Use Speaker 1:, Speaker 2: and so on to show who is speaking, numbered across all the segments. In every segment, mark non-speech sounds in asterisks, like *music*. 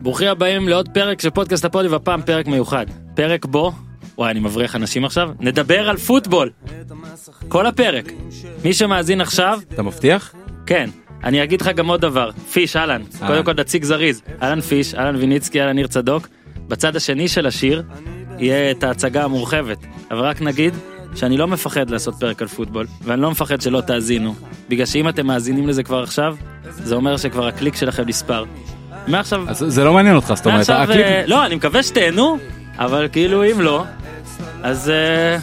Speaker 1: ברוכים הבאים לעוד פרק של פודקאסט הפודי והפעם פרק מיוחד. פרק בו, וואי אני מבריח אנשים עכשיו, נדבר על פוטבול. כל הפרק. מי שמאזין עכשיו,
Speaker 2: אתה מבטיח?
Speaker 1: כן. אני אגיד לך גם עוד דבר, פיש אהלן,
Speaker 2: אהלן.
Speaker 1: קודם כל נציג זריז, אהלן פיש, אהלן ויניצקי, אהלן ניר צדוק. בצד השני של השיר יהיה את ההצגה המורחבת, אבל רק נגיד שאני לא מפחד לעשות פרק על פוטבול, ואני לא מפחד שלא תאזינו, בגלל שאם אתם מאזינים לזה כבר עכשיו, זה אומר שכבר הקליק שלכם נספר. מעכשיו
Speaker 2: אז זה לא מעניין אותך, זאת אומרת,
Speaker 1: עכשיו,
Speaker 2: הקליפ...
Speaker 1: אה, לא, אני מקווה שתהנו, אבל כאילו אם לא, אז אה,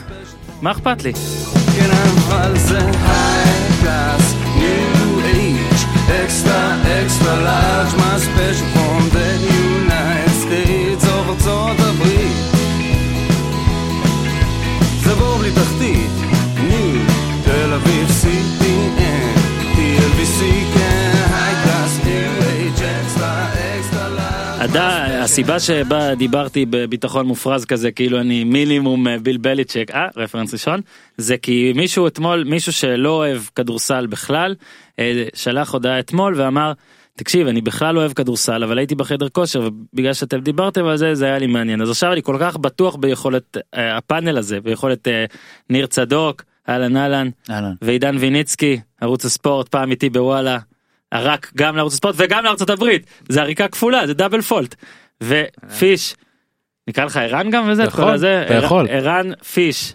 Speaker 1: מה אכפת לי?
Speaker 3: Can I find a high class, new age, extra, extra large, my special from the United States of ארצות הברית. זה בור בלי תחתית, ניו, תל אביב, CTN, TLBC, כן, high class, new age, extra, extra large.
Speaker 1: עד- הסיבה שבה דיברתי בביטחון מופרז כזה, כאילו אני מינימום אה, ביל בליצ'ק, אה, רפרנס ראשון, זה כי מישהו אתמול, מישהו שלא אוהב כדורסל בכלל, אה, שלח הודעה אתמול ואמר, תקשיב, אני בכלל לא אוהב כדורסל, אבל הייתי בחדר כושר, ובגלל שאתם דיברתם על זה, זה היה לי מעניין. אז עכשיו אני כל כך בטוח ביכולת אה, הפאנל הזה, ביכולת אה, ניר צדוק, אהלן אהלן,
Speaker 4: אהלן.
Speaker 1: ועידן ויניצקי, ערוץ הספורט, פעם איתי בוואלה, ערק גם לערוץ הספורט וגם לארצות הברית, זה עריקה כפולה, זה דאבל פולט. ופיש, נקרא לך ערן גם וזה, את
Speaker 2: יכול,
Speaker 1: כל הזה,
Speaker 2: אתה
Speaker 1: ער-
Speaker 2: יכול.
Speaker 1: ערן פיש,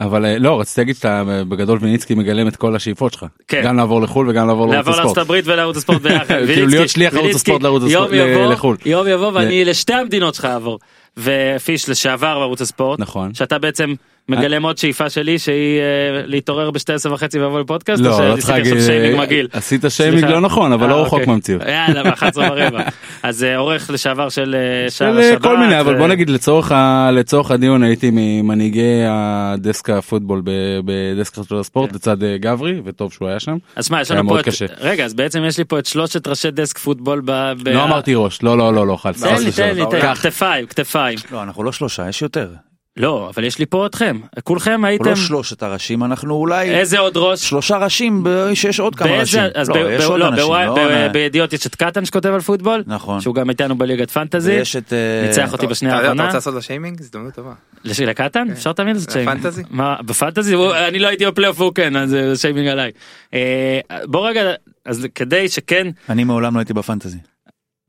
Speaker 2: אבל אה, לא, רציתי להגיד שאתה אה, בגדול ויניצקי מגלם את כל השאיפות שלך.
Speaker 1: כן.
Speaker 2: גם לעבור לחו"ל וגם לעבור לערוץ
Speaker 1: לעבור לארצות
Speaker 2: הספורט.
Speaker 1: הברית ולערוץ הספורט ביחד.
Speaker 2: *laughs* כאילו
Speaker 1: ויניצקי,
Speaker 2: להיות שליח ערוץ
Speaker 1: ויניצקי,
Speaker 2: הספורט לערוץ
Speaker 1: יום
Speaker 2: הספורט- ל-
Speaker 1: יבוא,
Speaker 2: לחו"ל.
Speaker 1: יום יבוא ואני לשתי המדינות שלך אעבור. ופיש לשעבר בערוץ הספורט,
Speaker 2: נכון. אה-
Speaker 1: שאתה בעצם מגלם עוד שאיפה שלי שהיא אה, להתעורר ב-12 וחצי ולבוא לפודקאסט, או
Speaker 2: לא, לא
Speaker 1: שעשיתי
Speaker 2: צריך
Speaker 1: עכשיו
Speaker 2: להגיד,
Speaker 1: שיימינג
Speaker 2: אה,
Speaker 1: מגעיל?
Speaker 2: עשית שיימינג
Speaker 1: סליחה.
Speaker 2: לא נכון, אבל
Speaker 1: אה,
Speaker 2: לא רחוק
Speaker 1: אוקיי.
Speaker 2: מהמציאות.
Speaker 1: יאללה,
Speaker 2: *laughs*
Speaker 1: ב-11 ורבע. אז אה, עורך לשעבר של אה, שער
Speaker 2: של
Speaker 1: השבת.
Speaker 2: כל מיני, אבל
Speaker 1: אה,
Speaker 2: בוא נגיד לצורך ה- לצורך הדיון הייתי ממנהיגי הדסק הפוטבול ב- בדסק של הספורט לצד אה, גברי, וטוב שהוא היה שם.
Speaker 1: כן. אז שמע, יש
Speaker 2: היה
Speaker 1: לנו
Speaker 2: מאוד
Speaker 1: פה את...
Speaker 2: קשה.
Speaker 1: רגע, אז בעצם יש לי פה את שלושת ראשי דסק פוטבול ב... ב-
Speaker 2: לא אמרתי ראש, לא לא לא לא, חלס.
Speaker 1: אה, תן לי,
Speaker 2: חלס,
Speaker 1: תן לי, תן לי,
Speaker 2: קח.
Speaker 1: כתפיים, כתפיים.
Speaker 4: לא, אנחנו לא שלושה, יש יותר.
Speaker 1: לא, אבל יש לי פה אתכם. כולכם
Speaker 4: אנחנו
Speaker 1: הייתם...
Speaker 4: לא שלושת הראשים, אנחנו אולי
Speaker 1: איזה עוד ראש?
Speaker 4: שלושה ראשים ב- שיש עוד כמה ראשים.
Speaker 1: באיזה... אז
Speaker 4: לא,
Speaker 1: ב-
Speaker 4: יש
Speaker 1: ב-
Speaker 4: עוד
Speaker 1: לא,
Speaker 4: אנשים,
Speaker 1: בוואי-
Speaker 4: לא,
Speaker 1: ב-
Speaker 4: אה,
Speaker 1: בידיעות יש את קטן שכותב על פוטבול,
Speaker 4: נכון.
Speaker 1: שהוא גם איתנו בליגת פנטזי,
Speaker 4: ויש את... אה,
Speaker 1: ניצח אותי
Speaker 5: טוב,
Speaker 1: בשנייה
Speaker 5: אתה יודע, אתה
Speaker 1: האחרונה.
Speaker 5: רוצה לעשות לו שיימינג? הזדמנות טובה.
Speaker 1: לש- לקטן? אפשר תמיד לעשות שיימינג.
Speaker 5: בפנטזי?
Speaker 1: מה, בפנטזי? הוא- אני לא הייתי בפלייאוף והוא כן, אז אה, שיימינג עליי. אה, בוא רגע, אז כדי שכן,
Speaker 4: אני מעולם לא הייתי בפנטזי.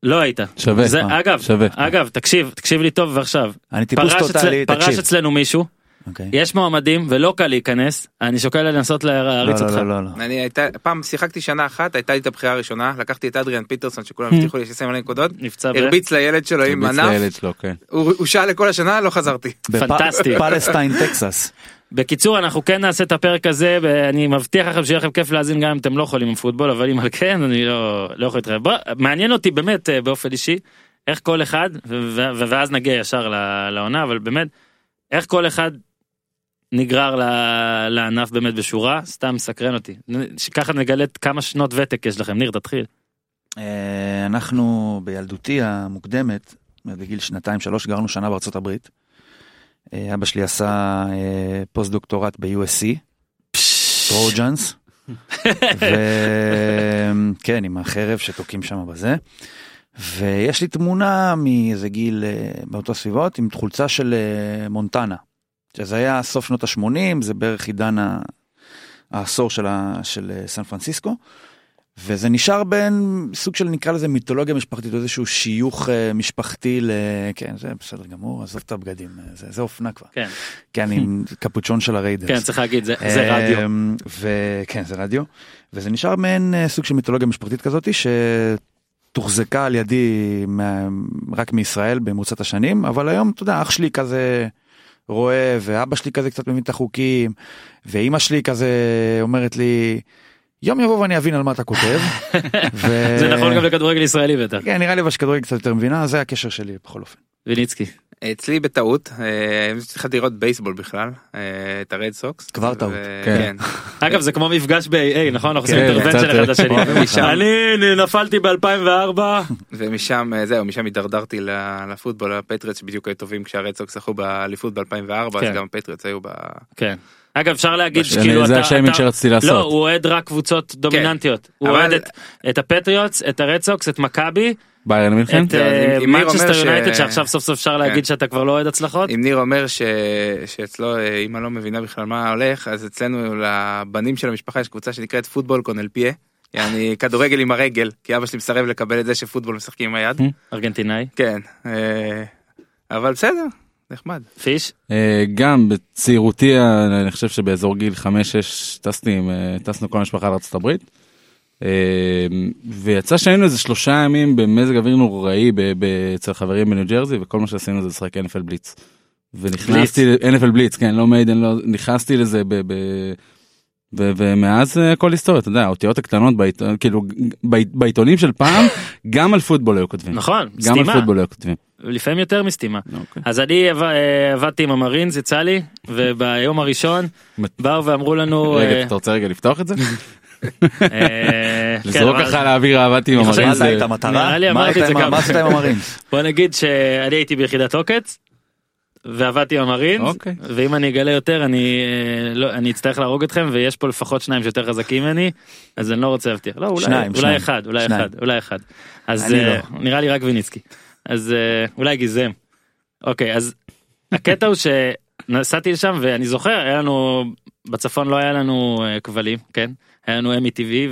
Speaker 1: לא היית.
Speaker 2: שווה,
Speaker 1: זה-
Speaker 4: אה,
Speaker 1: אגב,
Speaker 2: שווה.
Speaker 1: אגב, תקשיב, תקשיב לי טוב ועכשיו.
Speaker 4: אני טיפוס
Speaker 1: פרש
Speaker 4: טוטאלי,
Speaker 1: אצל- פרש
Speaker 4: תקשיב.
Speaker 1: אצלנו מישהו,
Speaker 4: אוקיי.
Speaker 1: יש מועמדים ולא קל להיכנס, אני שוקל לנסות
Speaker 4: לא,
Speaker 1: להריץ
Speaker 4: לא,
Speaker 1: אותך.
Speaker 4: לא, לא, לא.
Speaker 5: אני הייתה, פעם שיחקתי שנה אחת, הייתה לי את הבחירה הראשונה, לקחתי את אדריאן פיטרסון שכולם הבטיחו לי שישים עליהם נקודות,
Speaker 1: נפצע ב...
Speaker 5: הרביץ לילד שלו עם
Speaker 2: הרביץ לילד
Speaker 5: ענף,
Speaker 2: שלו, כן.
Speaker 5: הוא הוא שעה לכל השנה, לא חזרתי.
Speaker 4: בפ-
Speaker 1: פנטסטי.
Speaker 4: פלסטיין, טקסס.
Speaker 1: בקיצור אנחנו כן נעשה את הפרק הזה ואני מבטיח לכם שיהיה לכם כיף להאזין גם אם אתם לא חולים עם פוטבול אבל אם על כן אני לא לא יכול להתראה. בוא, מעניין אותי באמת אה, באופן אישי איך כל אחד ו- ו- ואז נגיע ישר ל- לעונה אבל באמת איך כל אחד נגרר ל- לענף באמת בשורה סתם סקרן אותי שככה נגלה את כמה שנות ותק יש לכם ניר תתחיל.
Speaker 4: אה, אנחנו בילדותי המוקדמת, בגיל שנתיים שלוש גרנו שנה בארצות הברית. אה, אבא שלי עשה אה, פוסט דוקטורט ב-USC, טרוג'אנס, וכן כן, עם החרב שתוקעים שם בזה. ויש לי תמונה מאיזה גיל אה, באותו סביבות עם חולצה של אה, מונטנה. שזה היה סוף שנות ה-80, זה בערך עידן ה- העשור של, ה... של אה, סן פרנסיסקו. וזה נשאר בין סוג של נקרא לזה מיתולוגיה משפחתית, או איזשהו שיוך אה, משפחתי ל... כן, זה בסדר גמור, עזוב את הבגדים, אה, זה, זה אופנה כבר.
Speaker 1: כן.
Speaker 4: כן, עם קפוצ'ון של הריידרס.
Speaker 1: כן צריך להגיד זה זה רדיו.
Speaker 4: אמ, וכן, זה רדיו. וזה נשאר מעין אה, סוג של מיתולוגיה משפחתית כזאת, שתוחזקה על ידי מה- רק מישראל במרוצת השנים, אבל היום, אתה יודע, אח שלי כזה רואה, ואבא שלי כזה קצת מבין את החוקים, ואימא שלי כזה אומרת לי, יום יבוא ואני אבין על מה אתה כותב.
Speaker 1: *laughs*
Speaker 4: ו-
Speaker 1: זה נכון גם לכדורגל ישראלי בטח.
Speaker 4: כן, נראה לי אבל שכדורגל קצת יותר מבינה, זה הקשר שלי בכל אופן.
Speaker 1: ויניצקי.
Speaker 5: אצלי בטעות, אה, התחלתי לראות בייסבול בכלל, אה, את הרד סוקס.
Speaker 4: כבר
Speaker 5: ו-
Speaker 4: טעות.
Speaker 5: כן.
Speaker 1: אגב זה כמו מפגש ב-AA נכון אנחנו עושים
Speaker 2: כן,
Speaker 1: אינטרוונציה
Speaker 2: קצת,
Speaker 1: אחד לשני.
Speaker 2: אוהבים
Speaker 5: אותך.
Speaker 1: אני נפלתי ב-2004.
Speaker 5: *laughs* ומשם, אה, זהו, משם הידרדרתי ל- לפוטבול, הפטריוט שבדיוק היו טובים כשהרד סוקס זכו באליפות ב-2004,
Speaker 1: כן.
Speaker 5: אז גם הפטריוט היו ב...
Speaker 1: כן. אגב אפשר להגיד
Speaker 2: זה-
Speaker 1: שכאילו
Speaker 2: זה
Speaker 1: אתה-
Speaker 2: השיימינג
Speaker 1: אתה-
Speaker 2: שרציתי
Speaker 1: לא
Speaker 2: לעשות.
Speaker 1: הוא אוהד רק קבוצות דומיננטיות. הוא
Speaker 5: כן. אבל-
Speaker 1: אוהד את- את הפטריוטס את הרד סוקס את מכבי
Speaker 2: ביירן מינכן?
Speaker 1: את
Speaker 5: כן,
Speaker 1: אה,
Speaker 5: אם- אם ניר
Speaker 1: מנצ'סטר
Speaker 5: אומר ש-
Speaker 1: יונייטד שעכשיו סוף סוף אפשר להגיד
Speaker 5: כן.
Speaker 1: שאתה כבר לא אוהד הצלחות?
Speaker 5: אם ניר אומר ש... שאצלו אה, אימא לא מבינה בכלל מה הולך, אז אצלנו לבנים של המשפחה יש קבוצה שנקראת פוטבול קונלפיה.
Speaker 1: *laughs*
Speaker 5: יעני כדורגל עם הרגל, כי אבא שלי מסרב לקבל את זה שפוטבול משחקים עם היד.
Speaker 1: Hmm? ארגנטינאי?
Speaker 5: כן, אה, אבל בסדר, נחמד.
Speaker 1: פיש?
Speaker 2: אה, גם בצעירותי אה, אני חושב שבאזור גיל 5-6 טסתי, עם, אה, טסנו כל המשפחה לארה"ב. ויצא שהיינו איזה שלושה ימים במזג אוויר נוראי ב- ב- אצל חברים בניו ג'רזי וכל מה שעשינו זה לשחק NFL בליץ. ונכנסתי, NFL בליץ, כן, לא מיידן, לא, נכנסתי לזה ב... ב ו- ומאז אה, הכל היסטוריה, אתה יודע, האותיות הקטנות בעיתון, כאילו, בעית- בעיתונים של פעם, גם על פוטבול היו כותבים.
Speaker 1: נכון,
Speaker 2: גם על
Speaker 1: סתימה.
Speaker 2: פוטבול היו כותבים.
Speaker 1: לפעמים יותר מסתימה.
Speaker 2: אוקיי.
Speaker 1: אז אני עב- אה, עבדתי עם המרינס, יצא לי, וביום הראשון
Speaker 2: מת-
Speaker 1: באו ואמרו לנו... אה,
Speaker 2: רגע, אתה רוצה רגע לפתוח את זה? *laughs*
Speaker 1: אה, כן,
Speaker 2: לזרוק
Speaker 1: אבל-
Speaker 2: לא ככה לאוויר עבדתי עם
Speaker 1: אני חושב
Speaker 2: המרינס.
Speaker 1: שזה-
Speaker 4: שאלת
Speaker 2: זה-
Speaker 4: את המטרה?
Speaker 1: לא, נראה לי
Speaker 4: מה
Speaker 1: אמרתי את זה
Speaker 4: אתה עם-
Speaker 1: גם.
Speaker 4: מה
Speaker 1: *laughs*
Speaker 4: עשית עם המרינס?
Speaker 1: בוא נגיד שאני הייתי ביחידת עוקץ ועבדתי עם המרינס
Speaker 2: אוקיי.
Speaker 1: ואם אני אגלה יותר אני אה, לא אני אצטרך להרוג אתכם ויש פה לפחות שניים שיותר חזקים ממני אז אני לא רוצה להבטיח לא אולי
Speaker 4: שניים,
Speaker 1: אולי
Speaker 4: שניים.
Speaker 1: אחד אולי
Speaker 4: שניים.
Speaker 1: אחד אולי אחד אז
Speaker 4: אני לא.
Speaker 1: אה, נראה לי רק ויניצקי אז אה, אולי גיזם. אוקיי אז הקטע הוא שנסעתי לשם ואני זוכר היה לנו בצפון לא היה לנו אה, כבלים כן היה לנו אמי טיווי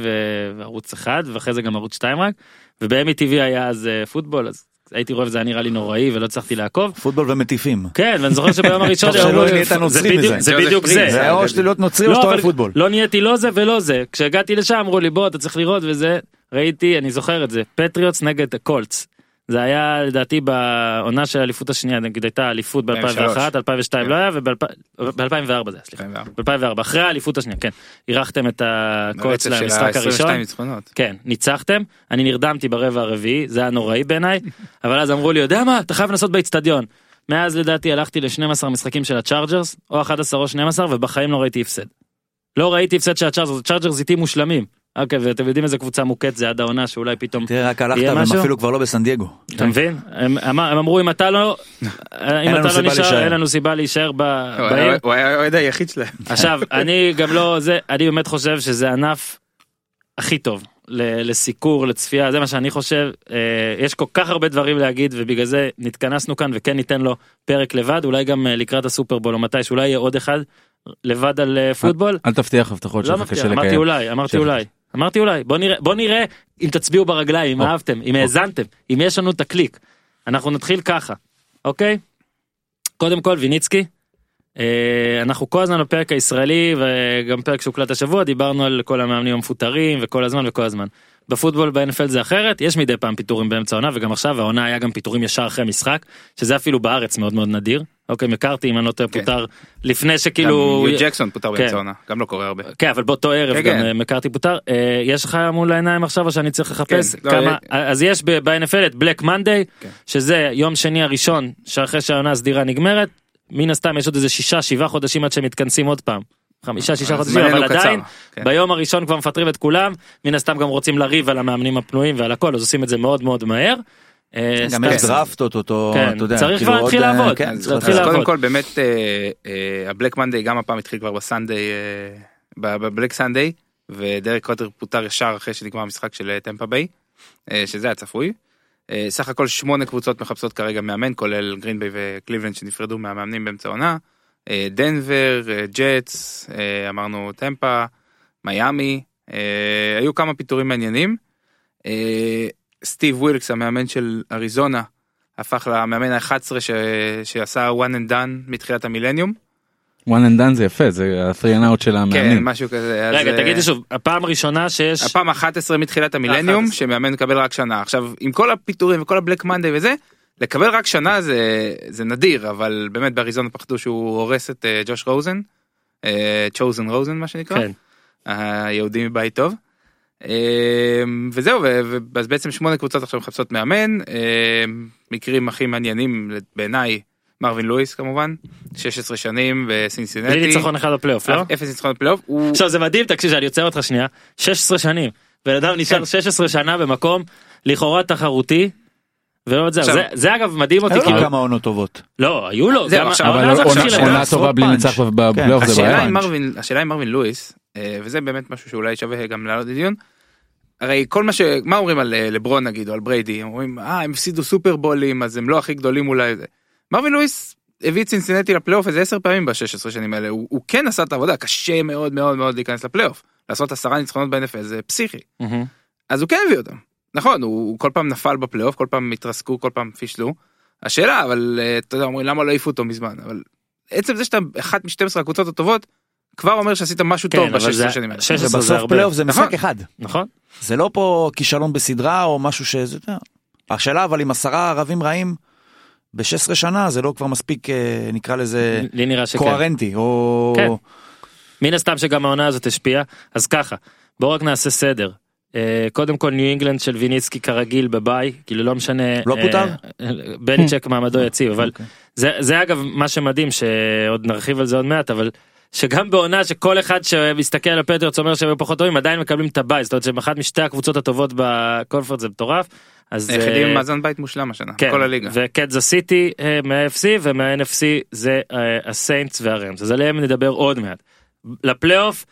Speaker 1: וערוץ אחד ואחרי זה גם ערוץ 2 רק ובאמי טיווי היה אז אה, פוטבול אז הייתי רואה וזה היה נראה לי נוראי ולא הצלחתי לעקוב.
Speaker 4: פוטבול ומטיפים.
Speaker 1: כן ואני זוכר שביום הראשון
Speaker 4: טוב שלא
Speaker 1: אמרו לי,
Speaker 4: נהיית
Speaker 1: זה
Speaker 4: נוצרי
Speaker 1: בדיוק
Speaker 4: מזה.
Speaker 1: זה
Speaker 5: ג'וזף
Speaker 1: בדיוק
Speaker 5: פריד,
Speaker 1: זה.
Speaker 5: זה
Speaker 4: זה
Speaker 5: היה
Speaker 4: או
Speaker 5: גדול.
Speaker 4: שאתה להיות נוצרי או
Speaker 1: לא,
Speaker 4: שאתה אוהב
Speaker 1: אבל
Speaker 4: פוטבול.
Speaker 1: לא נהייתי לא זה ולא זה כשהגעתי לשם אמרו לי בוא אתה צריך לראות וזה ראיתי אני זוכר את זה פטריוטס נגד הקולטס. זה היה לדעתי בעונה של האליפות השנייה נגיד הייתה אליפות ב-2001
Speaker 5: 2003.
Speaker 1: 2002
Speaker 5: כן.
Speaker 1: לא היה וב-2004 זה היה סליחה.
Speaker 5: אה,
Speaker 1: ב-2004 אחרי האליפות השנייה כן אירחתם את הקולץ
Speaker 5: הרצף של
Speaker 1: למשחק
Speaker 5: ה- 22
Speaker 1: הראשון
Speaker 5: ניצחונות.
Speaker 1: כן ניצחתם אני נרדמתי ברבע הרביעי זה היה נוראי
Speaker 4: *laughs*
Speaker 1: בעיניי אבל אז אמרו לי יודע מה אתה חייב לנסות באיצטדיון. מאז לדעתי הלכתי ל-12 משחקים של הצ'ארג'רס או 11 או 12 ובחיים לא ראיתי הפסד. לא ראיתי הפסד של הצ'ארג'רס, הצ'ארג'רס איתי מושלמים. אוקיי ואתם יודעים איזה קבוצה מוכת זה עד העונה שאולי פתאום
Speaker 4: תראה, רק הלכת
Speaker 1: יהיה
Speaker 4: והם
Speaker 1: משהו?
Speaker 4: אפילו כבר לא בסן דייגו.
Speaker 1: אתה מבין הם, הם, הם אמרו אם אתה
Speaker 4: *laughs*
Speaker 1: לא אם
Speaker 4: לנו
Speaker 1: אתה לא נשאר
Speaker 4: סיבה להישאר.
Speaker 1: אין לנו סיבה להישאר ב-
Speaker 5: הוא
Speaker 1: בעיר
Speaker 5: היה- הוא היה האוהד היחיד שלהם.
Speaker 1: עכשיו אני גם לא זה אני באמת חושב שזה ענף הכי טוב ל- לסיקור לצפייה זה מה שאני חושב אה, יש כל כך הרבה דברים להגיד ובגלל זה נתכנסנו כאן וכן ניתן לו פרק לבד אולי גם אה, לקראת הסופרבול או מתי שאולי יהיה עוד אחד לבד על אה, פוטבול.
Speaker 2: אל תבטיח הבטחות
Speaker 1: לא
Speaker 2: שלך
Speaker 1: מבטיח,
Speaker 2: קשה
Speaker 1: אמרתי
Speaker 2: לקיים.
Speaker 1: אולי, אמרתי
Speaker 2: שלך.
Speaker 1: אולי, אמרתי אולי, בוא נראה, בוא נראה אם תצביעו ברגליים, אם
Speaker 2: אוקיי.
Speaker 1: אהבתם, אם האזנתם, אם יש לנו את הקליק. אנחנו נתחיל ככה, אוקיי? קודם כל ויניצקי, אה, אנחנו כל הזמן בפרק הישראלי וגם פרק שהוקלט השבוע, דיברנו על כל המאמנים המפוטרים וכל הזמן וכל הזמן. בפוטבול ב-NFL זה אחרת, יש מדי פעם פיטורים באמצע העונה וגם עכשיו העונה היה גם פיטורים ישר אחרי משחק, שזה אפילו בארץ מאוד מאוד נדיר. אוקיי, מקארתי אם אני לא טועה
Speaker 5: כן.
Speaker 1: פוטר לפני
Speaker 5: כאילו...
Speaker 1: שכאילו...
Speaker 5: ג'קסון פוטר
Speaker 1: כן.
Speaker 5: באמצע העונה, גם לא קורה הרבה.
Speaker 1: כן אבל באותו ערב
Speaker 5: כן,
Speaker 1: גם
Speaker 5: כן.
Speaker 1: אה, מקארתי פוטר אה, יש לך מול העיניים עכשיו או שאני צריך לחפש
Speaker 5: לא,
Speaker 1: כמה
Speaker 5: אה,
Speaker 1: אז יש ב- ב-NFL את בלק מנדיי
Speaker 5: כן.
Speaker 1: שזה יום שני הראשון שאחרי שהעונה הסדירה נגמרת מן הסתם יש עוד איזה שישה שבעה חודשים עד שהם מתכנסים עוד פעם. חמישה שישה
Speaker 5: אז
Speaker 1: חודשים אבל
Speaker 5: זמננו קצר.
Speaker 1: עדיין
Speaker 5: כן.
Speaker 1: ביום הראשון כבר מפטרים את כולם מן הסתם גם רוצים לריב על המאמנים הפנויים ועל הכל אז עושים את זה מאוד מאוד מהר. אה,
Speaker 4: גם
Speaker 1: סתם.
Speaker 4: יש דראפט אותו,
Speaker 1: כן,
Speaker 4: אתה יודע.
Speaker 1: צריך
Speaker 4: כאילו
Speaker 1: כבר להתחיל
Speaker 4: עוד, אה,
Speaker 1: לעבוד.
Speaker 4: כן,
Speaker 1: צריך
Speaker 4: צריך
Speaker 1: להתחיל
Speaker 5: אז
Speaker 4: לעבוד.
Speaker 1: לעבוד.
Speaker 5: קודם כל באמת אה, אה, הבלק מנדיי גם הפעם התחיל כבר בסנדיי אה, ב- בבלק סנדיי ודרק קוטר פוטר ישר אחרי שנגמר המשחק של אה, טמפה ביי אה, שזה היה צפוי. אה, סך הכל שמונה קבוצות מחפשות כרגע מאמן כולל גרין ביי וקליבלנד שנפרדו מהמאמנים באמצע העונה. אה, דנבר, אה, ג'טס, אה, אמרנו טמפה, מיאמי, אה, היו כמה פיטורים מעניינים. אה, סטיב ווילקס המאמן של אריזונה הפך למאמן ה-11 ש... שעשה one and done מתחילת המילניום.
Speaker 2: one and done זה יפה, זה ה-free and out של
Speaker 5: כן,
Speaker 2: המאמנים.
Speaker 5: משהו כזה. אז,
Speaker 1: רגע
Speaker 5: אה,
Speaker 1: תגידי שוב הפעם הראשונה שיש
Speaker 5: הפעם ה-11 מתחילת המילניום
Speaker 1: 11.
Speaker 5: שמאמן מקבל רק שנה. עכשיו, עם כל הפיטורים וכל הבלק מנדי וזה, לקבל רק שנה זה, זה נדיר, אבל באמת באריזונה פחדו שהוא הורס את אה, ג'וש רוזן, אה, צ'וזן רוזן מה שנקרא.
Speaker 1: כן.
Speaker 5: היהודי מבית טוב. אמ, וזהו, ו- ו- אז בעצם שמונה קבוצות עכשיו מחפשות מאמן. אמ, מקרים הכי מעניינים בעיניי, מרווין לואיס כמובן, 16 שנים בסינסינטי.
Speaker 1: בלי ניצחון אחד בפלייאוף לא?
Speaker 5: אפס ניצחון פלייאוף. הוא-
Speaker 1: עכשיו זה מדהים תקשיב שאני עוצר אותך שנייה 16 שנים בן אדם נשאר
Speaker 5: כן.
Speaker 1: 16 שנה במקום לכאורה תחרותי. ולא את זה,
Speaker 5: עכשיו-
Speaker 1: זה, זה אגב מדהים אותי
Speaker 4: היו לו
Speaker 1: כאילו,
Speaker 4: כמה עונות טובות.
Speaker 1: לא היו לו,
Speaker 5: זהו,
Speaker 1: גם לא
Speaker 5: עכשיו, לא
Speaker 1: העונה
Speaker 2: אבל לא
Speaker 1: הזאת
Speaker 2: עונה-
Speaker 1: התחילה-
Speaker 2: עונה
Speaker 4: עשרות
Speaker 2: טובה בלי
Speaker 4: פאנץ'.
Speaker 2: ניצח
Speaker 1: כן,
Speaker 2: בפלייאוף לא, זה
Speaker 4: השאלה
Speaker 2: בעיה.
Speaker 5: השאלה עם מרווין, השאלה עם מרווין לואיס, אה, וזה באמת משהו שאולי שווה גם לעלות לדיון, הרי כל מה ש... מה אומרים על אה, לברון נגיד, או על בריידי? הם אומרים, אה, הם הפסידו סופרבולים, אז הם לא הכי גדולים אולי. זה." מרווין לואיס הביא את סינסינטי לפלייאוף איזה 10 פעמים ב-16 שנים האלה. הוא, הוא כן עשה את העבודה, קשה מאוד מאוד מאוד להיכנס לפלייאוף. לעשות עשרה ניצחונות ב-NFL זה פסיכי.
Speaker 1: מהמם.
Speaker 5: אז הוא כן הביא אותם. נכון, הוא, הוא כל פעם נפל בפלייאוף, כל פעם התרסקו, כל פעם פישלו. השאלה, אבל אה, אתה יודע, אומרים למה לא העיפו אותו מזמן, אבל עצם זה שאתה אחת מ-12 הקבוצות הטובות, כבר אומר שעשית משהו טוב
Speaker 1: כן, אבל זה
Speaker 5: ב-16 שנים האלה.
Speaker 1: 16 זה
Speaker 4: ובסוף
Speaker 1: הרבה.
Speaker 4: פלייאוף זה משחק
Speaker 5: נכון.
Speaker 4: אחד.
Speaker 1: נכון?
Speaker 4: זה לא פה כישלון בסדרה או משהו שזה, אתה יודע. השאלה אבל אם עשרה ערבים רעים ב-16 שנה זה לא כבר מספיק אה, נקרא
Speaker 5: כן.
Speaker 4: לזה
Speaker 1: לי נראה שכן.
Speaker 4: קוהרנטי או
Speaker 1: כן. מן הסתם שגם העונה הזאת השפיעה אז ככה בואו רק נעשה סדר. אה, קודם כל ניו אינגלנד של ויניצקי כרגיל בביי כאילו לא משנה
Speaker 4: לא
Speaker 1: אה,
Speaker 4: פוטר?
Speaker 1: אה, *laughs* בליצ'ק מעמדו יציב אבל
Speaker 4: אוקיי.
Speaker 1: זה זה אגב מה שמדהים שעוד נרחיב על זה עוד מעט אבל שגם בעונה שכל אחד שמסתכל על הפטריוטס אומר שהם היו פחות טובים עדיין מקבלים את הבית זאת אומרת שהם אחת משתי הקבוצות הטובות בקונפרנס זה מטורף. אז
Speaker 5: היחידים עם
Speaker 1: אה,
Speaker 5: מאזן בית מושלם השנה, כל הליגה.
Speaker 1: וקדזה סיטי אה, מה-FC ומה-NFC זה אה, הסיינטס והרמס אז עליהם נדבר עוד מעט. לפלייאוף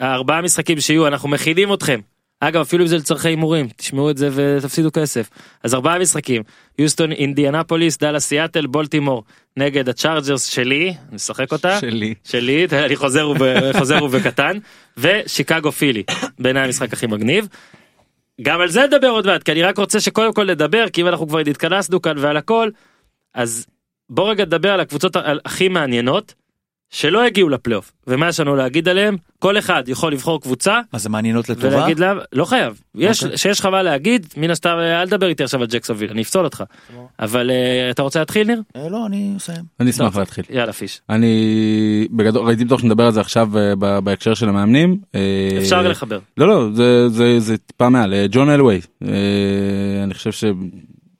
Speaker 1: הארבעה משחקים שיהיו אנחנו מכילים אתכם. אגב אפילו אם זה לצורכי הימורים תשמעו את זה ותפסידו כסף אז ארבעה משחקים יוסטון אינדיאנפוליס דאלאס סיאטל בולטימור נגד הצ'ארג'רס שלי נשחק אותה
Speaker 2: שלי.
Speaker 1: שלי אני חוזר וב- *laughs* חוזר ובקטן ושיקגו פילי בעיניי המשחק הכי מגניב. גם על זה נדבר עוד מעט כי אני רק רוצה שקודם כל נדבר כי אם אנחנו כבר התכנסנו כאן ועל הכל אז בוא רגע נדבר על הקבוצות ה- על- הכי מעניינות שלא הגיעו לפלייאוף ומה יש לנו להגיד עליהם כל אחד יכול לבחור קבוצה
Speaker 4: מה זה מעניינות לטובה?
Speaker 1: ולהגיד לה לא חייב יש
Speaker 4: אוקיי.
Speaker 1: שיש לך מה להגיד מן הסתם אה, אל תדבר איתי עכשיו על ג'קסונוויל אני אפסול אותך אבל אה, אתה רוצה להתחיל ניר
Speaker 4: אה, לא אני מסיים.
Speaker 2: אני
Speaker 1: לא.
Speaker 2: אשמח להתחיל.
Speaker 1: יאללה פיש
Speaker 2: אני בגדול ראיתי בטוח שנדבר על זה עכשיו אה, ב- בהקשר של המאמנים. אה,
Speaker 1: אפשר לחבר
Speaker 2: לא לא זה זה זה טיפה מעל אה, ג'ון אלווי אה, אני חושב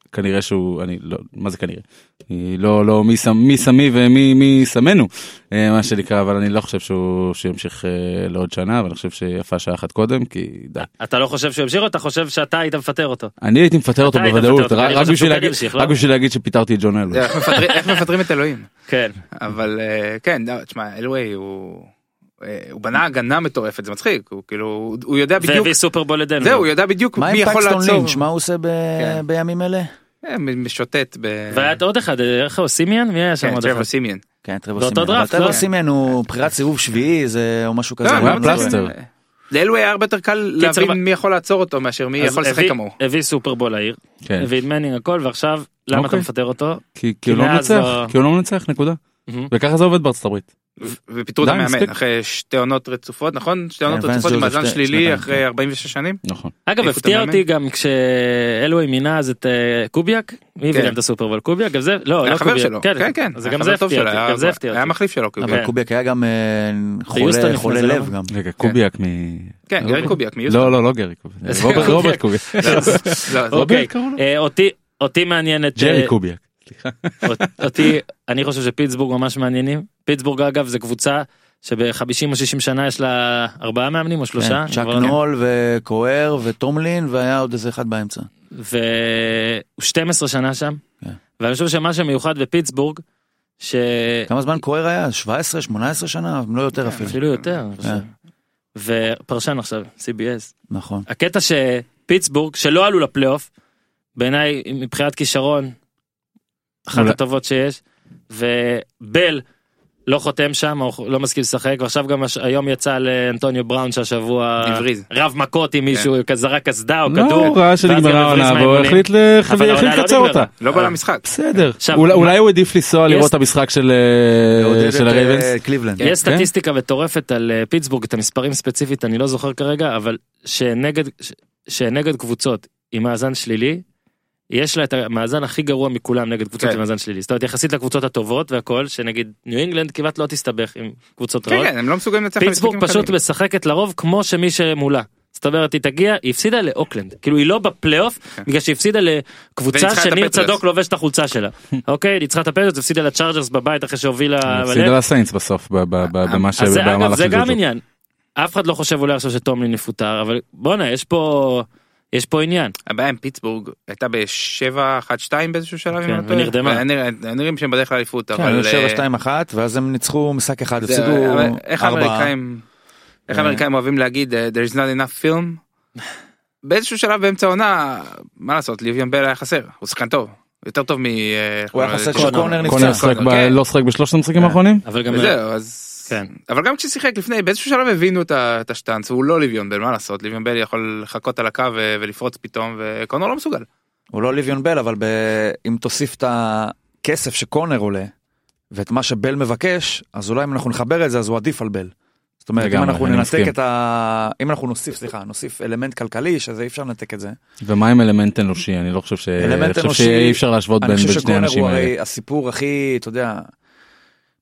Speaker 2: שכנראה שהוא אני לא מה זה כנראה אני לא לא מי שם מי שמי ומי מי שמנו אה, מה שנקרא אבל אני לא חושב שהוא שימשיך אה, לעוד שנה אבל אני חושב שיפה שעה אחת קודם כי די
Speaker 1: אתה לא חושב שהוא ימשיך או אתה חושב שאתה היית מפטר אותו?
Speaker 2: אני הייתי מפטר אותו
Speaker 1: אתה היית מפטר
Speaker 2: בוודאות
Speaker 1: אותו,
Speaker 2: רק-
Speaker 1: אני
Speaker 2: רק
Speaker 1: חושב
Speaker 2: בשביל
Speaker 1: שהוא כן
Speaker 2: להגיד-
Speaker 1: ימשיך, לא?
Speaker 2: רק בשביל להגיד שפיטרתי את ג'ון אלווי.
Speaker 5: איך מפטרים- איך מפטרים את אלוהים?
Speaker 1: כן.
Speaker 5: אבל אה, כן, לא, תשמע, אלוהי הוא... אה, הוא בנה הגנה מטורפת, זה מצחיק, הוא כאילו, הוא- הוא יודע בדיוק,
Speaker 1: והביא סופרבול לדנבר.
Speaker 5: זהו, הוא יודע בדיוק
Speaker 4: מה
Speaker 5: מי
Speaker 4: עם
Speaker 5: יכול
Speaker 4: פקסטון
Speaker 5: לעצור.
Speaker 4: לינץ' מה הוא עושה ב-
Speaker 5: כן.
Speaker 4: בימים אלה?
Speaker 5: אה, מ- משוטט ב...
Speaker 1: והיה עוד אחד, איך הוא סימיאן? מי היה שם
Speaker 5: כן,
Speaker 1: עוד
Speaker 5: טרוור
Speaker 1: אחד?
Speaker 5: סימיאן.
Speaker 4: כן
Speaker 1: באותו
Speaker 4: טרוור סימן. אבל
Speaker 1: דראפט, לא?
Speaker 4: טרוור סימן הוא בחירת סיבוב שביעי זה או משהו כזה.
Speaker 5: לא,
Speaker 2: הוא היה
Speaker 5: למה אתה-
Speaker 2: פלסטר.
Speaker 5: לאלוהי היה הרבה יותר קל
Speaker 1: קיצר,
Speaker 5: להבין מי יכול לעצור אותו מאשר מי
Speaker 1: אז
Speaker 5: יכול לשחק
Speaker 1: הביא-
Speaker 5: כמוהו.
Speaker 1: הביא סופרבול לעיר,
Speaker 2: כן.
Speaker 1: הביא את מנינג הכל, ועכשיו למה אתה
Speaker 2: אוקיי.
Speaker 1: מפטר אותו?
Speaker 2: כי כי הוא לא
Speaker 1: מאז
Speaker 2: מנצח
Speaker 1: לא-
Speaker 2: כי הוא לא מנצח נקודה
Speaker 1: מהמם.
Speaker 2: וככה זה עובד בארצות הברית.
Speaker 5: ופיטרו את
Speaker 2: די,
Speaker 5: המאמן
Speaker 2: מספיק.
Speaker 5: אחרי שתי עונות רצופות, נכון? שתי עונות
Speaker 4: לא, כן, ונס
Speaker 5: רצופות עם
Speaker 4: ג'וזף,
Speaker 5: מאזן
Speaker 4: שתי-
Speaker 5: שלילי
Speaker 4: שנתיים,
Speaker 5: אחרי 46 שנים.
Speaker 2: נכון.
Speaker 1: אגב,
Speaker 5: העיפו
Speaker 1: הפתיע
Speaker 5: את המאמן.
Speaker 1: אותי גם כשאלווי מינה אז את אה, קוביאק, מי הביא
Speaker 5: כן.
Speaker 1: להם את הסופרבול? קוביאק? גם זה? לא,
Speaker 5: היה
Speaker 1: לא
Speaker 5: חבר
Speaker 1: קוביאק.
Speaker 5: שלו, כן כן,
Speaker 1: אז
Speaker 5: היה
Speaker 1: גם
Speaker 5: חבר
Speaker 1: זה
Speaker 5: טוב
Speaker 1: הפתיע
Speaker 5: שלו,
Speaker 1: אותי,
Speaker 5: היה-
Speaker 1: גם זה הפתיע
Speaker 5: היה
Speaker 1: אותי. כן.
Speaker 5: מחליף שלו, קוביאק.
Speaker 4: אבל קוביאק היה גם אה,
Speaker 1: יוסטון
Speaker 4: חולה
Speaker 1: לפני
Speaker 4: חולה
Speaker 1: זה,
Speaker 4: לב
Speaker 1: לא?
Speaker 4: גם.
Speaker 2: רגע קוביאק מ...
Speaker 5: כן, גרי קוביאק מיוסטון.
Speaker 2: לא לא לא גרי
Speaker 1: *laughs*
Speaker 2: קוביאק.
Speaker 1: איזה
Speaker 2: רוברט-
Speaker 1: קוביאק?
Speaker 2: רוברט קוביאק.
Speaker 5: לא, זה-
Speaker 1: אוקיי,
Speaker 2: רוברט קראו לו?
Speaker 1: אה, אותי- אותי מעניין את...
Speaker 2: ג'רי
Speaker 1: אה,
Speaker 2: קוביאק. סליחה.
Speaker 1: אות- אותי אני חושב שפיטסבורג ממש מעניינים פיטסבורג אגב זה קבוצה שב-50 או 60 שנה יש לה ארבעה מאמנים או שלושה לא-
Speaker 4: כן, צ'אק
Speaker 5: לא
Speaker 1: אבל-
Speaker 4: נול וקוהר וטומלין והיה עוד איזה אחד באמצע.
Speaker 1: והוא 12 שנה שם
Speaker 4: כן.
Speaker 1: ואני חושב שמה שמיוחד בפיטסבורג שאפילו
Speaker 4: כמה זמן קוהר היה? 17? 18 שנה? אם לא יותר
Speaker 5: כן.
Speaker 4: אפילו.
Speaker 1: יותר
Speaker 4: כן.
Speaker 1: אני חושב. ופרשן עכשיו CBS
Speaker 4: נכון.
Speaker 1: הקטע שפיטסבורג שלא עלו לפלייאוף בעיניי מבחינת כישרון אחת
Speaker 2: אולי-
Speaker 1: הטובות שיש ובל לא חותם שם או לא מסכים לשחק ועכשיו גם הש... היום יצא לאנטוניו בראון שהשבוע
Speaker 5: הבריז.
Speaker 1: רב מכות עם מישהו זרק קסדה או
Speaker 2: כן. לא
Speaker 1: כדור.
Speaker 2: הוא ראה
Speaker 1: ואז גם
Speaker 2: שנגמרה
Speaker 1: הבריז
Speaker 2: העונה והוא
Speaker 1: מהאימונים.
Speaker 2: החליט
Speaker 1: אבל
Speaker 2: לחבר-
Speaker 1: העונה
Speaker 2: החליט
Speaker 1: לא
Speaker 2: לקצר
Speaker 1: נגמרה.
Speaker 2: אותה.
Speaker 5: לא בא למשחק.
Speaker 2: בסדר.
Speaker 1: עכשיו,
Speaker 2: אולי-
Speaker 1: מה-
Speaker 2: אולי הוא העדיף לנסוע
Speaker 1: יש-
Speaker 2: לראות את המשחק של אה,
Speaker 4: לעודד את,
Speaker 2: של
Speaker 4: אה,
Speaker 2: הרייבנס.
Speaker 4: קליבלנד.
Speaker 5: כן.
Speaker 1: יש סטטיסטיקה מטורפת על אה, פיטסבורג את המספרים ספציפית אני לא זוכר כרגע אבל שנגד ש- שנגד קבוצות עם מאזן שלילי. יש לה את המאזן הכי גרוע מכולם נגד קבוצות
Speaker 5: כן.
Speaker 1: עם מאזן שלילי זאת אומרת יחסית לקבוצות הטובות והכל שנגיד ניו אינגלנד כמעט לא תסתבך עם קבוצות
Speaker 5: כן
Speaker 1: רעות.
Speaker 5: כן, הם לא מסוגלים לנצח
Speaker 1: פיטסבורג
Speaker 5: במשחקים
Speaker 1: פשוט
Speaker 5: הקלים.
Speaker 1: משחקת לרוב כמו שמי שמולה. זאת אומרת היא תגיע היא הפסידה לאוקלנד כאילו היא לא בפלייאוף בגלל שהיא הפסידה לקבוצה
Speaker 5: כן. וניצחה את
Speaker 1: שניר
Speaker 5: הפטריוטס.
Speaker 1: צדוק לובש את החולצה שלה. אוקיי ניצחה את הפטריוטס הפסידה לצ'ארג'רס בבית אחרי שהובילה. מלא.
Speaker 4: אה,
Speaker 2: הפסידה לסיינס בסוף ב- ב- ב- במה ש...
Speaker 1: אז זה אגב
Speaker 2: במהלך
Speaker 1: זה
Speaker 2: של
Speaker 1: גם
Speaker 2: ג'וג'ו.
Speaker 1: עניין. אף אחד לא חושב אולי עכשיו שטומלין יפוטר אבל בואנה יש פה יש פה עניין.
Speaker 5: הבעיה עם פיטסבורג הייתה ב-7-1-2 באיזשהו שלב.
Speaker 1: כן,
Speaker 5: אם אני לא טועה.
Speaker 1: ונרדמה.
Speaker 5: והיה נראה- היה נראים שהם בדרך כלל אליפות,
Speaker 4: כן,
Speaker 5: אבל...
Speaker 4: היו
Speaker 5: אה,
Speaker 4: 7-2-1 ואז הם ניצחו משחק אחד,
Speaker 5: זה-
Speaker 4: הפסידו
Speaker 5: אבל איך
Speaker 4: ארבעה.
Speaker 5: "Uh, האמריקאים... איך האמריקאים אוהבים להגיד אה, there is not enough film. באיזשהו שלב באמצע העונה, מה לעשות, ליביון בל היה חסר, הוא שחקן טוב, יותר טוב מ... אה,
Speaker 4: הוא היה חסר שקורנר
Speaker 2: קונר
Speaker 4: נפצע.
Speaker 2: שחק ב-
Speaker 5: כן.
Speaker 2: לא שחק בשלושת המשחקים האחרונים?
Speaker 1: אבל גם
Speaker 5: וזהו, אז...
Speaker 1: כן.
Speaker 5: אבל גם כששיחק לפני, באיזשהו שלב הבינו את ה- את השטאנץ, הוא לא ליביון בל, מה לעשות, ליביון בל יכול לחכות על הקו ו- ולפרוץ פתאום, וקונור לא מסוגל.
Speaker 4: הוא לא ליביון בל, אבל ב... אם תוסיף את הכסף שקורנר עולה, ואת מה שבל מבקש, אז אולי אם אנחנו נחבר את זה, אז הוא עדיף על בל. זאת אומרת, אם
Speaker 2: לגמרי,
Speaker 4: אנחנו
Speaker 2: אני
Speaker 4: ננתק
Speaker 2: מסכים.
Speaker 4: את ה... אם אנחנו נוסיף, סליחה, נוסיף אלמנט כלכלי, שזה אי אפשר לנתק את זה.
Speaker 2: ומה עם אלמנט אנושי? אני לא חושב ש...
Speaker 4: אלמנט
Speaker 2: אני חושב
Speaker 4: אנושי-
Speaker 2: שאי אפשר להשוות בין
Speaker 4: אני
Speaker 2: בין
Speaker 4: חושב
Speaker 2: שני
Speaker 4: שקורנר
Speaker 2: האנשים
Speaker 4: הוא
Speaker 2: האלה.
Speaker 4: הרי הסיפור הכי, אתה יודע,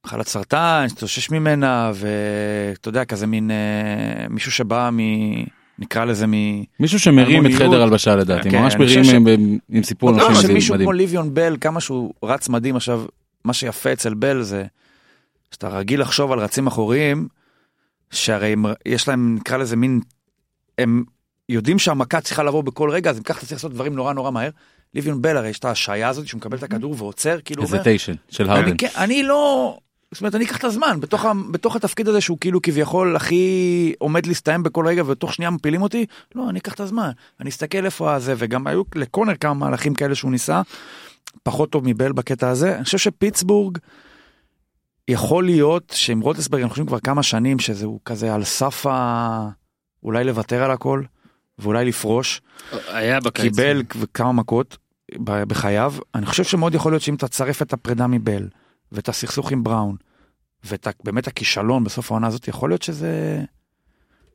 Speaker 4: מחלת סרטן, התאושש ממנה, ואתה יודע, כזה מין אה, מישהו שבא מ... נקרא לזה מ...
Speaker 2: מישהו שמרים את
Speaker 4: אלמוניות.
Speaker 2: חדר הלבשה לדעתי,
Speaker 4: כן,
Speaker 2: ממש
Speaker 4: אני חושב
Speaker 2: מרים
Speaker 4: ש-
Speaker 2: עם- עם- עם סיפור
Speaker 4: לא,
Speaker 2: אנושי מדהים.
Speaker 4: שמישהו
Speaker 2: מדהים.
Speaker 4: כמו ליביון בל, כמה שהוא רץ מדהים עכשיו, מה שיפה אצל בל זה שאתה רגיל לחשוב על רצים אחוריים, שהרי הם- יש להם, נקרא לזה מין, הם יודעים שהמכה צריכה לבוא בכל רגע, אז אם ככה אתה צריך לעשות דברים נורא נורא מהר. ליביון בל, הרי יש את ההשעיה הזאת שהוא מקבל את הכדור ועוצר, כאילו,
Speaker 2: איזה
Speaker 4: אומר,
Speaker 2: טיישן של הרדן.
Speaker 4: אני, כן, אני לא... זאת אומרת, אני אקח את הזמן, בתוך, ה- בתוך התפקיד הזה שהוא כאילו כביכול הכי עומד להסתיים בכל רגע ותוך שנייה מפילים אותי, לא, אני אקח את הזמן, אני אסתכל איפה הזה, וגם היו לקונר כמה מהלכים כאלה שהוא ניסה, פחות טוב מבל בקטע הזה. אני חושב שפיטסבורג, יכול להיות שעם רוטסברג, אנחנו חושבים כבר כמה שנים שזה הוא כזה על סף ה... אולי לוותר על הכל, ואולי לפרוש.
Speaker 1: היה בקיץ.
Speaker 4: קיבל כמה מכות ב- בחייו, אני חושב שמאוד יכול להיות שאם תצרף את הפרידה מבל, ואת הסכסוך עם בראון, ואת ה- באמת הכישלון בסוף העונה הזאת, יכול להיות שזה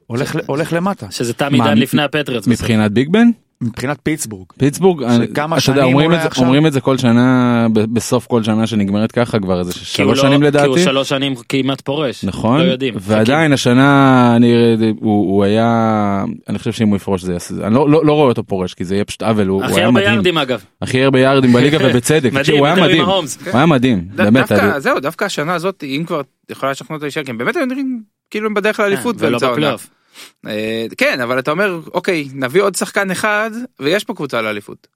Speaker 4: הולך, ל- הולך למטה,
Speaker 1: שזה תם
Speaker 2: מה,
Speaker 1: עידן
Speaker 2: מ-
Speaker 1: לפני
Speaker 4: כן-
Speaker 1: הפטריוטס. בסוף.
Speaker 2: מבחינת ביג בן?
Speaker 4: מבחינת פיטסבורג.
Speaker 2: פיטסבורג, אני-
Speaker 4: כמה
Speaker 2: אתה יודע,
Speaker 4: שנים
Speaker 2: אומרים
Speaker 4: אולי
Speaker 2: את זה-
Speaker 4: עכשיו?
Speaker 2: אומרים את זה כל שנה, ב- בסוף כל שנה שנגמרת ככה כבר איזה
Speaker 1: כי הוא
Speaker 2: שלוש
Speaker 1: לא-
Speaker 2: שנים
Speaker 1: כי הוא
Speaker 2: לדעתי.
Speaker 1: שלוש שנים כמעט פורש.
Speaker 2: נכון,
Speaker 1: לא יודעים.
Speaker 2: ועדיין השנה אני, הוא, הוא היה, אני חושב שאם הוא יפרוש זה יעשה, אני לא, לא, לא רואה אותו פורש כי זה יהיה פשוט עוול, הוא,
Speaker 1: חכים.
Speaker 2: הוא
Speaker 1: הכי
Speaker 2: היה
Speaker 1: הרבה
Speaker 2: מדהים,
Speaker 1: ירדים אגב.
Speaker 2: הכי הרבה יארדים בליגה
Speaker 1: *laughs*
Speaker 2: ובצדק,
Speaker 1: מדהים,
Speaker 2: תקשיב, הוא היה
Speaker 1: יותר
Speaker 2: מדהים,
Speaker 1: ממהומס.
Speaker 2: הוא היה מדהים,
Speaker 5: ד-
Speaker 2: באמת,
Speaker 5: דווקא,
Speaker 2: אני-
Speaker 5: זהו, דווקא השנה הזאת, אם כבר יכולה לשכנע אותו להישאר, כי הם באמת היו נראים כאילו הם בדרך לאליפות
Speaker 1: כן, ולא
Speaker 5: באמצע העונה.
Speaker 1: בפלייאוף.
Speaker 5: אה, כן, אבל אתה אומר, אוקיי, נביא עוד שחקן אחד, ויש פה קבוצה לאליפות.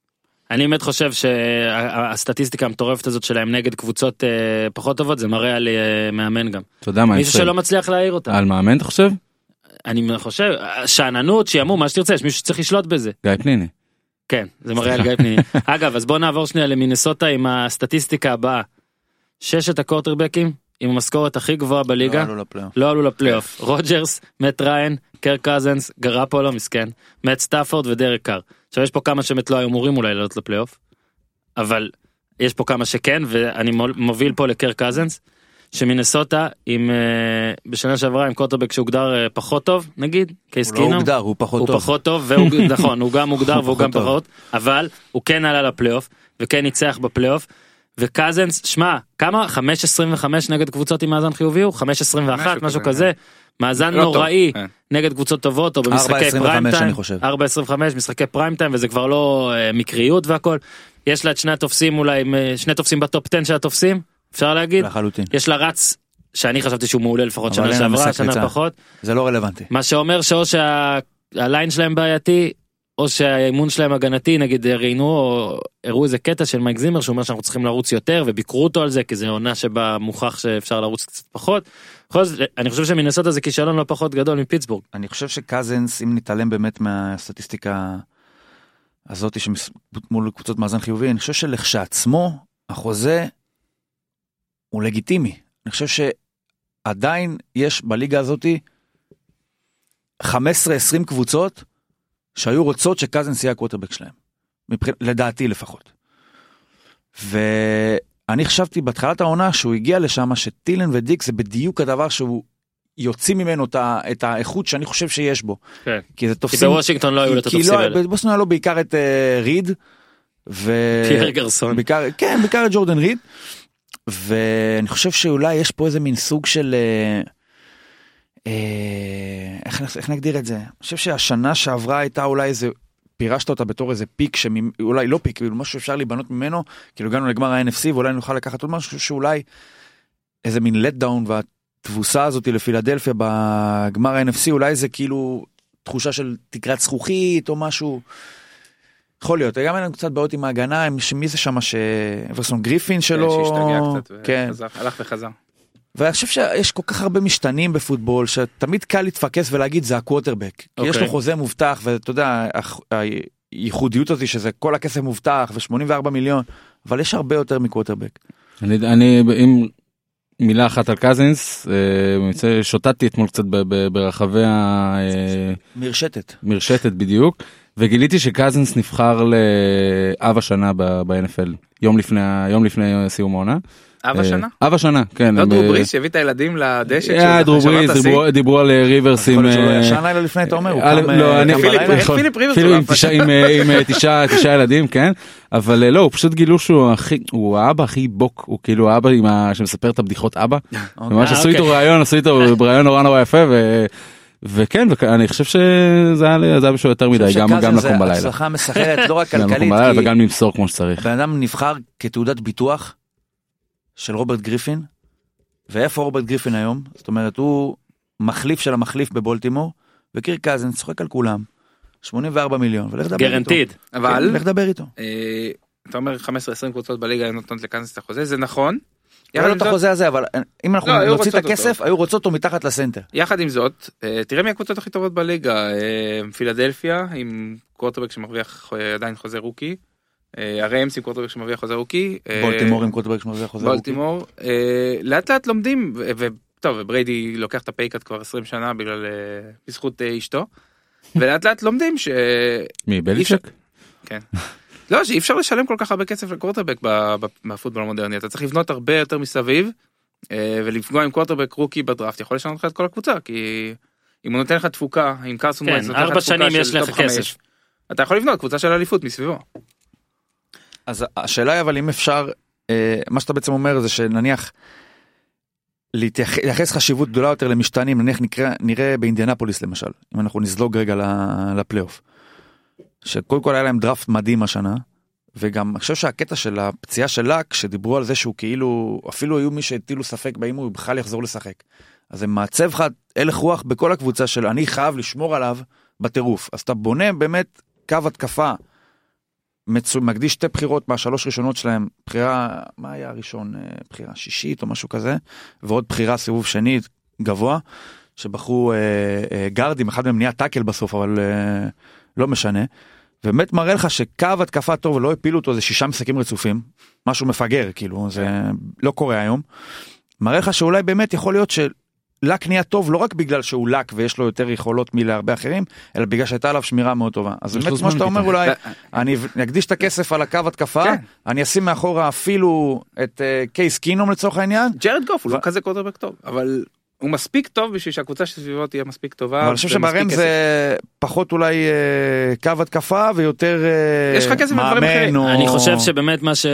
Speaker 1: אני באמת חושב שהסטטיסטיקה המטורפת הזאת שלהם נגד קבוצות אה, פחות טובות זה מראה על אה, מאמן גם.
Speaker 2: אתה יודע מה, אה.
Speaker 1: מישהו
Speaker 2: ישראל?
Speaker 1: שלא מצליח להעיר אותה.
Speaker 2: על מאמן אתה חושב?
Speaker 1: אני חושב, אה, שאננות, שעמום, מה שתרצה, יש מישהו שצריך לשלוט בזה.
Speaker 2: גיא פניני,
Speaker 1: כן, זה מראה על גיא פניני. אגב, אז בוא נעבור שנייה למינסוטה עם הסטטיסטיקה הבאה. ששת הקורטרבקים עם המשכורת הכי גבוהה בליגה. לא עלו לפלייאוף. רוג'רס, מט ריין, קר קזנס, גרפולו מסכן, מט סטאפורד ודרק קאר. עכשיו יש פה כמה שבאמת לא היו אמורים אולי לעלות לפלייאוף, אבל יש פה כמה שכן ואני מול- מוביל פה לקר קזנס. שמינסוטה עם אה, בשנה שעברה עם קוטרבק שהוגדר אה, פחות טוב נגיד קייס
Speaker 4: הוא לא
Speaker 1: קינום.
Speaker 4: הוגדר, הוא פחות
Speaker 1: הוא
Speaker 4: טוב.
Speaker 1: פחות טוב
Speaker 4: *laughs*
Speaker 1: והוא נכון הוא גם מוגדר
Speaker 4: הוא
Speaker 1: והוא
Speaker 4: פחות
Speaker 1: גם
Speaker 4: טוב.
Speaker 1: פחות אבל הוא כן עלה לפלייאוף וכן ניצח בפלייאוף. וקזנס שמע כמה 5.25 נגד קבוצות עם מאזן חיובי הוא 5.21
Speaker 5: משהו
Speaker 1: משהו
Speaker 5: כזה,
Speaker 1: כזה מאזן
Speaker 5: לא טוב.
Speaker 1: נוראי
Speaker 5: כן.
Speaker 1: נגד קבוצות טובות או במשחקי
Speaker 4: 4.25
Speaker 1: פריים טיים
Speaker 4: אני חושב.
Speaker 1: 4.25 משחקי פריים טיים וזה כבר לא אה, מקריות והכל יש לה את שני התופסים אולי אה, שני תופסים בטופ 10 של התופסים אפשר להגיד
Speaker 4: לחלוטין.
Speaker 1: יש לה רץ שאני חשבתי שהוא מעולה לפחות שנה
Speaker 4: אבל אין לה
Speaker 1: שעברה
Speaker 4: משחק
Speaker 1: שנה
Speaker 4: ריצה.
Speaker 1: פחות
Speaker 4: זה לא רלוונטי.
Speaker 1: מה שאומר שאו שהליין שלהם בעייתי או שהאימון שלהם הגנתי נגיד ראיינו או הראו איזה קטע של מייק זימר שאומר שאנחנו צריכים לרוץ יותר וביקרו אותו על זה כי זה עונה שבה מוכח שאפשר לרוץ קצת פחות. בכל זאת אני חושב שמנסוטה זה כישלון לא פחות גדול מפיטסבורג.
Speaker 4: אני חושב שקזנס, אם נתעלם באמת מהסטטיסטיקה הזאת שמס- מול קבוצות מאזן חיובי, אני חושב שלכשעצמו, החוזה הוא לגיטימי. אני חושב שעדיין יש בליגה הזאת 15-20 קבוצות שהיו רוצות שקזנס יהיה הקווטרבק שלהם. מבח... לדעתי לפחות. ואני חשבתי בתחילת העונה שהוא הגיע לשם שטילן ודיק זה בדיוק הדבר שהוא יוציא ממנו את, ה... את האיכות שאני חושב שיש בו.
Speaker 1: כן.
Speaker 4: כי זה
Speaker 1: כי
Speaker 4: תופסים...
Speaker 1: בוושינגטון לא היו לו את
Speaker 4: כי
Speaker 1: התופסים
Speaker 4: לא-
Speaker 1: האלה.
Speaker 4: בבוסטון היה לו בעיקר את אה, ריד. ו...
Speaker 1: פייר גרסון.
Speaker 4: בעיקר, כן, בעיקר את ג'ורדן ריד. ואני חושב שאולי יש פה איזה מין סוג של... אה, אה, איך, נ- איך נגדיר את זה? אני חושב שהשנה שעברה הייתה אולי איזה... פירשת אותה בתור איזה פיק, שאולי לא פיק, כאילו משהו שאפשר להיבנות ממנו, כאילו הגענו לגמר ה-NFC ואולי נוכל לקחת עוד משהו שאולי איזה מין let down והתבוסה הזאת לפילדלפיה בגמר ה-NFC, אולי זה כאילו תחושה של תקרת זכוכית או משהו. יכול להיות, גם היה לנו קצת בעיות עם ההגנה, עם מי זה שם, שאברסון גריפין שלו,
Speaker 5: כן, שהשתגע קצת,
Speaker 4: כן,
Speaker 5: וחזר, הלך וחזר.
Speaker 4: ואני חושב שיש כל כך הרבה משתנים בפוטבול, שתמיד קל להתפקס ולהגיד זה הקווטרבק. כי יש לו
Speaker 1: אוקיי.
Speaker 4: חוזה מובטח, ואתה יודע, הח- הייחודיות הזאת שזה כל הכסף מובטח ו-84 מיליון, אבל יש הרבה יותר מקווטרבק.
Speaker 2: אני, אני אם מילה אחת על קזינס, אה, מצא- שוטטתי אתמול קצת ב, ב, ברחבי אה, המרשתת
Speaker 4: מרשתת.
Speaker 2: בדיוק, וגיליתי שקזינס נבחר לאב השנה ב- ב-NFL, יום לפני, ה- יום לפני סיום העונה.
Speaker 5: אב השנה?
Speaker 2: אה, אב השנה, כן.
Speaker 5: לא
Speaker 2: הם,
Speaker 5: דרו
Speaker 2: אה,
Speaker 5: בריס שהביא את הילדים לדשא
Speaker 2: אה, דרו
Speaker 5: ששבר את
Speaker 2: בריס,
Speaker 5: השיא?
Speaker 2: דיברו- דיברו על אה, ריברס
Speaker 4: יכול
Speaker 2: עם...
Speaker 4: להיות שהוא לא
Speaker 2: אה,
Speaker 4: ישן לילה לפני, אתה אומר, הוא
Speaker 2: אה,
Speaker 4: קם
Speaker 2: לא,
Speaker 4: אה,
Speaker 2: אני
Speaker 4: קם
Speaker 5: פיליפ-
Speaker 4: בלילה?
Speaker 5: איך
Speaker 2: נכון.
Speaker 5: פיליפ ריברס
Speaker 2: אפילו
Speaker 5: הוא
Speaker 2: עם
Speaker 5: לא
Speaker 2: תשעה- עם, אה, עם אה, תשעה תשעה ילדים כן אבל אה, לא הוא פשוט גילו שהוא הכי הוא האבא הכי בוק הוא כאילו האבא עם ה... שמספר את הבדיחות אבא. *laughs* ממש
Speaker 1: אה,
Speaker 2: עשו איתו
Speaker 1: אוקיי.
Speaker 2: ראיון עשו איתו ראיון נורא נורא יפה ו... וכן ואני חושב שזה היה לי- זה היה בשביל יותר
Speaker 4: אני
Speaker 2: מדי
Speaker 4: חושב
Speaker 2: גם גם
Speaker 4: שקזינס
Speaker 2: לקום
Speaker 4: זה
Speaker 2: בלילה.
Speaker 4: הצלחה מסחררת, לא רק
Speaker 2: גם לקום
Speaker 4: כלכלית,
Speaker 2: בלילה
Speaker 4: כי
Speaker 2: וגם למסור כמו שצריך.
Speaker 4: בן אדם נבחר כתעודת ביטוח של רוברט גריפין, ואיפה רוברט גריפין היום? זאת אומרת, הוא מחליף של המחליף בבולטימור, וקירק קזן צוחק על כולם, 84 מיליון, ולך דבר איתו.
Speaker 1: גרנטיד.
Speaker 5: אבל
Speaker 4: כן, לך דבר איתו.
Speaker 5: אה, אתה אומר 15-20 קבוצות בליגה נותנות לקנזס את החוזה זה נכון.
Speaker 4: היה לו
Speaker 5: יחד עם
Speaker 4: לא, את
Speaker 5: זאת-
Speaker 4: החוזה הזה, אבל אם אנחנו
Speaker 5: לא, היו
Speaker 4: נוציא את
Speaker 5: רוצות אותו.
Speaker 4: הכסף, היו רוצות אותו מתחת לסנטר.
Speaker 5: יחד עם זאת אה, תראה מי הקבוצות הכי טובות בליגה אה, פילדלפיה עם קורטובק שמרוויח אה, עדיין חוזה רוקי. אה, הרמס עם קורטובק שמרוויח חוזה רוקי. אה,
Speaker 4: בולטימור עם קוטברג שמרוויח חוזה.
Speaker 5: בולטימור אה, לאט לאט לומדים ו- ו- טוב ובריידי לוקח את הפייקאט כבר 20 שנה בגלל אה, בזכות אה, אשתו. ולאט לאט לומדים ש...
Speaker 2: מי בליצ'ק?
Speaker 5: לא, שאי אפשר לשלם כל כך הרבה כסף לקוורטרבק ב- ב- בפוטבול המודרני, אתה צריך לבנות הרבה יותר מסביב, אה, ולפגוע עם קוורטרבק רוקי בדראפט יכול לשנות לך את כל הקבוצה, כי אם הוא נותן לך תפוקה, אם קרסון
Speaker 1: כן,
Speaker 5: ווינס נותן לך
Speaker 1: ארבע
Speaker 5: תפוקה
Speaker 1: שנים יש
Speaker 5: של
Speaker 1: לך
Speaker 5: טופ חמש,
Speaker 1: כסף.
Speaker 5: אתה יכול לבנות קבוצה של אליפות מסביבו.
Speaker 4: אז השאלה היא אבל אם אפשר, אה, מה שאתה בעצם אומר זה שנניח, להתייח- לייחס חשיבות גדולה יותר למשתנים, נניח נקרא, נראה באינדיאנפוליס למשל, אם אנחנו נזלוג רגע ל- לפלייאוף, שקודם כל היה להם דראפט מדהים השנה, וגם אני חושב שהקטע של הפציעה של לק, שדיברו על זה שהוא כאילו, אפילו היו מי שהטילו ספק באם הוא בכלל יחזור לשחק. אז זה מעצב לך הלך רוח בכל הקבוצה של אני חייב לשמור עליו בטירוף. אז אתה בונה באמת קו התקפה מצו, מקדיש שתי בחירות מהשלוש ראשונות שלהם, בחירה, מה היה הראשון? אה, בחירה שישית או משהו כזה, ועוד בחירה סיבוב שני גבוה, שבחרו אה, אה, גרדים, אחד מהם נהיה טאקל בסוף, אבל אה, לא משנה. באמת מראה לך שקו התקפה טוב, לא הפילו אותו, זה שישה משחקים רצופים, משהו מפגר, כאילו, זה לא קורה היום. מראה לך שאולי באמת יכול להיות שלק נהיה טוב לא רק בגלל שהוא לק ויש לו יותר יכולות מלהרבה אחרים, אלא בגלל שהייתה עליו שמירה מאוד טובה. אז
Speaker 2: יש לו
Speaker 4: באמת,
Speaker 2: זמן
Speaker 4: כמו שאתה אומר,
Speaker 2: פתאום.
Speaker 4: אולי... אני אקדיש את הכסף על הקו התקפה,
Speaker 5: כן.
Speaker 4: אני אשים מאחורה אפילו את אה, קייס קינום לצורך העניין,
Speaker 5: ג'רד גוף הוא לא
Speaker 4: ו-
Speaker 5: כזה קוורטרבק טוב, אבל הוא מספיק טוב בשביל שהקבוצה שסביבו תהיה מספיק טובה.
Speaker 4: אבל אני חושב
Speaker 5: ומספיק
Speaker 4: שבראם
Speaker 5: כסף.
Speaker 4: זה פחות אולי אה, קו התקפה ויותר אה,
Speaker 5: יש לך כסף לדברים אחרים.
Speaker 4: מאמן או...
Speaker 1: אני חושב שבאמת מה, ש...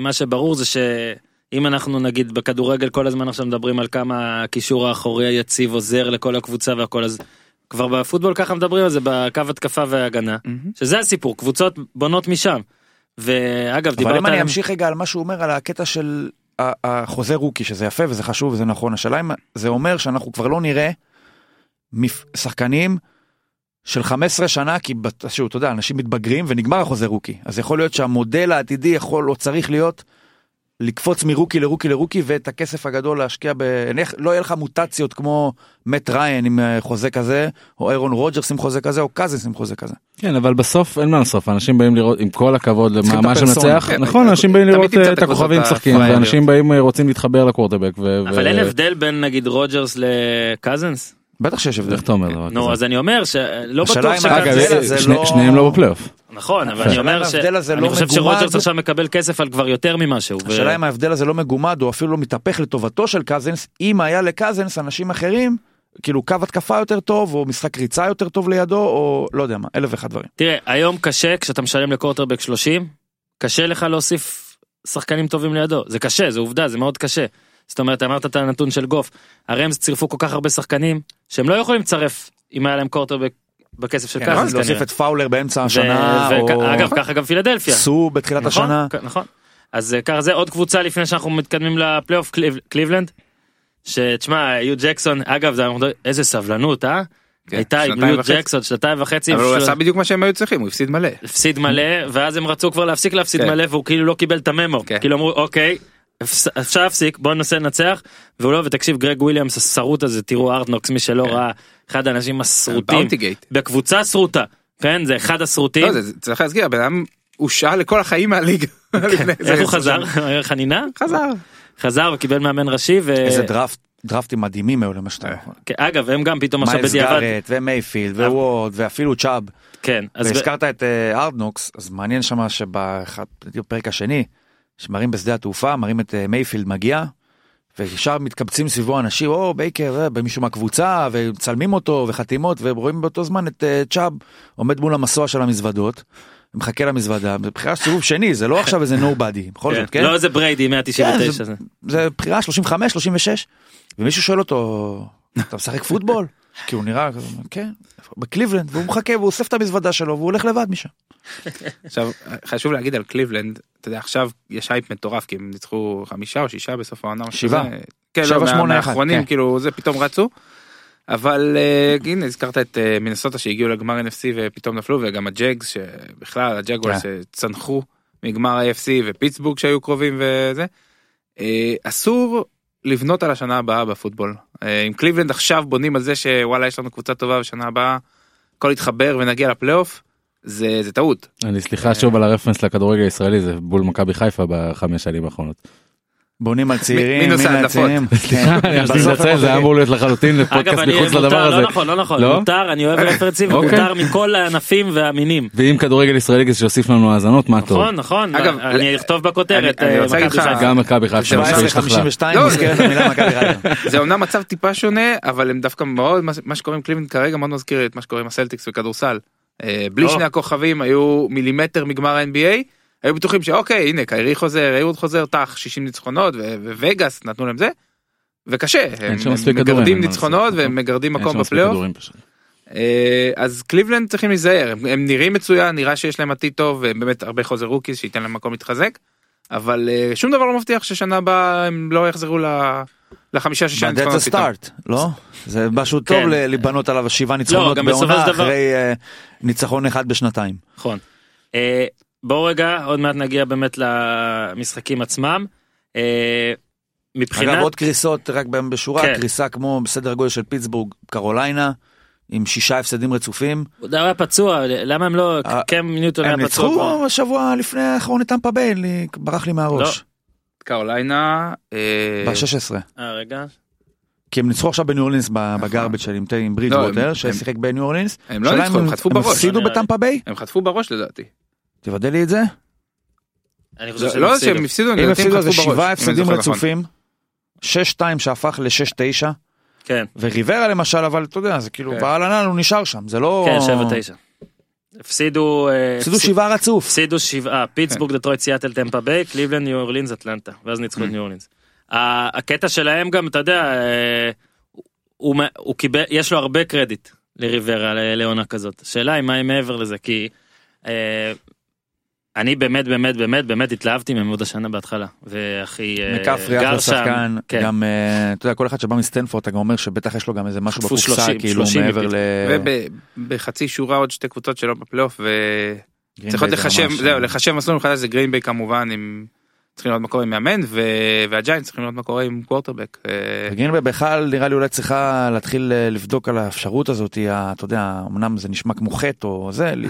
Speaker 1: מה שברור זה שאם אנחנו נגיד בכדורגל כל הזמן עכשיו מדברים על כמה הקישור האחורי היציב עוזר לכל הקבוצה והכל אז כבר בפוטבול ככה מדברים על זה בקו התקפה והגנה
Speaker 5: מהמם.
Speaker 1: שזה הסיפור קבוצות בונות משם. ואגב
Speaker 4: אבל
Speaker 1: דיברת
Speaker 4: אם
Speaker 1: על...
Speaker 4: אני אמשיך רגע על מה שהוא אומר על הקטע של ה- החוזה רוקי שזה יפה וזה חשוב וזה נכון השאלה אם זה אומר שאנחנו כבר לא נראה מפ- שחקנים של 15 שנה כי בת- שוב, אתה יודע אנשים מתבגרים ונגמר החוזה רוקי אז יכול להיות שהמודל העתידי יכול או צריך להיות. לקפוץ מרוקי לרוקי לרוקי ואת הכסף הגדול להשקיע ב... נניח, לא יהיה לך מוטציות כמו מט ריין עם אה, חוזה כזה או אירון רוג'רס עם חוזה כזה או קזינס עם חוזה כזה.
Speaker 2: כן אבל בסוף אין מה לעשות אנשים באים לראות עם כל הכבוד
Speaker 4: צריכים
Speaker 2: למה
Speaker 4: את
Speaker 2: מה
Speaker 4: הפרסונה.
Speaker 2: שמנצח
Speaker 5: כן,
Speaker 2: נכון
Speaker 5: כן,
Speaker 2: אנשים
Speaker 5: תמיד
Speaker 2: באים לראות
Speaker 5: תמצא
Speaker 2: אה,
Speaker 5: את
Speaker 2: את הכוכבים
Speaker 5: הקבוצות
Speaker 2: משחקים
Speaker 5: הפראייריות.
Speaker 2: ואנשים באים אה, רוצים להתחבר לקוורטבק. ו-
Speaker 1: אבל
Speaker 2: ו-
Speaker 1: אין הבדל בין נגיד רוג'רס לקזנס
Speaker 4: בטח שיש הבדל.
Speaker 2: איך אתה אומר דבר
Speaker 1: נו
Speaker 2: כזה?
Speaker 1: אז אני אומר שלא
Speaker 4: השאלה
Speaker 1: בטוח
Speaker 4: אם
Speaker 2: אגב,
Speaker 4: ההבדל
Speaker 1: שקזנס
Speaker 4: הזה
Speaker 2: שני-
Speaker 4: לא-
Speaker 2: שניהם לא בפלייאוף.
Speaker 1: נכון אבל
Speaker 2: השאלה
Speaker 1: אני
Speaker 2: אם
Speaker 1: אומר
Speaker 4: ההבדל הזה
Speaker 1: שאני
Speaker 4: לא
Speaker 1: חושב
Speaker 4: מגומד.
Speaker 1: שרוג'רס עכשיו מקבל כסף על כבר יותר ממה שהוא. ו-
Speaker 4: השאלה אם ההבדל הזה לא מגומד או אפילו לא מתהפך לטובתו של קזנס אם היה לקזנס אנשים אחרים כאילו קו התקפה יותר טוב או משחק ריצה יותר טוב לידו או לא יודע מה אלף ואחד דברים.
Speaker 1: תראה, היום קשה כשאתה משלם לקורטרבק 30, קשה לך להוסיף שחקנים טובים לידו. זה קשה, זה עובדה, זה מאוד קשה. זאת אומרת, אמרת את הנתון של גוף. הרמז צירפו כל כך הרבה שחקנים, שהם לא יכולים לצרף אם היה להם קורטרבק בכסף של
Speaker 5: כן,
Speaker 1: קאזנס
Speaker 5: אז
Speaker 4: להוסיף
Speaker 1: כנראה.
Speaker 4: את פאולר באמצע
Speaker 1: ו-
Speaker 4: השנה
Speaker 1: וכ-
Speaker 4: או
Speaker 1: אגב, ככה גם פילדלפיה.
Speaker 4: סו בתחילת
Speaker 1: נכון?
Speaker 4: השנה.
Speaker 1: כ- נכון. אז אה, ככה זה עוד קבוצה לפני שאנחנו מתקדמים לפלייאוף קליב- קליבלנד. שתשמע, יו ג'קסון, אגב, זה- איזה סבלנות, אה?
Speaker 5: כן,
Speaker 1: הייתה עם
Speaker 5: שנתיים
Speaker 1: יו
Speaker 5: וחצי.
Speaker 1: ג'קסון שנתיים וחצי.
Speaker 5: אבל הוא
Speaker 1: של-
Speaker 5: עשה בדיוק מה שהם היו צריכים הוא הפסיד מלא.
Speaker 1: הפסיד מלא ואז הם רצו כבר להפסיק להפסיד
Speaker 5: כן.
Speaker 1: מלא והוא כאילו לא קיבל את הממו
Speaker 5: כן.
Speaker 1: כאילו אמרו אוקיי אפס- אפשר להפסיק בוא ננסה לנצח והוא לא ותקשיב גרג וויליאמס הסרוט הזה תראו ארטנוקס מי שלא
Speaker 5: כן.
Speaker 1: ראה אחד האנשים הסרוטים
Speaker 5: באונטי גייט.
Speaker 1: בקבוצה סרוטה כן זה אחד הסרוטים
Speaker 5: לא, זה- זה- צריך להזכיר הבן אדם הושעה לכל החיים מהליגה. *laughs* לפני זה.
Speaker 1: כן. איך הוא חזר *laughs* חנינה
Speaker 5: חזר.
Speaker 1: חזר וקיבל מאמן ראשי ו-
Speaker 4: איזה דראפט, דראפטים מדהימים היו למה שאתה אומר.
Speaker 1: כן, אגב הם גם פתאום עכשיו
Speaker 4: מיילס
Speaker 1: בדיעבד אה.
Speaker 4: גארט ומייפילד וורד ואפילו צ'אב.
Speaker 1: כן אז ב-
Speaker 4: והזכרת את אה, ארדנוקס, אז מעניין שמה שבפרק השני, שמראים בשדה התעופה, מראים את אה, מייפילד מגיע, וישר מתקבצים סביבו אנשים, או בייקר, אה, מישהו מהקבוצה, ומצלמים אותו, וחתימות, ורואים באותו זמן את אה, צ'אב עומד מול המסוע של המזוודות, מחכה למזוודה, זה בחירה של סיבוב שני, זה לא עכשיו איזה נובדי, בכל
Speaker 1: כן.
Speaker 4: זאת, כן?
Speaker 1: לא איזה בריידי
Speaker 4: כן,
Speaker 1: 199 זה-
Speaker 4: זה בחירה 35 36 ומישהו שואל אותו אתה משחק פוטבול *laughs* כי הוא נראה כזה, כן בקליבלנד והוא מחכה והוא אוסף את המזוודה שלו והוא הולך לבד משם.
Speaker 5: עכשיו חשוב להגיד על קליבלנד אתה יודע עכשיו יש הייפ מטורף כי הם ניצחו חמישה או שישה בסוף העונה. או
Speaker 4: שבעה.
Speaker 5: שזה. כן,
Speaker 4: שבע,
Speaker 5: לא, מה-
Speaker 4: שמונה, אחד,
Speaker 5: מהאחרונים
Speaker 4: כן.
Speaker 5: כאילו זה פתאום רצו. אבל אה, הנה הזכרת את אה, מינסוטה שהגיעו לגמר NFC ופתאום נפלו וגם הג'אגס שבכלל הג'אגוורס
Speaker 4: כן.
Speaker 5: שצנחו מגמר ה-FC ופיטסבורג שהיו קרובים וזה. אה, אסור לבנות על השנה הבאה בפוטבול. אה, אם קליבלנד עכשיו בונים על זה שוואלה יש לנו קבוצה טובה בשנה הבאה הכל יתחבר ונגיע לפלייאוף זה זה טעות.
Speaker 2: אני סליחה שוב על הרפרנס לכדורגל הישראלי זה בול מכבי חיפה בחמש שנים האחרונות.
Speaker 4: בונים על צעירים,
Speaker 5: מינוס
Speaker 4: מן
Speaker 5: ההדלפות.
Speaker 4: הצעירים.
Speaker 2: סליחה, *laughs* אני
Speaker 4: כן, בסוף
Speaker 2: חשבתי
Speaker 4: הם
Speaker 2: לנצל, זה היה
Speaker 4: מובילים.
Speaker 2: אמור להיות לחלוטין
Speaker 1: אגב
Speaker 2: לפודקאסט
Speaker 1: אני
Speaker 2: מחוץ לדבר
Speaker 1: מותר
Speaker 2: הזה.
Speaker 1: לא נכון לא נכון
Speaker 2: לא?
Speaker 1: מותר אני אוהב רפרנסים
Speaker 2: אוקיי.
Speaker 1: מותר מכל הענפים והמינים.
Speaker 2: ואם כדורגל ישראלי כזה שיוסיף לנו האזנות מה טוב.
Speaker 1: נכון נכון
Speaker 5: אגב,
Speaker 1: אני אכתוב בכותרת
Speaker 5: אני- אני
Speaker 1: אה,
Speaker 5: רוצה להגיד
Speaker 1: מכבי
Speaker 5: לך-
Speaker 1: חיפה.
Speaker 2: גם מכבי חיפה. שהיא
Speaker 4: 17
Speaker 2: השתחלה.
Speaker 4: 52
Speaker 5: לא,
Speaker 4: מוזכרת
Speaker 5: זה-
Speaker 4: המילה מכבי חיפה.
Speaker 5: זה אומנם מצב טיפה שונה אבל הם דווקא מאוד מה- מה שקוראים קליבלנד כרגע מאוד מזכיר את מה שקוראים הסלטיקס וכדורסל. אה, בלי
Speaker 2: לא.
Speaker 1: או.
Speaker 5: שני הכוכבים היו מילימטר מגמר ה-NBA היו בטוחים שאוקיי הנה קיירי חוזר איירוד חוזר תח 60 ניצחונות ו- ווגאס נתנו להם זה. וקשה הם
Speaker 2: שם
Speaker 5: הם
Speaker 2: מספיק כדורים,
Speaker 5: מגרדים
Speaker 2: אין מה
Speaker 5: ניצחונות
Speaker 2: לעשות,
Speaker 5: והם מגרדים
Speaker 2: אין
Speaker 5: מקום
Speaker 2: שם מספיק
Speaker 5: בפלייאוף
Speaker 2: כדורים פשוט.
Speaker 5: אה, אז קליבלנד צריכים להיזהר הם- הם נראים מצוין נראה שיש להם עתיד טוב והם באמת הרבה חוזר רוקיז שייתן להם מקום להתחזק. אבל אה, שום דבר לא מבטיח ששנה הבאה הם לא יחזרו ל- לחמישה שישה
Speaker 4: But that's
Speaker 5: ניצחונות
Speaker 4: a
Speaker 5: פתאום.
Speaker 4: start, לא? זה משהו טוב
Speaker 1: כן.
Speaker 4: ל- לבנות עליו שבעה ניצחונות
Speaker 1: גם בסופו של
Speaker 4: בעונה
Speaker 1: דבר-
Speaker 4: אחרי אה, ניצחון אחד בשנתיים.
Speaker 1: נכון. אה, בואו רגע עוד מעט נגיע באמת למשחקים עצמם. אה,
Speaker 4: אגב
Speaker 1: מבחינת
Speaker 4: עוד קריסות רק בהם בשורה
Speaker 1: כן.
Speaker 4: קריסה כמו בסדר גודל של פיטסבורג קרוליינה עם שישה הפסדים רצופים
Speaker 1: הוא היה פצוע למה הם לא
Speaker 4: אה,
Speaker 1: קם ניוטון היה
Speaker 4: הם
Speaker 1: פצוע. פה?
Speaker 4: ניצחו השבוע לפני האחרון את טמפה ביי לי- ברח לי מהראש
Speaker 5: קרוליינה אה,
Speaker 4: ב-16
Speaker 1: אה, רגע.
Speaker 4: כי הם ניצחו עכשיו בניו אורלינס ב- בגארבג' של עם ת- עם ברידג'
Speaker 5: נכון. לא, הם-
Speaker 4: ווטר
Speaker 5: הם-
Speaker 4: ששיחק בניו אורלינס.
Speaker 5: הם לא
Speaker 4: שאלה
Speaker 5: ניצחו,
Speaker 4: אם
Speaker 5: הם חטפו
Speaker 4: הם
Speaker 5: בראש.
Speaker 4: הפסידו
Speaker 1: לא נראה לי.
Speaker 4: בטמפה ביי?
Speaker 5: הם חטפו בראש לדעתי
Speaker 4: תוודא לי את זה.
Speaker 1: אני חושב שהם
Speaker 5: לא שהם
Speaker 1: הפסידו.
Speaker 5: הפסידו
Speaker 4: הם
Speaker 5: הם
Speaker 4: הפסידו איזה
Speaker 5: חטפו בראש.
Speaker 4: שבעה
Speaker 5: אם אני
Speaker 4: הפסדים
Speaker 5: זוכר נכון.
Speaker 4: רצופים. 6-2 שהפך ל-6-9
Speaker 1: כן
Speaker 4: וריברה למשל אבל אתה יודע זה כאילו
Speaker 5: כן.
Speaker 4: בעלנן הוא נשאר שם זה לא
Speaker 1: כן שבע תשע. הפסידו אה,
Speaker 4: הפסידו
Speaker 1: הפסיד-
Speaker 4: שבעה רצוף.
Speaker 1: הפסידו
Speaker 4: כן.
Speaker 1: שבעה, פיטסבורג, דטרויט, סיאטל, טמפה ביי, קליבלנד, ניו אורלינס, אטלנטה, ואז ניצחו
Speaker 4: Mm-hmm.
Speaker 1: את ניו אורלינס. ה- הקטע שלהם גם, אתה יודע, אה, הוא מ- הוא קיבל, יש לו הרבה קרדיט לריברה, ל- לעונה כזאת. השאלה היא מה היא מעבר לזה, כי אה, אני באמת באמת באמת באמת התלהבתי מהם עוד השנה בהתחלה, והכי אה,
Speaker 4: מכפרי
Speaker 1: גר
Speaker 4: אחלה
Speaker 1: שם,
Speaker 4: שחקן,
Speaker 1: כן.
Speaker 4: גם אה, אתה יודע כל אחד שבא מסטנפורד אתה גם אומר שבטח יש לו גם איזה משהו
Speaker 1: חטפו
Speaker 4: בקופסה
Speaker 1: 30,
Speaker 4: כאילו
Speaker 1: 30
Speaker 4: מעבר
Speaker 1: מפיט.
Speaker 4: ל...
Speaker 5: ובחצי שורה עוד שתי קבוצות שלא בפלייאוף וצריך
Speaker 4: גרינביי
Speaker 5: עוד
Speaker 4: זה
Speaker 5: לחשב
Speaker 4: ממש- אה,
Speaker 5: זהו לחשב מסלול מחדש זה גרינביי כמובן עם צריכים לראות מה קורה עם מאמן ו- והג'יינט צריכים לראות מה קורה עם קוורטרבק. אה,
Speaker 4: גרינביי בכלל נראה לי אולי צריכה להתחיל אה, לבדוק על האפשרות הזאת, היא ה- אתה יודע, אמנם זה נשמע כמו חטא או זה, ל-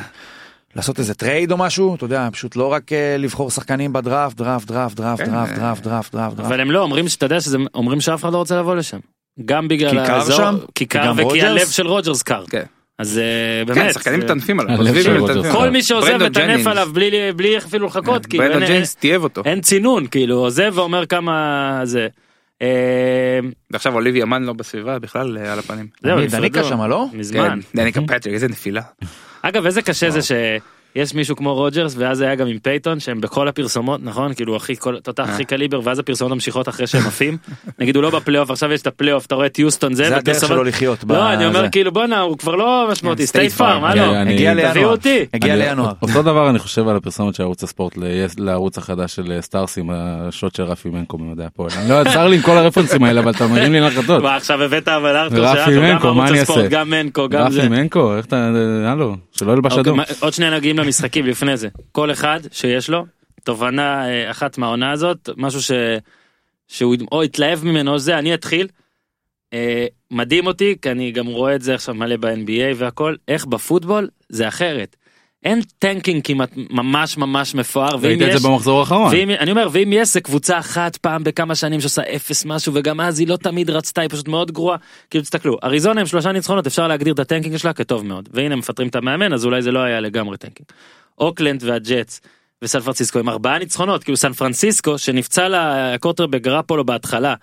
Speaker 4: לעשות איזה טרייד או משהו, אתה יודע, פשוט לא רק אה, לבחור שחקנים בדראפט, דראפט, דראפט, דראפט,
Speaker 5: כן,
Speaker 4: דראפט,
Speaker 5: אה,
Speaker 4: דראפט, דראפט, דראפט, דראפט.
Speaker 1: אבל הם לא אומרים שאתה יודע שזה אומרים שאף אחד לא רוצה לבוא לשם. גם
Speaker 4: כי
Speaker 1: בגלל
Speaker 4: קר שם?
Speaker 1: כי קר
Speaker 4: וגם
Speaker 1: וכי
Speaker 4: רוג'רס?
Speaker 1: הלב של רוג'רס קר.
Speaker 5: כן.
Speaker 1: אז אה, באמת.
Speaker 5: כן, שחקנים
Speaker 1: זה-
Speaker 5: מטנפים עליו.
Speaker 2: הלב
Speaker 5: עוזבים
Speaker 2: של
Speaker 5: הם
Speaker 2: רוג'רס.
Speaker 5: מטנפים
Speaker 2: כל
Speaker 1: כל
Speaker 5: עליו.
Speaker 1: מי שעוזב
Speaker 5: ברנדון
Speaker 1: מטנף
Speaker 5: ג'נינגס. כן,
Speaker 1: עליו בלי, בלי אפילו
Speaker 2: כן,
Speaker 1: לחכות, כאילו אין,
Speaker 5: ברנדון
Speaker 1: אין,
Speaker 5: ג'יינס טייב אותו
Speaker 1: אין צינון, כאילו עוזב ואומר כמה זה. אה,
Speaker 5: ועכשיו אוליבי אמן לא בסביבה בכלל אה, על הפנים.
Speaker 1: זהו,
Speaker 4: מי,
Speaker 1: נפרדו.
Speaker 4: דניקה שמה, לא?
Speaker 1: מזמן.
Speaker 5: כן, דניקה פטריק איזה נפילה.
Speaker 1: אגב, איזה קשה זה
Speaker 2: לא.
Speaker 1: שיש מישהו כמו רוג'רס, ואז היה גם עם פייתון, שהם בכל הפרסומות, נכון? כאילו, הכי, כל- תותח
Speaker 2: אה.
Speaker 1: הכי קליבר, ואז הפרסומות ממשיכות אחרי שהם עפים. *laughs* נגיד, הוא לא בפלייאוף, עכשיו יש את הפלייאוף, אתה רואה את יוסטון זה,
Speaker 4: זה הדרך
Speaker 1: והפרסומות-
Speaker 4: שלו לחיות.
Speaker 1: לא, אני אומר,
Speaker 4: בזה.
Speaker 1: כאילו, בואנה, הוא כבר לא משמעותי, סטייט
Speaker 5: State Farm,
Speaker 1: פארם,
Speaker 2: כן,
Speaker 1: הלו.
Speaker 2: אני-
Speaker 4: הגיע
Speaker 2: תביאו
Speaker 4: לינואר.
Speaker 1: אותי.
Speaker 4: הגיע
Speaker 2: אני-
Speaker 4: לינואר.
Speaker 2: אותו דבר אני חושב על הפרסומת של ערוץ הספורט ל- לערוץ החדש של סטארסים השוט של רפי מנקו במדעי הפועל.
Speaker 1: *laughs*
Speaker 2: אני לא צר לי עם כל הרפרנסים האלה אבל אתה מרים לי נחתות.
Speaker 1: מה, עכשיו הבאת אבל ארתור
Speaker 2: רפי
Speaker 1: שאנחנו, גם
Speaker 2: מנקו, מה
Speaker 1: ערוץ
Speaker 2: אני
Speaker 1: הספורט,
Speaker 2: אעשה?
Speaker 1: גם מנקו, גם זה.
Speaker 2: רפי מנקו איך אתה אה, הלו שלא ילבש
Speaker 1: אוקיי,
Speaker 2: אדום.
Speaker 1: מה- עוד שנייה נגיעים למשחקים לפני זה. כל אחד שיש לו, תובנה אה, אחת מהעונה הזאת, משהו ש... שהוא או התלהב ממנו או זה, אני אתחיל. אה, מדהים אותי, כי אני גם רואה את זה עכשיו מלא ב-NBA והכל, איך בפוטבול זה אחרת. אין טנקינג כמעט ממש ממש מפואר, ואם
Speaker 2: ראית את
Speaker 1: יש...
Speaker 2: זה במחזור האחרון.
Speaker 4: נכון.
Speaker 1: ואם, אני אומר, ואם יש, זה קבוצה אחת פעם בכמה שנים שעושה אפס משהו, וגם אז היא לא תמיד רצתה, היא פשוט מאוד גרועה. כאילו, תסתכלו, אריזונה עם שלושה ניצחונות, אפשר להגדיר את הטנקינג שלה כטוב מאוד. והנה, מפטרים את המאמן, אז אולי זה לא היה לגמרי טנקינג. אוקלנד והג'אטס וסן פרנסיסקו עם ארבעה ניצחונות, כאילו סן פרנסיסקו, שנפצע לה הקורטרבק רפולו בהתחלה,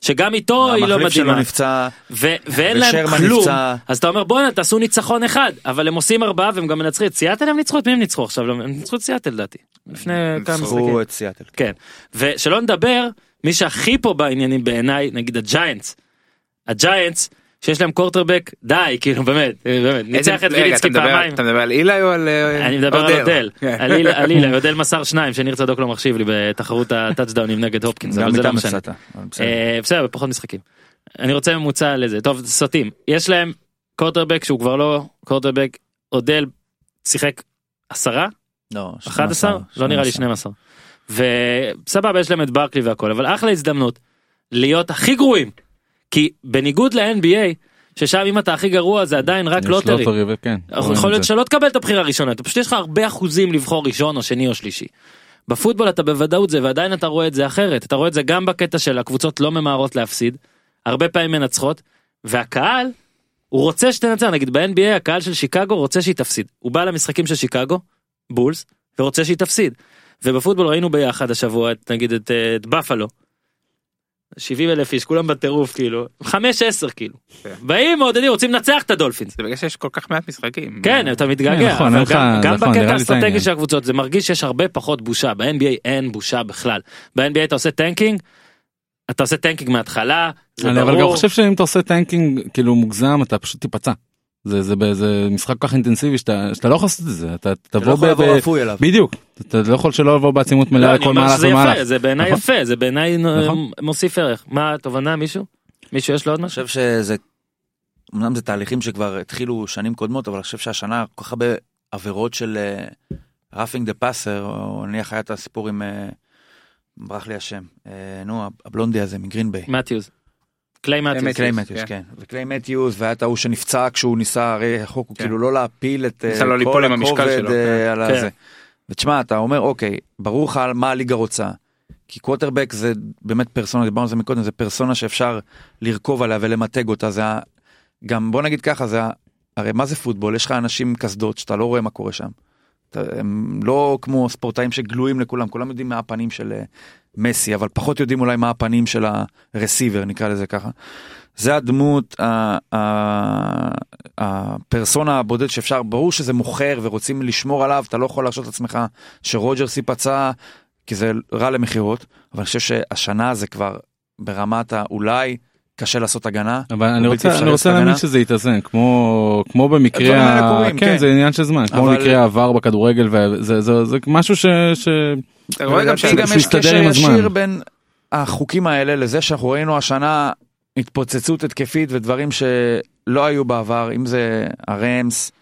Speaker 1: שגם איתו היא לא
Speaker 4: המחליף שלו
Speaker 1: מדהימה.
Speaker 4: נפצע,
Speaker 1: ו- ואין להם
Speaker 4: ושרמן
Speaker 1: כלום,
Speaker 4: נפצע.
Speaker 1: אז אתה אומר בואנה תעשו ניצחון אחד, אבל הם עושים ארבעה והם גם מנצחים את סיאטל הם ניצחו את מי הם ניצחו עכשיו, לא, הם ניצחו את סיאטל לדעתי, לפני כמה משחקים.
Speaker 4: ניצחו את סיאטל.
Speaker 1: כן, ושלא נדבר, מי שהכי פה בעניינים בעיניי, נגיד הג'יינטס. הג'יינטס, שיש להם קורטרבק, די, כאילו באמת, באמת, ניצח את
Speaker 5: רגע,
Speaker 1: ויליצקי
Speaker 5: אתה מדבר-
Speaker 1: פעמיים.
Speaker 5: אתה מדבר על אילי או על אה,
Speaker 1: אני מדבר על אודל,
Speaker 5: כן.
Speaker 1: על איל- על אילה, לא, אודל מסר שניים, שניר צדוק לא מחשיב לי בתחרות הטאצ'דאונים נגד הופקינס,
Speaker 4: גם
Speaker 1: אבל זה לא
Speaker 4: איתם
Speaker 1: משנה.
Speaker 4: הפסדת. אבל בסדר.
Speaker 1: אה, בסדר, פחות משחקים. אני רוצה ממוצע לזה. טוב, סוטים. יש להם קורטרבק שהוא כבר לא קורטרבק, אודל שיחק עשרה,
Speaker 4: לא,
Speaker 1: 11? לא נראה לי 12. וסבבה, יש להם את ברקלי והכל, אבל אחלה הזדמנות להיות הכי גרועים. כי בניגוד ל-NBA, ששם אם אתה הכי גרוע זה עדיין רק
Speaker 2: יש
Speaker 1: לוטרי.
Speaker 2: לוטרי, וכן. רואים כן, את
Speaker 1: יכול להיות
Speaker 2: זה.
Speaker 1: שלא תקבל את הבחירה הראשונה, אתה פשוט יש לך הרבה אחוזים לבחור ראשון או שני או שלישי. בפוטבול אתה בוודאות זה ועדיין אתה רואה את זה אחרת, אתה רואה את זה גם בקטע של הקבוצות לא ממהרות להפסיד, הרבה פעמים מנצחות, והקהל, הוא רוצה שתנצח, נגיד ב-NBA הקהל של שיקגו רוצה שהיא תפסיד, הוא בא למשחקים של שיקגו, בולס, ורוצה שהיא תפסיד. ובפוטבול ראינו ביחד השבוע את נגיד את, אה, את בפלו. 70 אלף איש כולם בטירוף כאילו 5-10 כאילו
Speaker 5: כן.
Speaker 1: באים מעודדים רוצים לנצח את הדולפינס
Speaker 5: זה בגלל שיש כל כך מעט משחקים.
Speaker 1: כן אתה
Speaker 2: כן,
Speaker 1: מתגעגע
Speaker 2: נכון,
Speaker 1: אבל
Speaker 2: אין לך-
Speaker 1: גם- גם
Speaker 2: נכון, נראה
Speaker 1: בקטע
Speaker 2: לי זה
Speaker 1: האסטרטגי
Speaker 2: העניין.
Speaker 1: של הקבוצות זה מרגיש שיש הרבה פחות בושה ב-NBA אין בושה בכלל ב-NBA אתה עושה טנקינג. אתה עושה טנקינג מההתחלה זה
Speaker 2: אני אבל גם
Speaker 1: ברור
Speaker 2: חושב שאם אתה עושה טנקינג כאילו מוגזם אתה פשוט תיפצע. זה זה ב- זה משחק כל כך אינטנסיבי שאתה שאתה לא יכול לעשות את זה אתה
Speaker 4: אתה לא
Speaker 2: תבוא
Speaker 4: יכול
Speaker 2: ב-
Speaker 4: לבוא
Speaker 2: ב-
Speaker 4: רפוי אליו.
Speaker 2: בדיוק אתה לא יכול שלא לבוא בעצימות
Speaker 1: לא,
Speaker 2: מלאה
Speaker 1: אני
Speaker 2: לכל
Speaker 1: אומר
Speaker 2: מהלך
Speaker 1: שזה יפה
Speaker 2: ומהלך.
Speaker 1: זה בעיניי
Speaker 2: נכון.
Speaker 1: יפה זה בעיניי
Speaker 2: נכון.
Speaker 1: אה, מוסיף ערך מה התובנה מישהו מישהו יש לו עוד
Speaker 4: אני
Speaker 1: משהו.
Speaker 4: חושב שזה, אמנם זה תהליכים שכבר התחילו שנים קודמות, אבל אני חושב שהשנה כל כך הרבה עבירות של אה, ראפינג דה פאסר, או נניח היה את הסיפור עם, אה, ברח לי השם, אה, נו, הבלונדי הזה מגרין ביי.
Speaker 1: מתיוס. קליי מתיוס.
Speaker 5: אמת.
Speaker 4: קליי
Speaker 5: מתיוס,
Speaker 4: מתיוס,
Speaker 5: כן.
Speaker 4: כן. וקליי מתיוס, והיה את ההוא שנפצע כשהוא ניסה, הרי החוק הוא
Speaker 5: כן.
Speaker 4: כאילו לא להפיל את אה,
Speaker 5: ניסה לא ליפול
Speaker 4: כל
Speaker 5: עם המשקל
Speaker 4: הכובד
Speaker 5: שלו,
Speaker 4: אה, על
Speaker 1: כן.
Speaker 4: הזה. ותשמע, אתה אומר, אוקיי, ברור לך על מה הליגה רוצה. כי קווטרבק זה באמת פרסונה, דיברנו על זה מקודם, זה פרסונה שאפשר לרכוב עליה ולמתג אותה. זה ה- גם, בוא נגיד ככה, זה ה- הרי מה זה פוטבול? יש לך אנשים עם קסדות שאתה לא רואה מה קורה שם. אתה- הם לא כמו ספורטאים שגלויים לכולם, כולם יודעים מה הפנים של אה, מסי, אבל פחות יודעים אולי מה הפנים של הרסיבר, נקרא לזה ככה. זה הדמות, ה- ה- הפרסונה הבודד שאפשר, ברור שזה מוכר ורוצים לשמור עליו, אתה לא יכול להרשות לעצמך שרוג'רס ייפצע, כי זה רע למכירות, אבל אני חושב שהשנה זה כבר ברמת האולי קשה לעשות הגנה.
Speaker 2: אבל אני
Speaker 4: בלתי
Speaker 2: רוצה
Speaker 4: אפשרי
Speaker 2: אני רוצה
Speaker 4: לעשות
Speaker 2: להאמין
Speaker 4: הגנה.
Speaker 2: שזה יתאזן כמו כמו
Speaker 4: הדברים
Speaker 2: במקרה
Speaker 4: האלה
Speaker 2: ה-
Speaker 4: קורים,
Speaker 2: כן
Speaker 4: כן.
Speaker 2: זה עניין של זמן כמו
Speaker 4: אבל-
Speaker 2: במקרה העבר בכדורגל וזה זה זה משהו ש- ש-
Speaker 5: אתה רואה גם
Speaker 4: לדעתי
Speaker 5: ש-
Speaker 4: גם
Speaker 2: שהוא
Speaker 4: יש
Speaker 2: יסתדר
Speaker 4: קשר
Speaker 2: עם הזמן.
Speaker 4: ישיר בין החוקים האלה לזה שאנחנו ראינו השנה התפוצצות התקפית ודברים שלא היו בעבר, אם זה הרמס,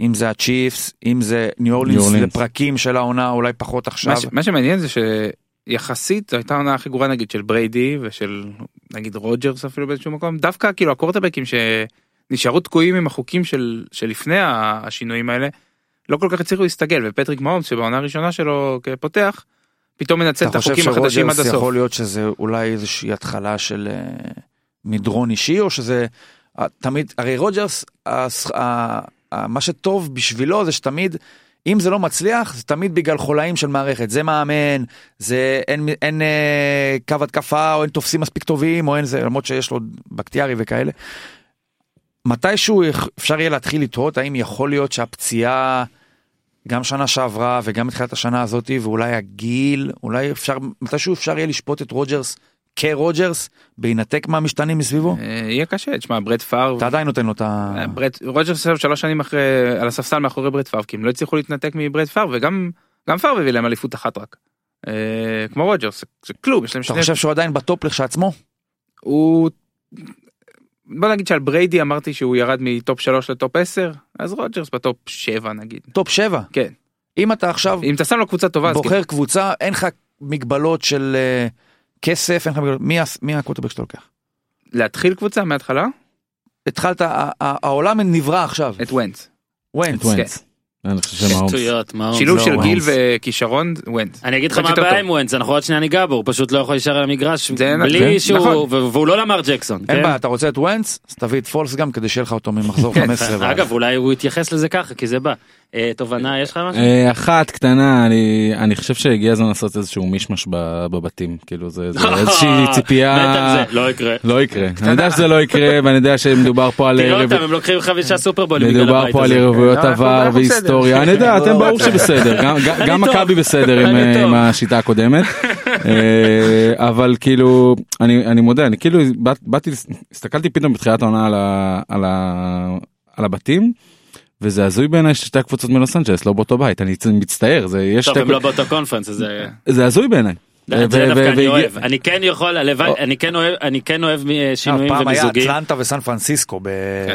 Speaker 4: אם זה הצ'יפס, אם זה ניו אורלינס
Speaker 2: אורלינס.
Speaker 4: לפרקים של העונה, אולי פחות עכשיו.
Speaker 5: מה ש- מה שמעניין זה שיחסית זו הייתה העונה הכי גרועה נגיד של בריידי ושל נגיד רוג'רס אפילו באיזשהו מקום דווקא כאילו הקורטבקים שנשארו תקועים עם החוקים של שלפני ה- השינויים האלה לא כל כך הצליחו להסתגל ופטריק מאומס שבעונה הראשונה שלו כפותח פתאום מנצל את
Speaker 4: אתה חושב
Speaker 5: החוקים החדשים עד
Speaker 4: שרוג'רס
Speaker 5: הסוף.
Speaker 4: יכול להיות שזה אולי איזושהי התחלה של אה, מדרון אישי, או שזה אה, תמיד, הרי רוג'רס, הס- ה- ה- מה שטוב בשבילו זה שתמיד, אם זה לא מצליח, זה תמיד בגלל חולאים של מערכת, זה מאמן, זה אין, אין אה, קו התקפה, או אין תופסים מספיק טובים, או אין זה, למרות שיש לו בקטיארי וכאלה. מתישהו יכ- אפשר יהיה להתחיל לתהות האם יכול להיות שהפציעה גם שנה שעברה וגם מתחילת השנה הזאת ואולי הגיל אולי אפשר מתישהו אפשר יהיה לשפוט את רוג'רס כרוג'רס בהינתק מהמשתנים מסביבו
Speaker 5: אה, יהיה קשה תשמע ברד פאר.
Speaker 4: אתה עדיין נותן לו את ה...
Speaker 5: אה, ברד- רוג'רס עכשיו שלוש שנים אחרי על הספסל מאחורי ברד פאר כי הם לא הצליחו להתנתק מברד פאר וגם גם פאר הביא להם אליפות אחת רק. אה, כמו רוג'רס זה- זה כלום יש להם
Speaker 4: אתה
Speaker 5: שני
Speaker 4: חושב שהוא עדיין בטופ לכשעצמו?
Speaker 5: הוא בוא נגיד שעל בריידי אמרתי שהוא ירד מטופ 3 לטופ 10 אז רוג'רס בטופ 7 נגיד
Speaker 4: טופ 7.
Speaker 5: כן.
Speaker 4: אם אתה עכשיו
Speaker 5: אם אתה שם לו קבוצה טובה אז כאילו, כן.
Speaker 4: בוחר קבוצה, אין לך מגבלות של אה, כסף, אין לך מגבלות, מי הס- מי הקווטרבק שאתה לוקח?
Speaker 5: כאילו, להתחיל קבוצה מההתחלה
Speaker 4: התחלת, ה- ה- העולם נברא עכשיו, כן.
Speaker 5: את
Speaker 2: אה,
Speaker 5: כן. ווינץ.
Speaker 4: ווינט.
Speaker 2: את ווינץ. אני חושב שהם ההומס.
Speaker 1: שטויות, מה הוא-
Speaker 5: שילוב
Speaker 1: זה
Speaker 5: של
Speaker 1: הוא-
Speaker 5: גיל
Speaker 2: ווינץ.
Speaker 5: וכישרון ווינץ.
Speaker 1: אני אגיד לך
Speaker 5: קצת
Speaker 1: מה
Speaker 5: יותר
Speaker 1: הבעיה
Speaker 5: טוב.
Speaker 1: עם ווינס, אנחנו עוד שנייה ניגע בו, הוא פשוט לא יכול להישאר על המגרש
Speaker 5: זה-
Speaker 1: בלי
Speaker 5: כן,
Speaker 1: שהוא,
Speaker 5: נכון.
Speaker 1: ו- והוא לא למר ג'קסון.
Speaker 4: אין
Speaker 1: כן?
Speaker 4: בעיה, אתה רוצה את ווינץ? אז תביא את פולס גם כדי שיהיה לך אותו ממחזור
Speaker 5: כן.
Speaker 4: אה, 15. ואז.
Speaker 1: אגב, אולי הוא יתייחס לזה ככה, כי זה בא. אה, תובנה, יש לך משהו?
Speaker 2: אה, אחת קטנה אני אני חושב שהגיע הזמן לעשות איזשהו מישמש ב- בבתים כאילו זה זה
Speaker 1: *laughs*
Speaker 2: איזושהי
Speaker 1: מת על
Speaker 2: ציפייה
Speaker 1: אה, זה, לא יקרה.
Speaker 2: לא יקרה אני יודע שזה לא יקרה ואני יודע שמדובר פה על
Speaker 1: תראה
Speaker 2: ערב-
Speaker 1: אותם, הם לוקחים חמישה סופרבולים בגלל
Speaker 2: אה, מדובר
Speaker 1: הבית
Speaker 2: פה על
Speaker 1: הזה.
Speaker 2: יריבויות
Speaker 5: אנחנו-
Speaker 2: עבר
Speaker 5: אנחנו בסדר.
Speaker 2: והיסטוריה אני יודע אתם
Speaker 1: *laughs*
Speaker 4: לא
Speaker 2: ברור
Speaker 4: רוצה.
Speaker 2: שבסדר גם- גם- גם
Speaker 1: טוב.
Speaker 2: מכבי בסדר עם,
Speaker 1: אני
Speaker 2: אה,
Speaker 1: טוב.
Speaker 2: עם השיטה הקודמת אה, אבל כאילו אני אני מודה אני כאילו באת- באתי הסתכלתי פתאום בתחילת העונה על ה- על ה- על הבתים. וזה הזוי בעיניי ששתי הקבוצות מלוס אנג'לס לא באותו בית אני מצטער זה יש
Speaker 1: טוב,
Speaker 2: שתי
Speaker 1: הם לא באותו קונפרנס, אז זה...
Speaker 2: זה הזוי בעיניי.
Speaker 1: את זה
Speaker 2: ו-
Speaker 1: דווקא
Speaker 2: ו- אה,
Speaker 1: אני
Speaker 2: והגיע-
Speaker 1: אוהב. אני כן יכול, הלוואי, אני כן אוהב- אני כן אוהב אה, שינויים
Speaker 4: פעם היה
Speaker 1: ומיזוגים.
Speaker 4: אטלנטה וסן פרנסיסקו. ב-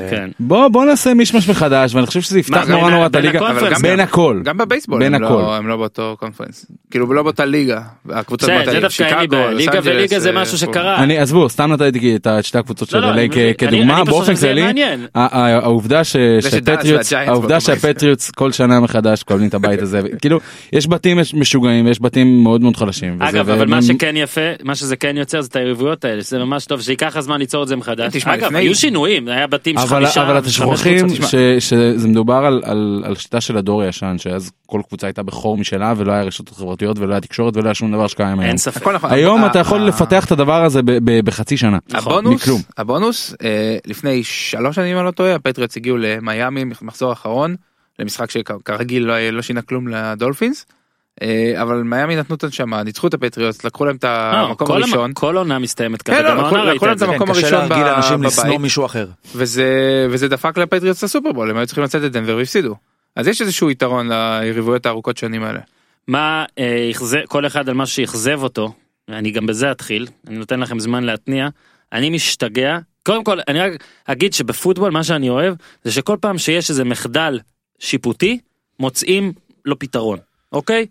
Speaker 1: כן.
Speaker 2: בוא בוא נעשה מישמש מחדש ואני חושב שזה יפתח
Speaker 1: בין
Speaker 2: אה, נורא
Speaker 1: ה-
Speaker 2: נורא את
Speaker 1: בין
Speaker 2: הליגה
Speaker 1: הקונפרנס?
Speaker 2: אבל גם-
Speaker 5: גם-
Speaker 2: בין הכל.
Speaker 5: גם בבייסבול
Speaker 2: בין
Speaker 5: הם
Speaker 2: הכל.
Speaker 5: לא- הם לא באותו קונפרנס. כאילו לא באותה ליגה. הקבוצות
Speaker 1: בסדר,
Speaker 5: באותה
Speaker 1: זה
Speaker 5: ליגה.
Speaker 1: דווקא אין לי
Speaker 5: שיקגו,
Speaker 1: בעיה.
Speaker 5: לוס
Speaker 1: ליגה
Speaker 5: אנג'לס,
Speaker 1: וליגה זה
Speaker 5: אה,
Speaker 1: משהו
Speaker 5: פה.
Speaker 1: שקרה.
Speaker 2: אני עזבו סתם נתתי את ה- שתי הקבוצות של
Speaker 1: לא, לא,
Speaker 2: LA כ-
Speaker 1: אני-
Speaker 2: כדוגמה
Speaker 1: אני פשוט חושב
Speaker 2: באופן
Speaker 1: שזה יהיה
Speaker 2: כללי
Speaker 1: מעניין.
Speaker 2: ה- ה- העובדה ש-
Speaker 5: זה שדאלאס
Speaker 2: שהפטריוטס
Speaker 5: והג'יינטס
Speaker 2: העובדה
Speaker 5: באותו בית.
Speaker 2: שהפטריוטס כל שנה מחדש מקבלים את הבית הזה כאילו יש בתים מש- משוגעים ויש בתים מאוד מאוד חלשים. וזה-
Speaker 1: אגב,
Speaker 2: ו-
Speaker 1: אבל מה
Speaker 2: מ-
Speaker 1: שכן יפה, מה שזה כן יוצר זה את היריבויות האלה, שזה ממש טוב, שייקח הזמן ליצור את זה מחדש.
Speaker 5: תשמע,
Speaker 1: אגב,
Speaker 5: לפני-
Speaker 1: היו שינויים, היה בתים של
Speaker 2: אבל
Speaker 1: חמישה,
Speaker 2: אבל אתם
Speaker 1: חמש
Speaker 2: שוכחים
Speaker 1: קבוצות.
Speaker 2: ש- שזה מדובר על- על על שיטה של הדור הישן שאז כל קבוצה הייתה בחור משלה ולא היה רשתות חברתיות ולא היה תקשורת ולא היה שום דבר שקיים היום.
Speaker 1: אין ספק. אה,
Speaker 5: הכל נכון.
Speaker 2: היום
Speaker 5: ה-
Speaker 2: אתה יכול
Speaker 5: ה-
Speaker 2: לפתח את הדבר הזה ב- ב- בחצי שנה.
Speaker 1: נכון.
Speaker 5: הבונוס,
Speaker 2: מכלום.
Speaker 5: הבונוס אה, לפני שלוש שנים אם אני לא טועה הפטריוטס הגיעו למיאמי מחזור האחרון למשחק שכרגיל לא, לא שינה כלום לדולפינס. אה, אבל מיאמי נתנו את הנשמה ניצחו את הפטריוטס לקחו להם את
Speaker 1: לא,
Speaker 5: המקום
Speaker 1: כל המ-
Speaker 5: הראשון
Speaker 1: כל עונה מסתיימת
Speaker 5: כן,
Speaker 1: ככה,
Speaker 5: לא,
Speaker 1: גם
Speaker 5: לקחו-
Speaker 1: העונה ראית
Speaker 5: לקחו להם
Speaker 1: את
Speaker 5: את
Speaker 1: זה.
Speaker 5: המקום
Speaker 4: כן, קשה
Speaker 5: הראשון
Speaker 4: להרגיל
Speaker 5: ב-
Speaker 4: אנשים
Speaker 5: בבית.
Speaker 4: לשנוא מישהו אחר.
Speaker 5: וזה וזה דפק לפטריוטס לסופרבול הם היו צריכים לצאת את דנבר והפסידו. אז יש איזשהו יתרון ליריבויות הארוכות שנים האלה.
Speaker 1: מה אה, אכזב- כל אחד על מה שאכזב אותו, אני גם בזה אתחיל, אני נותן לכם זמן להתניע, אני משתגע, קודם כל אני רק אגיד שבפוטבול מה שאני אוהב זה שכל פעם שיש איזה מחדל שיפוטי, מוצאים לו פתרון, אוקיי?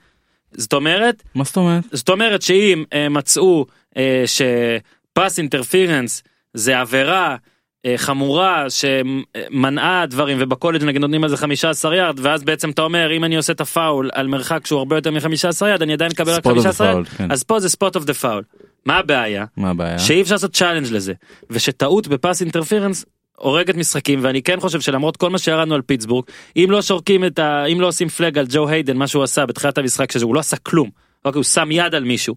Speaker 1: זאת אומרת,
Speaker 2: מה זאת אומרת?
Speaker 1: זאת אומרת שאם אה, מצאו אה, שפס אינטרפירנס זה עבירה אה, חמורה שמנעה דברים ובקולג' נגיד נותנים על זה 15 יארד ואז בעצם אתה אומר אם אני עושה את הפאול על מרחק שהוא הרבה יותר מ-15 יארד אני עדיין אקבל רק
Speaker 2: Spot of the
Speaker 1: 15 יארד
Speaker 2: foul, כן.
Speaker 1: אז פה זה ספוט אוף דה פאול. מה הבעיה?
Speaker 2: מה הבעיה?
Speaker 1: שאי אפשר לעשות צ'אלנג' לזה ושטעות בפס אינטרפירנס. הורגת משחקים ואני כן חושב שלמרות כל מה שירדנו על פיטסבורג אם לא שורקים את ה... אם לא עושים פלאג על ג'ו היידן מה שהוא עשה בתחילת המשחק שזה הוא לא עשה כלום. אוקיי, הוא שם יד על מישהו.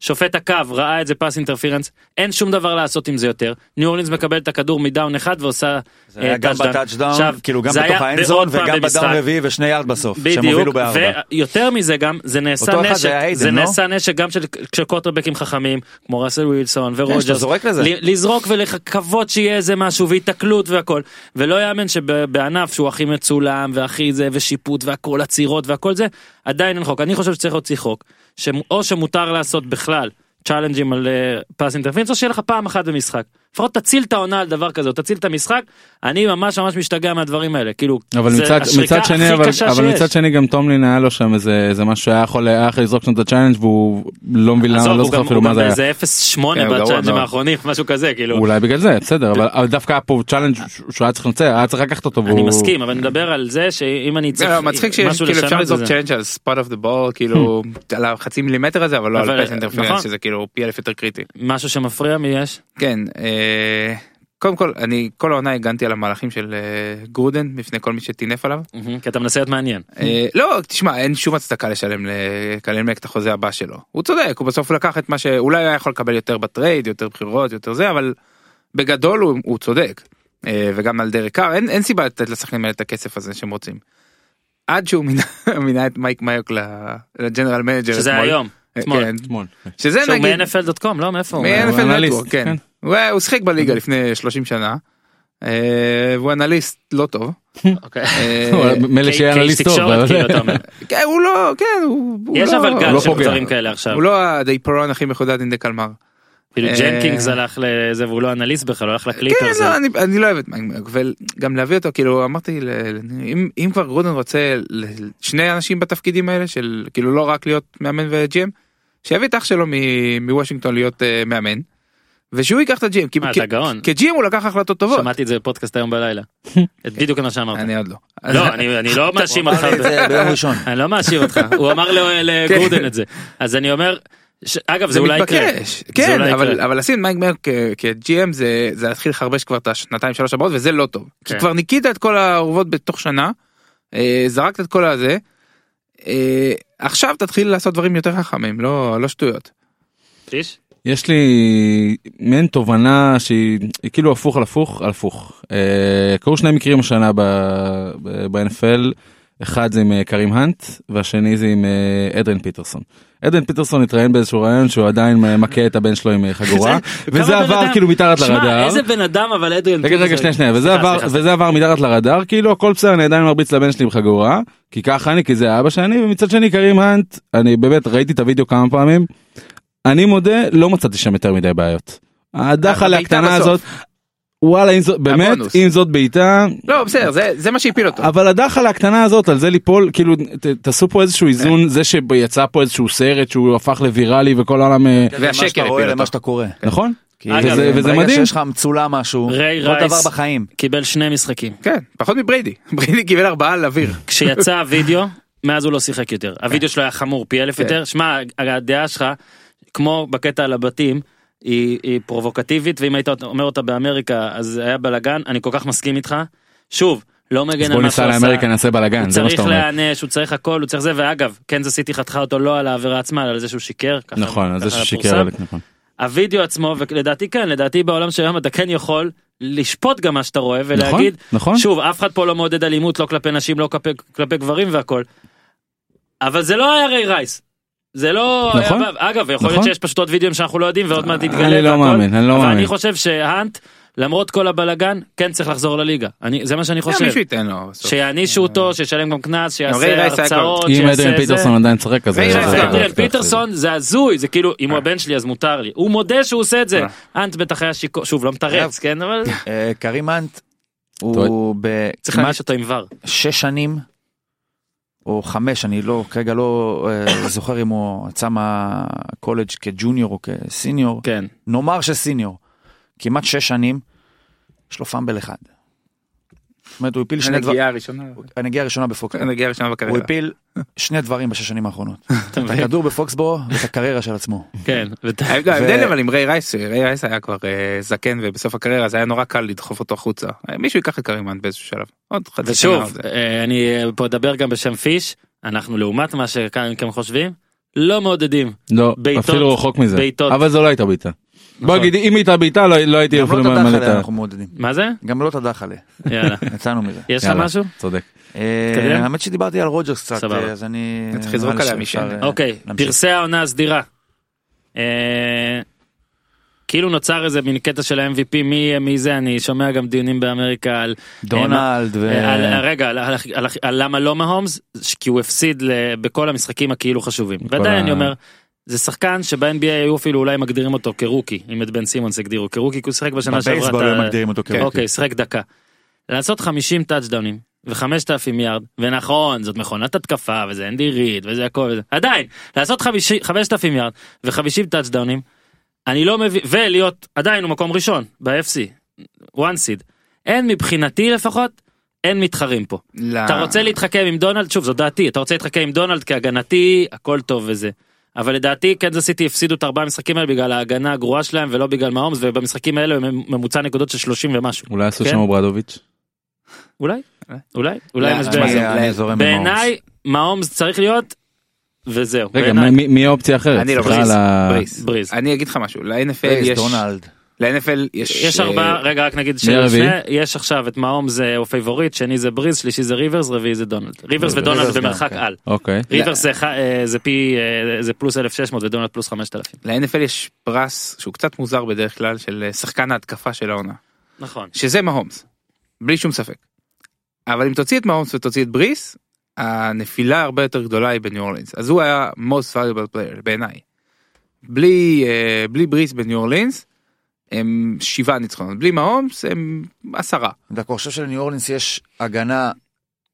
Speaker 1: שופט הקו ראה את זה פס אינטרפירנס אין שום דבר לעשות עם זה יותר ניו אורלינס מקבל את הכדור מדאון אחד ועושה
Speaker 4: זה היה
Speaker 1: אה,
Speaker 4: גם
Speaker 1: touchdown.
Speaker 4: בטאצ'דאון,
Speaker 1: עכשיו,
Speaker 4: כאילו גם
Speaker 1: זה
Speaker 4: בתוך
Speaker 1: היה
Speaker 4: האנזון
Speaker 1: ועוד פעם
Speaker 4: וגם
Speaker 1: במשחק.
Speaker 4: בדאון רביעי ושני יארד בסוף, שהם
Speaker 1: בדיוק,
Speaker 4: הובילו בארבע.
Speaker 1: ויותר מזה גם, זה נעשה
Speaker 4: אותו אחד
Speaker 1: נשק,
Speaker 4: זה היה
Speaker 1: זה
Speaker 4: איידן, לא?
Speaker 1: נעשה נשק גם של של קוטרבקים חכמים, כמו ראסל ווילסון
Speaker 4: כן, שאתה
Speaker 1: ורוג'רס,
Speaker 4: זורק לזה.
Speaker 1: ל- לזרוק ולקוות שיהיה איזה משהו והיתקלות והכל, ולא יאמן שבענף שהוא הכי מצולם והכי זה ושיפוט והכל עצירות והכל זה, עדיין אין חוק. אני חושב שצריך להוציא חוק, שאו שמותר לעשות בכלל צ'אלנג'ים על פס אינטרפינס, או שיהיה לך פעם אחת במשחק. לפחות תציל את העונה על דבר כזה, או תציל את המשחק, אני ממש ממש משתגע מהדברים האלה, כאילו,
Speaker 2: אבל
Speaker 1: זה
Speaker 2: מצד,
Speaker 1: השריקה
Speaker 2: מצד שני
Speaker 1: הכי
Speaker 2: אבל,
Speaker 1: קשה
Speaker 2: אבל
Speaker 1: שיש.
Speaker 2: מצד שני גם טומלין היה לו שם איזה איזה משהו שהיה יכול היה יכול לזרוק שם את הצ'יינג' והוא לא מבין למה
Speaker 1: עזוב,
Speaker 2: לא
Speaker 1: הוא
Speaker 2: זוכר
Speaker 1: גם-
Speaker 2: אפילו מה זה היה.
Speaker 1: הוא גם באיזה 0.8
Speaker 5: כן, הוא גרוע
Speaker 1: בצ'אנג'ים
Speaker 5: מאוד.
Speaker 1: האחרונים, *laughs* משהו כזה, כאילו.
Speaker 2: אולי בגלל זה בסדר אבל, אבל דווקא היה פה צ'אלנג' שהוא- שהוא היה צריך לנצח היה צריך לקחת אותו.
Speaker 1: אני
Speaker 2: והוא-
Speaker 1: מסכים, אבל נדבר על זה שאם אני צריך
Speaker 5: לא, מצחיק שיש
Speaker 1: משהו
Speaker 5: כאילו אפשר
Speaker 1: לשנות,
Speaker 5: לזרוק
Speaker 1: זה- Hmm.
Speaker 5: צ'אנג' על ספוט אוף דה בול כאילו על החצי מילימטר הזה אבל לא
Speaker 1: אבל,
Speaker 5: על פס
Speaker 1: נכון.
Speaker 5: אינטרפרנס שזה כאילו פי אלף יותר קריטי.
Speaker 1: משהו שמפריע מי יש.
Speaker 5: כן, אה, קודם כל אני כל העונה הגנתי על המהלכים של אה, גרודן בפני כל מי שטינף עליו.
Speaker 1: כי אתה מנסה להיות מעניין.
Speaker 5: אה, לא תשמע אין שום הצדקה לשלם לקלן מק את החוזה הבא שלו הוא צודק הוא בסוף לקח את מה שאולי היה יכול לקבל יותר בטרייד יותר בחירות יותר זה אבל בגדול הוא, הוא צודק אה, וגם על דרק קאר אין, אין סיבה לתת לשחקנים האלה את הכסף הזה שהם רוצים. עד שהוא מינה, *laughs* מינה את מייק מיוק ל- לג'נרל מנג'ר
Speaker 1: שזה
Speaker 5: אתמול.
Speaker 1: היום.
Speaker 5: אה,
Speaker 1: אתמול.
Speaker 5: כן.
Speaker 2: אתמול.
Speaker 5: שזה
Speaker 1: שהוא
Speaker 5: נגיד
Speaker 1: מ-NFL.com, לא? מאיפה הוא?
Speaker 2: הוא
Speaker 5: מ-NFL
Speaker 2: אנליסט,
Speaker 5: נטוורק, כן.
Speaker 2: כן.
Speaker 5: הוא היה- הוא שיחק בליגה לפני 30 שנה. אה, והוא אנליסט לא טוב.
Speaker 1: אוקיי.
Speaker 5: אה,
Speaker 2: לא, מילא שיהיה
Speaker 1: כאיש
Speaker 2: אנליסט טוב.
Speaker 1: תקשורת,
Speaker 2: אבל-
Speaker 1: כאילו, אתה אומר.
Speaker 5: כן, הוא לא, כן, הוא הוא
Speaker 1: יש
Speaker 5: לא-
Speaker 1: אבל
Speaker 5: הוא
Speaker 1: גל
Speaker 5: לא
Speaker 1: של
Speaker 2: פוגע.
Speaker 1: דברים כאלה עכשיו.
Speaker 5: הוא לא הדייפרון הכי מחודד עם דקלמר.
Speaker 1: כאילו
Speaker 5: אה,
Speaker 1: ג'נקינגס הלך לזה והוא לא אנליסט בכלל, הוא הלך
Speaker 5: כן,
Speaker 1: לקליפרס.
Speaker 5: לא, אני, אני לא אוהב את מייק מרק, וגם להביא אותו, כאילו אמרתי, ל, ל, אם, אם כבר גרודן רוצה ל- שני אנשים בתפקידים האלה של כאילו לא רק להיות מאמן וג'ם, שיביא את אח שלו מ, מוושינגטון להיות אה, מאמן, ושהוא ייקח את הג'ם, כי
Speaker 1: מה,
Speaker 5: כי-
Speaker 1: אתה גאון.
Speaker 5: כג'ם הוא לקח החלטות טובות,
Speaker 1: אה, שמעתי את זה בפודקאסט היום
Speaker 5: *laughs*
Speaker 1: בלילה. את בדיוק מה שאמרת.
Speaker 5: כן. אני עוד לא,
Speaker 1: לא, אני אני
Speaker 5: *laughs*
Speaker 1: לא מאשים אותך.
Speaker 4: אמר לי את
Speaker 1: ב-
Speaker 4: זה ביום ראשון.
Speaker 1: אני לא מאשים אותך, הוא אמר ל-
Speaker 2: *laughs* כן.
Speaker 1: לגרודן את זה. אז אני אומר, ש- אגב זה
Speaker 5: זה
Speaker 1: אולי יקרה.
Speaker 5: מתבקש,
Speaker 1: זה
Speaker 5: כן,
Speaker 1: אולי
Speaker 5: אבל
Speaker 1: יקרה.
Speaker 5: אבל לשים את מייק מרק כ- כ-GM זה זה להתחיל לחרבש כבר את השנתיים שלוש הבאות וזה לא טוב, כי
Speaker 1: כן.
Speaker 5: כבר ניקית את כל האורוות בתוך שנה, אה, זרקת את כל הזה, אה, עכשיו תתחיל לעשות דברים יותר חכמים, לא לא שטויות.
Speaker 1: פיש?
Speaker 2: יש לי מעין תובנה שהיא היא כאילו הפוך על הפוך על הפוך. אה, קרו שני מקרים השנה ב- ב- ב-NFL, אחד זה עם אה, קרים האנט והשני זה עם אה, אדרן פיטרסון. אדרן פיטרסון התראיין באיזשהו רעיון שהוא עדיין אה, מכה את הבן שלו עם
Speaker 1: *laughs*
Speaker 2: אה, חגורה, וזה
Speaker 1: כמה בן
Speaker 2: עבר
Speaker 1: אדם-
Speaker 2: כאילו מתחת
Speaker 1: שמע,
Speaker 2: לרדאר.
Speaker 1: איזה בן אדם אבל אדריאן.
Speaker 2: רגע רגע שנייה שנייה וזה
Speaker 1: כאילו, סליחה,
Speaker 2: עבר
Speaker 1: סליחה, סליחה.
Speaker 2: וזה עבר מתחת לרדאר כאילו הכל בסדר אני עדיין מרביץ לבן שלי עם חגורה כי ככה אני כי זה אבא שאני ומצד שני קרים האנט אני באמת ראיתי את הוידאו כמה פעמים. אני מודה לא מצאתי שם יותר מדי בעיות.
Speaker 1: אה,
Speaker 2: הדחלה
Speaker 5: הבעיטה
Speaker 2: הקטנה
Speaker 5: בסוף.
Speaker 2: הזאת. וואלה אם זאת באמת
Speaker 5: הבונוס.
Speaker 2: אם זאת בעיטה
Speaker 5: לא בסדר זה זה מה שהפיל אותו.
Speaker 2: אבל הדחלה הקטנה הזאת על זה ליפול כאילו ת- תעשו פה
Speaker 1: כן.
Speaker 2: איזשהו איזון זה שיצא פה איזשהו סרט שהוא הפך לוויראלי וכל העולם אה,
Speaker 5: והשקר
Speaker 4: מה שאתה רואה
Speaker 1: כאילו,
Speaker 5: הפיל אותו.
Speaker 4: למה שאתה קורא.
Speaker 1: כן.
Speaker 2: נכון
Speaker 4: כי
Speaker 1: אגב,
Speaker 4: זה-
Speaker 2: וזה
Speaker 4: ברגע
Speaker 2: מדהים.
Speaker 4: שיש לך מצולם משהו,
Speaker 1: ריי
Speaker 4: כל דבר
Speaker 1: רייס.
Speaker 4: בחיים.
Speaker 1: קיבל שני משחקים.
Speaker 5: כן פחות מבריידי *laughs* בריידי קיבל ארבעה על אוויר.
Speaker 2: *laughs*
Speaker 1: כשיצא הוידאו, מאז הוא לא שיחק יותר.
Speaker 2: כן.
Speaker 1: הוידאו שלו היה חמור פי אלף
Speaker 5: כן.
Speaker 1: יותר. שמע, הדעה שלך, כמו בקטע על הבתים, היא היא פרובוקטיבית, ואם היית אומר אותה באמריקה, אז היה בלאגן, אני כל כך מסכים איתך. שוב, לא
Speaker 2: אז
Speaker 1: מגן
Speaker 2: בוא
Speaker 1: על מה שהוא
Speaker 2: ניסע
Speaker 1: עשה.
Speaker 2: לאמריקה נעשה בלאגן
Speaker 1: הוא
Speaker 2: כן, זה מה
Speaker 1: צריך
Speaker 2: שאתה אומר.
Speaker 1: להיענש, הוא צריך הכל, הוא צריך זה, ואגב, קנזס סיטי חתכה אותו לא על העבירה עצמה, אלא על זה שהוא שיקר. ככה-
Speaker 2: נכון אז זה
Speaker 1: ככה
Speaker 2: ששיקר.
Speaker 1: פורסם.
Speaker 2: עליך, נכון.
Speaker 1: הוידאו עצמו, ולדעתי כן, לדעתי בעולם של היום אתה כן יכול לשפוט גם מה שאתה רואה
Speaker 2: נכון
Speaker 1: ולהגיד,
Speaker 2: נכון.
Speaker 1: שוב, אף אחד פה לא מעודד אלימות, לא כלפי נשים, לא כלפי, כלפי גברים והכל. אבל זה לא היה ריי רייס. זה לא...
Speaker 2: נכון.
Speaker 1: היה, אגב, יכול להיות
Speaker 2: נכון.
Speaker 1: שיש פשוט עוד וידאוים שאנחנו לא יודעים ועוד מעט יתגלה.
Speaker 2: אני לא
Speaker 1: והכל.
Speaker 2: מאמין, אני לא
Speaker 1: אבל
Speaker 2: מאמין.
Speaker 1: אני חושב שהאנט, למרות כל הבלגן, כן צריך לחזור לליגה. אני, זה מה שאני חושב.
Speaker 5: מישהו ייתן לו. בסוף.
Speaker 1: שיענישו אותו, שישלם גם קנס,
Speaker 5: ריי
Speaker 1: שיעשה
Speaker 5: רייס היה כבר-
Speaker 1: הרצאות,
Speaker 2: אם
Speaker 1: שיעשה
Speaker 2: אדריאן
Speaker 1: זה.
Speaker 2: פיטרסון עדיין צחק אז...
Speaker 5: ואם
Speaker 2: זה-
Speaker 5: אדריאן
Speaker 2: זה-
Speaker 1: זה
Speaker 2: זה-
Speaker 1: אדריאן
Speaker 2: זה-
Speaker 1: פיטרסון זה הזוי זה כאילו אם הוא הבן שלי אז מותר לי הוא מודה שהוא עושה את זה אנט בטח היה שיכור שוב לא מתרץ כן אבל
Speaker 4: אה, קרים האנט, הוא
Speaker 2: טוב.
Speaker 1: צריך
Speaker 4: בכמעט
Speaker 1: להעניש אותו עם ור.
Speaker 4: שש שנים, או חמש, אני לא, כרגע לא אה, זוכר אם הוא יצא מהקולג' כג'וניור או כסיניור,
Speaker 1: כן.
Speaker 4: נאמר שסיניור, כמעט שש שנים, יש לו פאמבל אחד. זאת אומרת, הוא הפיל שני דברים,
Speaker 5: הנגיעה הראשונה.
Speaker 4: הנגיעה הראשונה בפוקסבורו,
Speaker 5: הנגיעה הראשונה
Speaker 4: הוא
Speaker 5: בקריירה.
Speaker 4: הפיל שני דברים בשש שנים האחרונות,
Speaker 1: אתה
Speaker 4: את
Speaker 1: מבין?
Speaker 4: הכדור בפוקסבורו ואת הקריירה של
Speaker 5: *laughs*
Speaker 4: עצמו.
Speaker 1: כן. ות-
Speaker 4: ו-
Speaker 5: ההבדל- ההבדל אבל עם ריי רייס, ריי רייס היה כבר אה, זקן ובסוף הקריירה זה היה נורא קל לדחוף אותו החוצה. אה, מישהו ייקח את קרימן באיזשהו שלב. עוד חצי שנה.
Speaker 1: ושוב
Speaker 5: זה.
Speaker 1: אה, אני אה, פה אדבר גם בשם פיש אנחנו לעומת מה שכם חושבים לא מעודדים
Speaker 2: לא,
Speaker 1: בעיטות.
Speaker 2: אפילו רחוק מזה.
Speaker 1: בעיטות.
Speaker 2: אבל זו לא הייתה בעיטה. בוא
Speaker 1: נכון.
Speaker 2: נגיד, אם הייתה בעיטה לא לא הייתי
Speaker 4: גם לא
Speaker 2: אפילו
Speaker 4: את
Speaker 2: מאמן את
Speaker 4: הדחלה
Speaker 2: ה...
Speaker 4: אנחנו מעודדים,
Speaker 1: מה זה
Speaker 4: גם לא את
Speaker 1: *laughs*
Speaker 4: הדחלה,
Speaker 1: יאללה
Speaker 4: יצאנו מזה.
Speaker 1: יש לך
Speaker 2: יאללה.
Speaker 1: משהו
Speaker 2: צודק.
Speaker 4: אה,
Speaker 1: תתקדם.
Speaker 4: האמת שדיברתי על רוג'רס קצת,
Speaker 1: סבבה.
Speaker 4: אה, אז אני...
Speaker 5: אתה צריך לזרוק
Speaker 4: נראה לי
Speaker 5: עליה
Speaker 4: שאפשר,
Speaker 5: משם.
Speaker 4: אה,
Speaker 1: אוקיי
Speaker 4: להמשיך.
Speaker 1: פרסי העונה הסדירה. אה, כאילו נוצר איזה מין קטע של ה-MVP מי יהיה מי זה אני שומע גם דיונים באמריקה על
Speaker 4: דונלד ו...
Speaker 1: אה, על- רגע, על- על- על- על למה לא מהומס? ש- כי הוא הפסיד ל- בכל המשחקים הכאילו חשובים.
Speaker 2: בכל
Speaker 1: ועדיין
Speaker 2: ה-
Speaker 1: אני אומר, זה שחקן שב-NBA היו אפילו אולי מגדירים אותו כרוקי, אם את בן סימונס הגדירו כרוקי, כי הוא שיחק בשנה שעברה.
Speaker 4: בבייסבול
Speaker 1: את
Speaker 4: הם
Speaker 1: ה-
Speaker 4: מגדירים אותו
Speaker 1: כן,
Speaker 4: כרוקי.
Speaker 1: אה, אוקיי, שיחק דקה. לעשות 50 טאצ'דאונים ו-5,000 יארד, ונכון, זאת מכונת התקפה, וזה אנדי ריד, וזה הכל, וזה... עדיין, לעשות 50 5,000 יארד ו-50 טאצ'דאונים, אני לא מבין, ולהיות, עדיין הוא מקום ראשון, ב-FC, one seed. אין מבחינתי לפחות, אין מתחרים פה.
Speaker 5: לא.
Speaker 1: אתה רוצה להתחכם עם דונלד, שוב, זו דעתי, אתה רוצה להתחכם עם דונלד כהגנתי, הכל טוב וזה. אבל לדעתי קנזס סיטי הפסידו את ארבעה המשחקים האלה בגלל ההגנה הגרועה שלהם ולא בגלל מהאומס ובמשחקים האלה הם ממוצע נקודות של 30 ומשהו.
Speaker 2: אולי עשו
Speaker 1: כן.
Speaker 2: שם אוברדוביץ'.
Speaker 1: אולי? אולי? אולי
Speaker 5: לא,
Speaker 1: משבר.
Speaker 5: תשמע,
Speaker 4: אני-
Speaker 5: זה-
Speaker 4: אני זורם עם
Speaker 1: בעיניי מהאומס צריך להיות וזהו.
Speaker 2: רגע,
Speaker 1: בעיניי.
Speaker 2: מי- מי- מי האופציה האחרת?
Speaker 5: אני לא
Speaker 2: סליחה על
Speaker 5: בריס.
Speaker 2: ה-
Speaker 5: בריס.
Speaker 1: בריז.
Speaker 5: אני אגיד לך משהו. ל-NFL
Speaker 4: הורקס,
Speaker 5: יש...
Speaker 4: דונלד.
Speaker 5: ל-NFL יש...
Speaker 1: יש
Speaker 5: אה,
Speaker 1: ארבעה, רגע רק נגיד
Speaker 2: מי הרביעי?
Speaker 1: שלפני, יש עכשיו את מהאומס אה, הוא פייבוריט, שני זה בריז, שלישי זה ריברס, רביעי זה דונלד. ריברס ודונלד
Speaker 4: ריברס גם,
Speaker 1: במרחק
Speaker 4: כן.
Speaker 1: על.
Speaker 2: אוקיי.
Speaker 1: ריברס זה ח- אה, זה פי, אה, זה פלוס 1600 ודונלד פלוס 5000.
Speaker 5: ל-NFL יש פרס שהוא קצת מוזר בדרך כלל של אה, שחקן ההתקפה של העונה.
Speaker 1: נכון.
Speaker 5: שזה מהומס. בלי שום ספק. אבל אם תוציא את מהומס ותוציא את בריס, הנפילה הרבה יותר גדולה היא בניו אורלינס. אז הוא היה most valuable player בעיניי. בלי, אה, בלי בריס בניו אורלינס, הם שבעה ניצחונות, בלי מהאומס הם עשרה.
Speaker 4: דווקא חושב שלניו אורלינס יש הגנה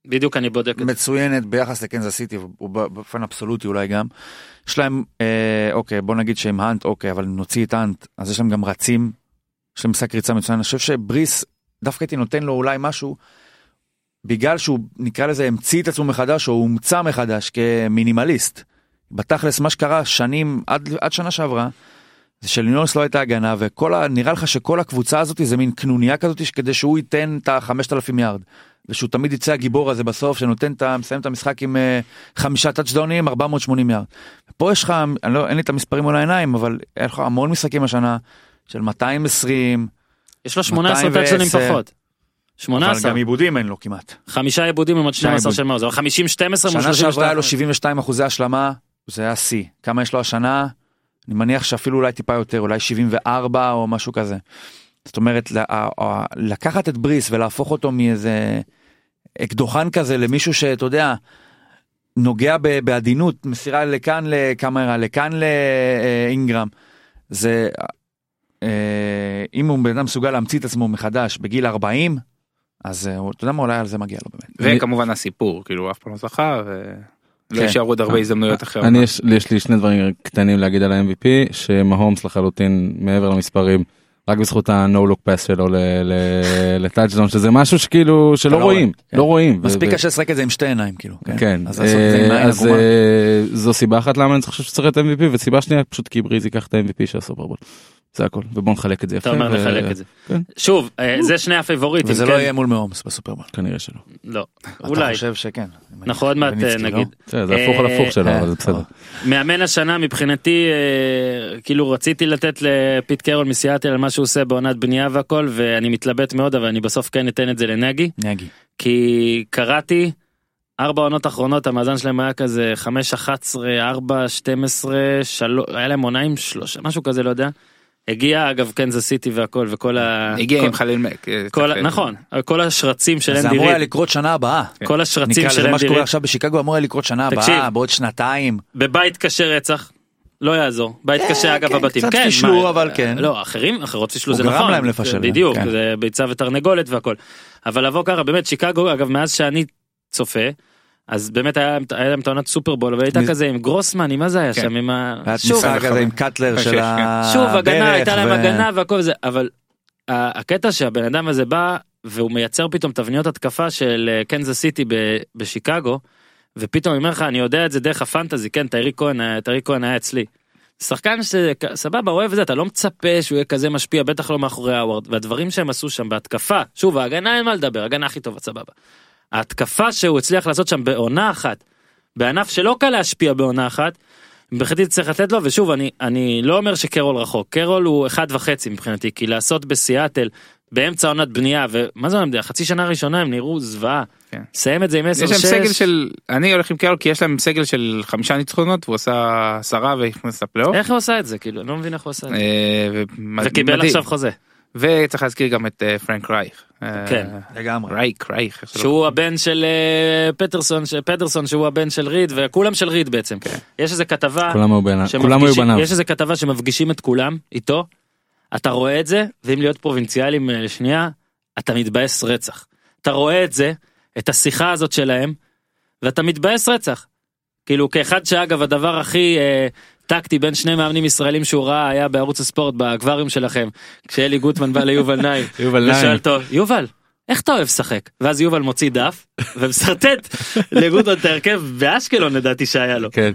Speaker 1: בדיוק אני בודק את זה.
Speaker 4: מצוינת ביחס לקנזס סיטי ובאופן אבסולוטי אולי גם. יש להם אה, אוקיי בוא נגיד שהם האנט אוקיי אבל נוציא את האנט אז יש להם גם רצים. יש להם שק ריצה מצוין אני חושב שבריס דווקא הייתי נותן לו אולי משהו. בגלל שהוא נקרא לזה המציא את עצמו מחדש או הומצא מחדש כמינימליסט. בתכלס מה שקרה שנים עד, עד שנה שעברה. זה שלינורס לא הייתה הגנה וכל ה... נראה לך שכל הקבוצה הזאת זה מין קנוניה כזאת כדי שהוא ייתן את החמשת אלפים יארד. ושהוא תמיד יצא הגיבור הזה בסוף שנותן את ה... מסיים את המשחק עם אה, חמישה טאצ'דאונים 480 יארד. פה יש לך אני לא אין לי את המספרים מול העיניים אבל היה לך המון משחקים השנה של 220
Speaker 1: יש לו 18
Speaker 4: 210.
Speaker 1: טאצ'ונים פחות.
Speaker 4: אבל
Speaker 1: 18,
Speaker 4: גם עיבודים אין לו כמעט.
Speaker 1: חמישה עיבודים לעומת 12
Speaker 4: עיבוד.
Speaker 1: של מאוזר, 50 12 מול
Speaker 4: שנה שעברה היה
Speaker 1: 32.
Speaker 4: לו 72 אחוזי השלמה זה היה שיא כמה יש לו השנה אני מניח שאפילו אולי טיפה יותר אולי 74 או משהו כזה. זאת אומרת ל- ה- ה- לקחת את בריס ולהפוך אותו מאיזה אקדוחן כזה למישהו שאתה יודע. נוגע ב- בעדינות מסירה לכאן לקמרה לכאן לאינגרם זה אה, אם הוא בן אדם מסוגל להמציא את עצמו מחדש בגיל 40 אז אה, הוא- אתה יודע מה אולי על זה מגיע לו באמת.
Speaker 5: וכמובן הסיפור, כאילו הוא אף פעם לא זכה ולא
Speaker 4: כן.
Speaker 5: יישארו עוד
Speaker 1: אה,
Speaker 5: הרבה הזדמנויות אחרות.
Speaker 2: אני יש, לי- יש לי שני דברים קטנים להגיד על ה-MVP, שמהומס לחלוטין מעבר למספרים, רק בזכות ה-No look pass שלו *laughs* לטאצ'דון, שזה משהו שכאילו
Speaker 4: אתה
Speaker 2: שלא
Speaker 4: לא רואה,
Speaker 2: רואים,
Speaker 4: כן.
Speaker 2: לא רואים. ו-
Speaker 4: מספיק
Speaker 2: ו-
Speaker 4: קשה לשחק את זה עם שתי עיניים כאילו.
Speaker 2: כן,
Speaker 4: אז לעשות את זה עם
Speaker 2: אה,
Speaker 4: עין
Speaker 2: אז
Speaker 4: עקומה.
Speaker 2: אה, זו סיבה אחת למה אני צריך שצריך את MVP, וסיבה שנייה פשוט כי בריז ייקח את ה-MVP של הסופרבול. זה הכל, ובוא נחלק את זה יפה.
Speaker 1: אתה אומר
Speaker 2: ו-
Speaker 4: אה,
Speaker 1: לחלק את זה.
Speaker 2: כן.
Speaker 1: שוב, אה, זה שני הפייבוריטים,
Speaker 4: וזה
Speaker 1: כן?
Speaker 4: לא יהיה מול מהומס בסופרבול.
Speaker 2: כנראה שלא.
Speaker 1: לא,
Speaker 4: אתה
Speaker 1: אולי.
Speaker 4: חושב שכן.
Speaker 1: אנחנו עוד מעט אה,
Speaker 4: בניצקי, לא?
Speaker 1: נגיד.
Speaker 2: בסדר, זה הפוך על הפוך שלו,
Speaker 4: אה,
Speaker 2: אבל זה בסדר.
Speaker 4: אה.
Speaker 1: מאמן השנה מבחינתי אה, כאילו רציתי לתת לפיט קרול מסיאטל על מה שהוא עושה בעונת בנייה והכל ואני מתלבט מאוד אבל אני בסוף כן אתן את זה לנגי
Speaker 4: נגי.
Speaker 1: כי קראתי ארבע עונות אחרונות המאזן שלהם היה כזה 5 11 4 12 3 היה להם עונה עם שלושה משהו כזה לא יודע. הגיע אגב קנזס סיטי והכל וכל ה...
Speaker 5: הגיע
Speaker 1: כל-
Speaker 5: עם חליל מק. אה,
Speaker 1: כל ה...
Speaker 5: צריך-
Speaker 1: נכון כל השרצים של
Speaker 4: כן. זה
Speaker 1: אנדי
Speaker 4: אמור היה
Speaker 1: ריד
Speaker 4: לקרות שנה הבאה.
Speaker 2: כן.
Speaker 1: כל השרצים
Speaker 4: נקרא
Speaker 1: של
Speaker 4: לזה מה
Speaker 1: אנדי
Speaker 4: שקורה
Speaker 1: ריד
Speaker 4: עכשיו בשיקגו אמור היה לקרות שנה הבאה
Speaker 1: תקשיב.
Speaker 4: בעוד שנתיים.
Speaker 1: בבית קשה רצח. לא יעזור, בית קשה אגב
Speaker 4: כן,
Speaker 1: הבתים.
Speaker 4: קצת
Speaker 1: כן,
Speaker 4: פישלו,
Speaker 1: מה,
Speaker 4: אבל כן.
Speaker 1: לא, אחרים, אחרות פישלו
Speaker 4: הוא
Speaker 1: זה
Speaker 4: גרם
Speaker 1: נכון.
Speaker 4: להם לפשל,
Speaker 1: בדיוק,
Speaker 4: כן.
Speaker 1: זה ביצה ותרנגולת והכל. אבל לבוא ככה, באמת שיקגו, אגב, מאז שאני צופה, אז באמת היה היה להם את העונת סופרבול, אבל הייתה
Speaker 4: מי-
Speaker 1: כזה עם גרוסמן, עם מה זה היה
Speaker 5: כן.
Speaker 1: שם, עם ה...
Speaker 4: היה את
Speaker 1: שוב,
Speaker 4: משחק
Speaker 5: נכון.
Speaker 4: הזה עם קאטלר
Speaker 2: אוקיי.
Speaker 5: שש,
Speaker 4: של
Speaker 5: כן.
Speaker 4: הברך.
Speaker 1: שוב הגנה הייתה להם
Speaker 4: ו-
Speaker 1: הגנה והכל זה אבל ה- הקטע שהבן אדם הזה בא והוא מייצר פתאום תבניות התקפה של אה, קנזס סיטי ב- בשיקגו ופתאום אני אומר לך אני יודע את זה דרך הפנטזי כן טיירי כהן היה- טיירי כהן היה אצלי. שחקן שסבבה אוהב את זה אתה לא מצפה שהוא יהיה כזה משפיע בטח לא מאחורי האוורד והדברים שהם עשו שם בהתקפה שוב ההגנה אין מה לדבר הגנה הכי טובה סבבה. ההתקפה שהוא הצליח לעשות שם בעונה אחת בענף שלא קל להשפיע בעונה אחת. מבחינתי צריך לתת לו ושוב אני אני לא אומר שקרול רחוק קרול הוא אחד וחצי מבחינתי כי לעשות בסיאטל באמצע עונת בנייה ומה זה עונת בנייה חצי שנה ראשונה הם נראו זוועה.
Speaker 5: כן.
Speaker 1: סיים את זה עם 10-6.
Speaker 5: יש להם סגל של אני הולך עם קרל כי יש להם סגל של חמישה ניצחונות והוא עשה עשרה והכנס לפלייאוף.
Speaker 1: איך הוא עשה את זה כאילו אני לא מבין איך הוא עשה את זה.
Speaker 5: אה, ו-
Speaker 1: וקיבל
Speaker 5: מדהים.
Speaker 1: עכשיו חוזה
Speaker 5: וצריך להזכיר גם את אה, פרנק רייך. אה,
Speaker 1: כן.
Speaker 4: לגמרי.
Speaker 5: רייק רייך. איך שלא-
Speaker 1: שהוא הבן של אה, פטרסון ש- פטרסון שהוא הבן של ריד וכולם של ריד בעצם
Speaker 5: כן.
Speaker 1: יש איזה כתבה
Speaker 2: כולם היו בעיניו. כן, כולם היו
Speaker 1: שמפגישים-
Speaker 2: בניו.
Speaker 1: אה, יש איזה כתבה שמפגישים את כולם איתו אתה רואה את זה ואם להיות פרובינציאלים אה, לשנייה אתה מתבאס רצח אתה רואה את זה את השיחה הזאת שלהם ואתה מתבאס רצח. כאילו כאחד שאגב הדבר הכי אה, טקטי בין שני מאמנים ישראלים שהוא ראה היה בערוץ הספורט באקווריום שלכם כשאלי גוטמן בא ליובל נעים
Speaker 2: *laughs* יובל
Speaker 1: ושואל
Speaker 2: ליין.
Speaker 1: אותו יובל. איך אתה אוהב לשחק? ואז יובל מוציא דף
Speaker 2: *laughs*
Speaker 1: ומסרטט לגוטמן את ההרכב באשקלון לדעתי שהיה לו.
Speaker 2: כן.